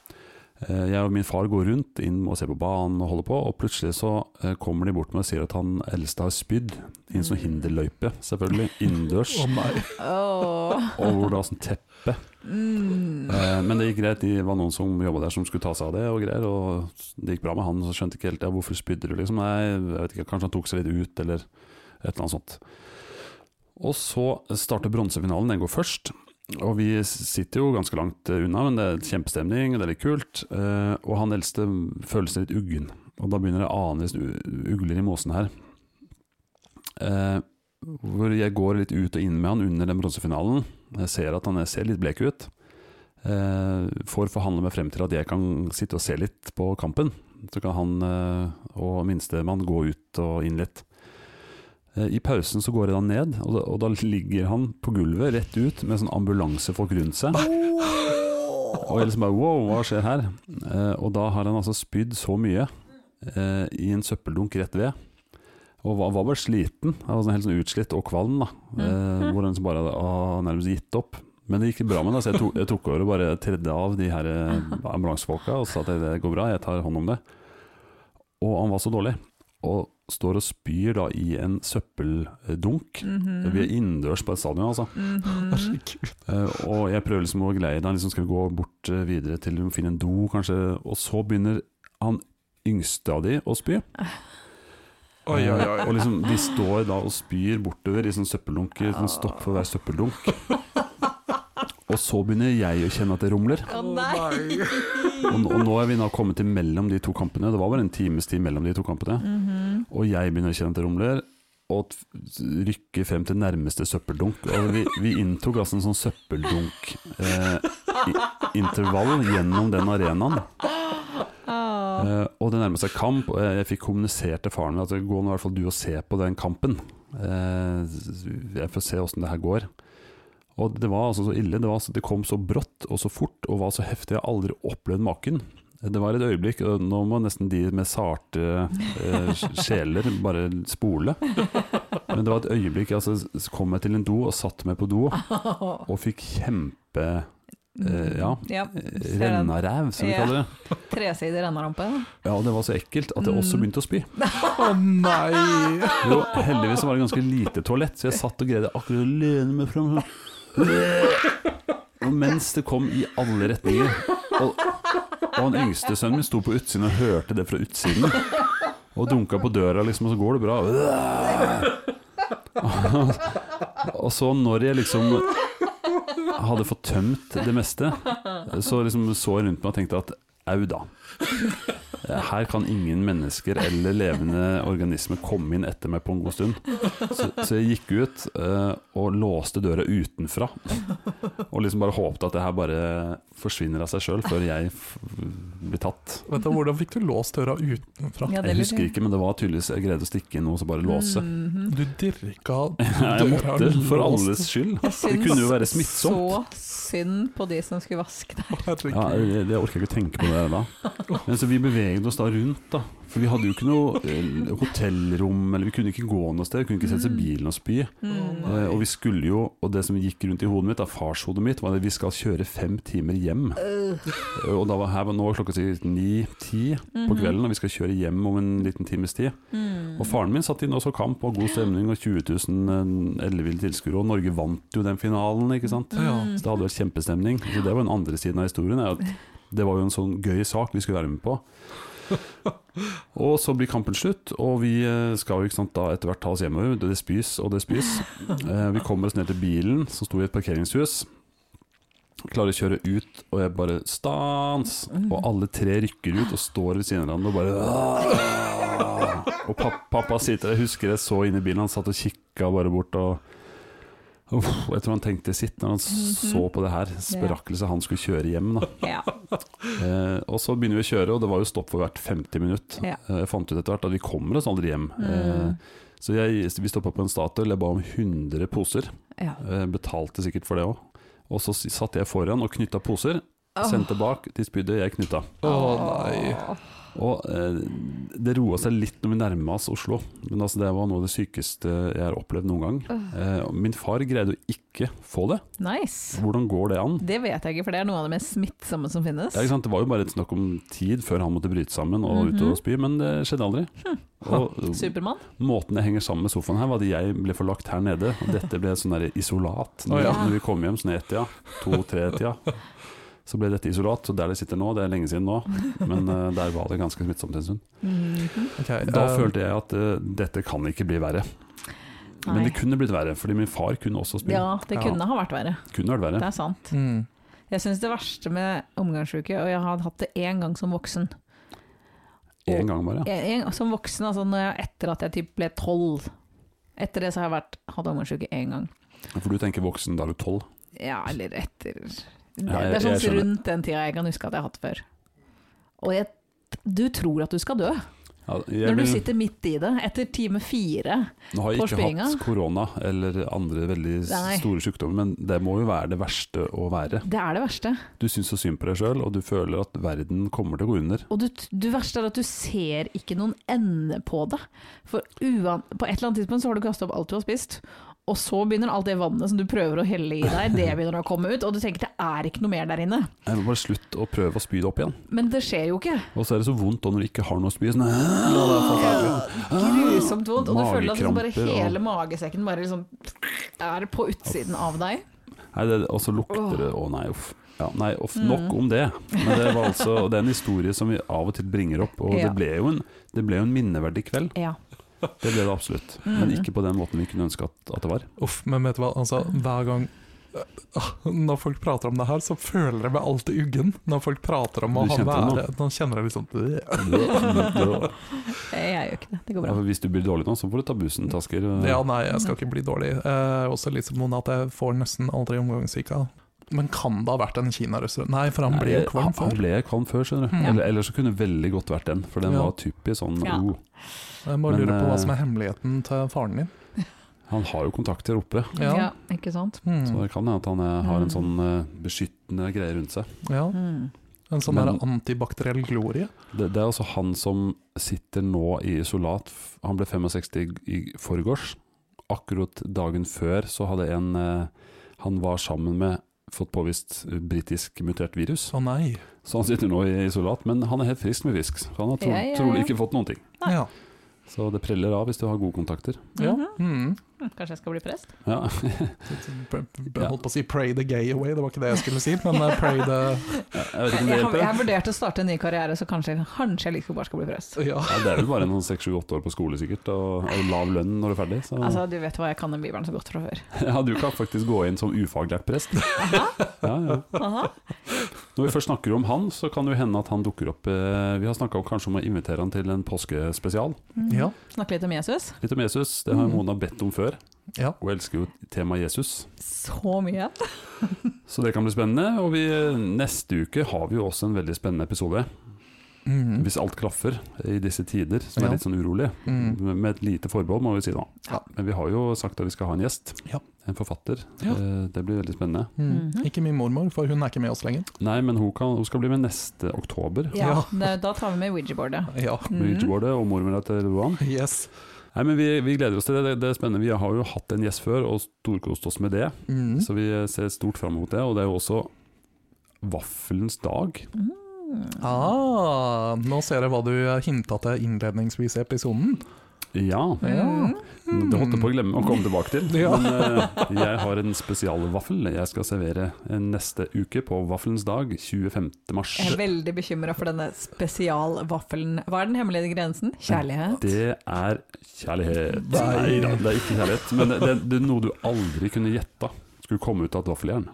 [SPEAKER 1] Eh, Jeg og min far går rundt inn og ser på banen og holder på, og plutselig så eh, kommer de bort med og sier at han eldste har spydd i en sånn hinderløype, selvfølgelig, innendørs,
[SPEAKER 2] Å nei.
[SPEAKER 3] Åh.
[SPEAKER 1] og hvor da sånn teppe.
[SPEAKER 3] Mm.
[SPEAKER 1] Eh, Men det gikk greit, det var noen som jobba der som skulle ta seg av det og greier, og det gikk bra med han, så skjønte ikke helt ja, hvorfor spydde du liksom, nei, jeg vet ikke, kanskje han tok seg litt ut, eller et eller annet sånt. Og så starter bronsefinalen, den går først. Og vi sitter jo ganske langt eh, unna, men det er kjempestemning, det er litt kult. eh, Og han eldste føler seg litt uggen, og da begynner det å ane litt u- ugler i måsen her. Eh, Hvor jeg går litt ut og inn med han under den bronsefinalen. Jeg ser at han eh, ser litt blek ut. Eh, Får forhandle meg frem til at jeg kan sitte og se litt på kampen. Så kan han eh, og minstemann gå ut og inn litt. Eh, I pausen så går jeg da ned, og da, og da ligger han på gulvet rett ut med sånn ambulansefolk rundt seg. Og jeg liksom bare wow, hva skjer her? Eh, og da har han altså spydd så mye eh, i en søppeldunk rett ved. Og var, var bare sliten. Han var sånn helt sånn utslitt og kvalm. da eh, Hvor han liksom bare hadde ah, nærmest gitt opp. Men det gikk bra med det, så jeg, tok- jeg tok over og bare tredde av de her eh, ambulansefolka og sa at det går bra, jeg tar hånd om det. Og han var så dårlig. Og står og spyr da i en søppeldunk.
[SPEAKER 3] Mhm.
[SPEAKER 1] Vi er innendørs på et stadion, altså.
[SPEAKER 2] Herregud.
[SPEAKER 1] Eh, og jeg prøver liksom å greie det. Han liksom skal vi gå bort eh, videre til vi må finne en do, kanskje. Og så begynner han yngste av de å spy.
[SPEAKER 2] Oi, oi, oi.
[SPEAKER 1] Eh, Og liksom, de står da og spyr bortover i sånne søppeldunker. Sånn stopp for hver søppeldunk. Og så begynner jeg å kjenne at det rumler.
[SPEAKER 3] Å nei!
[SPEAKER 1] Og, nå- og nå er vi da kommet til mellom de to kampene. Det var bare en times tid mellom de to kampene.
[SPEAKER 3] Mhm.
[SPEAKER 1] Og jeg begynner å kjenne at det rumler, og t- rykker frem til nærmeste søppeldunk. Og vi, vi inntok altså en sånn søppeldunk-intervall gjennom den arenaen. Eh, og det nærmet seg kamp, og jeg, jeg fikk kommunisert til faren min at gå nå i hvert fall du og se på den kampen. Eh, jeg får se åssen det her går. Og det var altså så ille. Det, var, så- det kom så brått og så fort og var så heftig. Jeg har aldri opplevd maken. Det var et øyeblikk, og nå må nesten de med sarte eh, sjeler bare spole. Men det var et øyeblikk. Altså, så kom jeg til en do og satte meg på do og fikk kjempe eh, ja,
[SPEAKER 3] Ja, ser den.
[SPEAKER 1] rennaræv, som vi
[SPEAKER 3] Ja.
[SPEAKER 1] kaller det.
[SPEAKER 3] Tresidig rennarampe.
[SPEAKER 1] Ja, og det var så ekkelt at jeg
[SPEAKER 3] Mm.
[SPEAKER 1] også begynte å spy.
[SPEAKER 2] Å nei.
[SPEAKER 1] Jo, heldigvis så var det ganske lite toalett, så jeg satt og greide akkurat å lene meg fram. sånn. Og mens det kom i alle retninger. Og, og han yngste sønnen min sto på utsiden og hørte det fra utsiden. Og dunka på døra, liksom, og så går det bra. Og så, når jeg liksom hadde fått tømt det meste, så liksom så jeg rundt meg og tenkte at au da. Eh, Her kan ingen mennesker eller levende organismer komme inn etter meg på en god stund. Så, så jeg gikk ut eh, og låste døra utenfra. Og liksom bare håpte at det her bare forsvinner av seg sjøl før jeg f blir tatt.
[SPEAKER 2] Vet du, hvordan fikk du låst døra utenfra?
[SPEAKER 3] Ja,
[SPEAKER 1] Jeg husker ikke, men det var tydeligvis jeg greide å stikke inn noe og så bare
[SPEAKER 3] Mm.
[SPEAKER 1] låse.
[SPEAKER 3] Mhm.
[SPEAKER 2] Du dirka
[SPEAKER 1] Nei, Jeg
[SPEAKER 2] døra
[SPEAKER 1] måtte, for
[SPEAKER 2] låst.
[SPEAKER 1] alles skyld.
[SPEAKER 3] Jeg
[SPEAKER 1] Det
[SPEAKER 3] syns
[SPEAKER 1] kunne jo være smittsomt.
[SPEAKER 3] Så synd på de som skulle vaske der.
[SPEAKER 2] Å, herregud.
[SPEAKER 1] Ja, det, det orker jeg ikke tenke på det da. Men så vi beveget oss da rundt, da. For vi hadde jo ikke noe eh, hotellrom, eller vi kunne ikke gå noe sted. Vi kunne ikke sette oss i bilen og spy.
[SPEAKER 3] Mm.
[SPEAKER 1] Eh, og vi skulle jo, og det som gikk rundt i hodet mitt, da, farshodet mitt, var at vi skal kjøre fem timer hjem. Eh,
[SPEAKER 3] Mhm.
[SPEAKER 1] Og da var her var nå klokka sikkert ni-ti
[SPEAKER 3] Mhm.
[SPEAKER 1] på kvelden, og vi skal kjøre hjem om en liten times tid.
[SPEAKER 3] Mm.
[SPEAKER 1] Og faren min satt inn og så kamp, og god stemning, og 20 000 eh, elleville tilskuere, og Norge vant jo den finalen, ikke sant.
[SPEAKER 2] Ja.
[SPEAKER 3] Mm,
[SPEAKER 1] Så det hadde vært kjempestemning. Så det var den andre siden av historien. Er at det var jo en sånn gøy sak vi skulle være med på. Og så blir kampen slutt, og vi eh, skal jo ikke sant, da etter hvert ta oss hjemover. Det spys og det spys. Eh, Vi kommer oss ned til bilen som sto i et parkeringshus. Klarer å kjøre ut, og jeg bare stans! Og alle tre rykker ut og står ved siden av hverandre og bare «Åh!» Og pappa, pappa sitter, jeg husker jeg så inn i bilen, han satt og kikka bare bort og Uff, jeg tror han tenkte sitt når han så på det her spørakelset han skulle kjøre hjem. Da.
[SPEAKER 3] Ja.
[SPEAKER 1] Eh, og så begynner vi å kjøre, og det var jo stopp for hvert 50 minutt.
[SPEAKER 3] Ja. Mm.
[SPEAKER 1] Eh, jeg fant ut etter hvert at vi kommer oss aldri hjem. Eh, så jeg, vi stoppa på en Statoil, jeg ba om 100 poser.
[SPEAKER 3] ja.
[SPEAKER 1] Eh, betalte sikkert for det òg. Og så s- satt jeg foran og knytta poser, Sendte bak, de spydde, jeg knytta.
[SPEAKER 2] Å nei.
[SPEAKER 1] Og eh, det roa seg litt når vi nærma oss Oslo, men altså, det var noe av det sykeste jeg har opplevd noen gang.
[SPEAKER 3] Øh.
[SPEAKER 1] Eh, og min far greide å ikke få det.
[SPEAKER 3] Nice.
[SPEAKER 1] Hvordan går det an?
[SPEAKER 3] Det vet jeg ikke, for det er noe av det mest smittsomme som finnes.
[SPEAKER 1] Ja, ikke sant? Det var jo bare et snakk om tid før han måtte bryte sammen og
[SPEAKER 2] Mhm.
[SPEAKER 1] ut og spy, men det skjedde aldri.
[SPEAKER 2] Hm.
[SPEAKER 1] Og
[SPEAKER 3] Supermann.
[SPEAKER 1] måten det henger sammen med sofaen her, var at jeg ble forlagt her nede, og dette ble et sånn der isolat. Når,
[SPEAKER 2] Å, ja.
[SPEAKER 1] når vi kom hjem sånn i ett-tida, to-tre-tida, så ble dette isolat. Så der det sitter nå, det er lenge siden nå, men eh, der var det ganske smittsomt en stund.
[SPEAKER 2] Ok,
[SPEAKER 1] Da
[SPEAKER 2] eh,
[SPEAKER 1] følte jeg at eh, dette kan ikke bli verre. Men
[SPEAKER 3] Nei.
[SPEAKER 1] det kunne blitt verre, fordi min far kunne også spy.
[SPEAKER 3] Ja, det
[SPEAKER 2] Ja.
[SPEAKER 3] kunne ha vært verre.
[SPEAKER 1] Kunne vært verre.
[SPEAKER 3] Det er sant.
[SPEAKER 2] mm.
[SPEAKER 3] Jeg syns det verste med omgangsuke, og jeg har hatt det én gang som voksen
[SPEAKER 1] Én gang bare.
[SPEAKER 3] en, en, Som voksen, altså når jeg, etter at jeg typ ble tolv. Etter det så har jeg vært, hatt omgangsuke én gang.
[SPEAKER 1] For du tenker voksen da er du tolv.
[SPEAKER 3] Ja, eller etter Det,
[SPEAKER 1] Ja, jeg-
[SPEAKER 3] det er
[SPEAKER 1] jeg
[SPEAKER 3] sånn
[SPEAKER 1] skjønner.
[SPEAKER 3] rundt den tida jeg kan huske at jeg har hatt før. Og jeg, du tror at du skal dø
[SPEAKER 1] Ja,
[SPEAKER 3] når
[SPEAKER 1] jeg
[SPEAKER 3] du
[SPEAKER 1] vil-
[SPEAKER 3] sitter midt i det, etter time fire.
[SPEAKER 1] Nå har jeg
[SPEAKER 3] på
[SPEAKER 1] ikke
[SPEAKER 3] spyinga.
[SPEAKER 1] hatt korona eller andre veldig s-
[SPEAKER 3] Nei.
[SPEAKER 1] store sykdommer, men det må jo være det verste å være.
[SPEAKER 3] Det er det verste.
[SPEAKER 1] Du syns så synd på deg sjøl, og du føler at verden kommer til å gå under.
[SPEAKER 3] Og du, du verste er at du ser ikke noen ende på det. For uan, på et eller annet tidspunkt så har du kasta opp alt du har spist, og så begynner alt det vannet som du prøver å helle i deg, det begynner å komme ut, og du tenker det er ikke noe mer der inne.
[SPEAKER 1] Jeg må bare slutte å prøve å spy det opp igjen.
[SPEAKER 3] Men det skjer jo ikke.
[SPEAKER 1] Og så er det så vondt da når du ikke har noe å spy. Sånn, «Åh!»
[SPEAKER 2] Ja, det er forferdelig.
[SPEAKER 3] Grusomt vondt. Og du føler at liksom bare
[SPEAKER 1] Magekramper og-
[SPEAKER 3] hele magesekken bare liksom er på utsiden av deg.
[SPEAKER 1] Nei, det, og så lukter det Å nei, uff. Ja, nei, uff,
[SPEAKER 3] Mm.
[SPEAKER 1] nok om det. Men det var altså og det er en historie som vi av og til bringer opp. Og
[SPEAKER 3] Ja.
[SPEAKER 1] det, ble jo en, det ble jo en minneverdig kveld.
[SPEAKER 3] Ja.
[SPEAKER 1] Det ble det absolutt.
[SPEAKER 3] Mm.
[SPEAKER 1] Men ikke på den måten vi kunne ønske at, at det var.
[SPEAKER 2] Uff, men vet du hva, altså, hver gang Ah, når folk prater om det her, så føler jeg meg alltid uggen. Når folk prater om
[SPEAKER 1] Du
[SPEAKER 2] å
[SPEAKER 1] kjente
[SPEAKER 2] ha
[SPEAKER 1] det
[SPEAKER 2] være Nå kjenner jeg liksom øh.
[SPEAKER 3] Jeg gjør ikke det. Det går
[SPEAKER 1] Ja,
[SPEAKER 3] bra.
[SPEAKER 1] for hvis du blir dårlig nå, så får du ta bussen, Tasker.
[SPEAKER 2] Ja, nei, jeg skal ikke bli dårlig. Eh, også litt som noen at jeg får nesten aldri omgangssyke. Men kan det ha vært en kinarestaurant? Nei, for han
[SPEAKER 1] Nei,
[SPEAKER 2] ble jo
[SPEAKER 1] det-
[SPEAKER 2] kvalm
[SPEAKER 1] Han
[SPEAKER 2] før.
[SPEAKER 1] ble kvalm før, skjønner du.
[SPEAKER 2] Mm.
[SPEAKER 1] Eller, eller så kunne det veldig godt vært den, for den
[SPEAKER 2] Ja.
[SPEAKER 1] var typisk sånn
[SPEAKER 3] Ja.
[SPEAKER 1] oh,
[SPEAKER 2] Jeg bare
[SPEAKER 1] Men,
[SPEAKER 2] lurer på hva
[SPEAKER 1] eh,
[SPEAKER 2] som er hemmeligheten til faren din.
[SPEAKER 1] Han har jo kontakter oppe,
[SPEAKER 3] Ja,
[SPEAKER 2] Ja.
[SPEAKER 3] ikke sant.
[SPEAKER 1] så
[SPEAKER 2] Mm,
[SPEAKER 1] det kan hende at han eh, har en
[SPEAKER 3] Mm.
[SPEAKER 1] sånn eh, beskyttende greie rundt seg.
[SPEAKER 2] ja.
[SPEAKER 3] Mm.
[SPEAKER 2] En sånn
[SPEAKER 1] Men-
[SPEAKER 2] der antibakteriell glorie.
[SPEAKER 1] Det, det er altså han som sitter nå i isolat. F- Han ble 65 i, i forgårs. Akkurat dagen før så hadde en eh, han var sammen med fått påvist eh, britisk mutert virus.
[SPEAKER 2] Å nei.
[SPEAKER 1] Så han sitter nå i isolat, men han er helt frisk med frisk. Så han har tro,
[SPEAKER 3] Ja, ja, ja.
[SPEAKER 1] trolig ikke fått noen ting.
[SPEAKER 3] Nei.
[SPEAKER 2] Ja.
[SPEAKER 1] Så det preller av hvis du har gode kontakter.
[SPEAKER 2] ja.
[SPEAKER 3] Mhm.
[SPEAKER 2] Mm.
[SPEAKER 3] Kanskje jeg skal bli prest?
[SPEAKER 1] Ja.
[SPEAKER 2] P- p- Jeg holdt på å si 'pray the gay away', det var ikke det jeg skulle si, men eh, 'pray the
[SPEAKER 1] Jeg vet
[SPEAKER 3] Jeg,
[SPEAKER 1] ikke om det
[SPEAKER 3] jeg, har-
[SPEAKER 1] hjelper.
[SPEAKER 3] jeg har vurdert å starte en ny karriere, så kanskje, kanskje jeg like godt bare skal bli prest.
[SPEAKER 2] Ja.
[SPEAKER 1] Ja, det er vel bare en sånn 6-7-8 år på skole sikkert, og, og lav lønn når du er ferdig. Så.
[SPEAKER 3] Altså, du vet hva jeg kan den bibelen så godt fra før.
[SPEAKER 1] Ja, du kan faktisk gå inn som ufaglært prest. Ja, ja.
[SPEAKER 3] Aha.
[SPEAKER 1] Når vi først snakker om han, så kan det jo hende at han dukker opp. eh, Vi har snakka kanskje om å invitere han til en påskespesial.
[SPEAKER 2] Mm. Ja.
[SPEAKER 3] Snakke litt om Jesus.
[SPEAKER 1] Litt om Jesus, det har Mona bedt om før.
[SPEAKER 2] Mhm. ja.
[SPEAKER 1] Hun elsker jo temaet Jesus.
[SPEAKER 3] Så mye.
[SPEAKER 1] Så det kan bli spennende. Og vi, neste uke har vi jo også en veldig spennende episode.
[SPEAKER 2] Mm.
[SPEAKER 1] Hvis alt klaffer i disse tider, som
[SPEAKER 2] Ja.
[SPEAKER 1] er litt sånn urolige.
[SPEAKER 2] Mm.
[SPEAKER 1] Med med et lite forbehold, må vi si da.
[SPEAKER 2] Ja.
[SPEAKER 1] Men vi har jo sagt at vi skal ha en gjest.
[SPEAKER 2] Ja.
[SPEAKER 1] En forfatter.
[SPEAKER 2] Ja.
[SPEAKER 1] Eh, Det blir veldig spennende.
[SPEAKER 2] Mm.
[SPEAKER 3] Mhm.
[SPEAKER 2] Ikke min mormor, for hun er ikke med oss lenger.
[SPEAKER 1] Nei, men hun, kan, hun skal bli med neste oktober.
[SPEAKER 3] Ja,
[SPEAKER 2] Ja.
[SPEAKER 3] da- Da tar vi med Ouija-bordet.
[SPEAKER 2] Ja.
[SPEAKER 1] Med
[SPEAKER 3] Mhm.
[SPEAKER 1] Ouija-bordet og mormora til Roan.
[SPEAKER 2] Yes.
[SPEAKER 1] Nei, men vi, vi gleder oss til det. det. Det er spennende. Vi har jo hatt en gjest før og storkost oss med det.
[SPEAKER 2] Mm.
[SPEAKER 1] Så vi ser stort fram mot det. Og det er jo også vaffelens dag.
[SPEAKER 2] Ah, nå ser jeg hva du hinta til innledningsvis i episoden.
[SPEAKER 1] Ja.
[SPEAKER 3] Mm.
[SPEAKER 2] Ja.
[SPEAKER 1] Det holdt jeg på å glemme å komme tilbake til.
[SPEAKER 2] Ja.
[SPEAKER 1] Men eh, jeg har en spesialvaffel jeg skal servere neste uke på vaffelens dag 25. mars.
[SPEAKER 3] Jeg er veldig bekymra for denne spesialvaffelen. Hva er den hemmelige grensen? Kjærlighet?
[SPEAKER 1] Det er kjærlighet.
[SPEAKER 2] Nei.
[SPEAKER 1] Nei da, det er ikke kjærlighet. Men det, det, det er noe du aldri kunne gjetta skulle komme ut av et vaffeljern.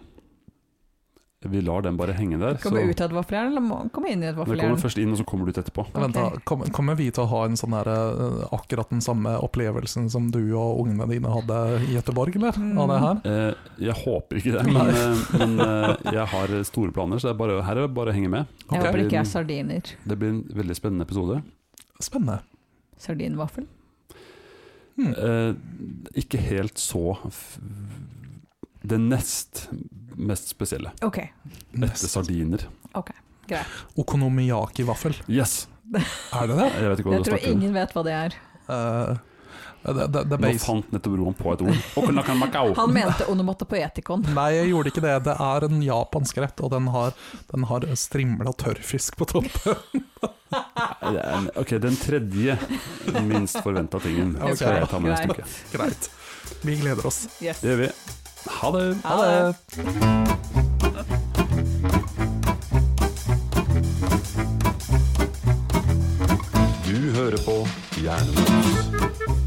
[SPEAKER 1] Vi lar den bare henge der. Så
[SPEAKER 3] Komme
[SPEAKER 1] den
[SPEAKER 3] ut av et vaffeljern, eller må- komme inn i et
[SPEAKER 1] kommer
[SPEAKER 3] vaffeljern?
[SPEAKER 1] først inn, og så kommer du ut etterpå.
[SPEAKER 2] Vent da,
[SPEAKER 3] Ok.
[SPEAKER 2] kom- Kommer vi til å ha en sånn her, eh, akkurat den samme opplevelsen som du og ungene dine hadde i Gøteborg, eller? Av det her?
[SPEAKER 1] Eh, jeg håper ikke det, men, eh, men eh, jeg har store planer, så det er bare, her er det bare å henge med.
[SPEAKER 3] Jeg
[SPEAKER 2] Ok.
[SPEAKER 3] håper ikke jeg er
[SPEAKER 1] Det,
[SPEAKER 3] sardiner.
[SPEAKER 1] blir, det blir en veldig spennende episode.
[SPEAKER 2] Spennende.
[SPEAKER 3] Sardinvaffel?
[SPEAKER 2] Hmm.
[SPEAKER 1] Eh, ikke helt så f det nest mest spesielle.
[SPEAKER 3] Ok,
[SPEAKER 1] Etter sardiner.
[SPEAKER 3] ok.
[SPEAKER 2] Okonomiyaki-vaffel.
[SPEAKER 1] Yes!
[SPEAKER 2] Er det det?
[SPEAKER 1] Jeg vet ikke hva
[SPEAKER 3] Jeg
[SPEAKER 1] du
[SPEAKER 3] tror
[SPEAKER 1] snakker om.
[SPEAKER 3] ingen vet hva det er.
[SPEAKER 2] Eh, det, det, det er
[SPEAKER 1] Nå
[SPEAKER 2] basic.
[SPEAKER 1] fant nettopp Roan på et ord. Okonakamakao.
[SPEAKER 3] Han mente onomatopoetikon.
[SPEAKER 2] Nei, jeg gjorde ikke det. Det er en japansk rett, og den har, den har strimla tørrfisk på toppen.
[SPEAKER 1] Det er en- Ok, den tredje minst forventa tingen
[SPEAKER 2] Ok.
[SPEAKER 1] skal jeg ta med neste uke.
[SPEAKER 2] Greit. Vi gleder oss.
[SPEAKER 3] Yes.
[SPEAKER 1] Det gjør vi. Ha det!
[SPEAKER 3] Ha det.
[SPEAKER 1] Du hører på Hjernemus.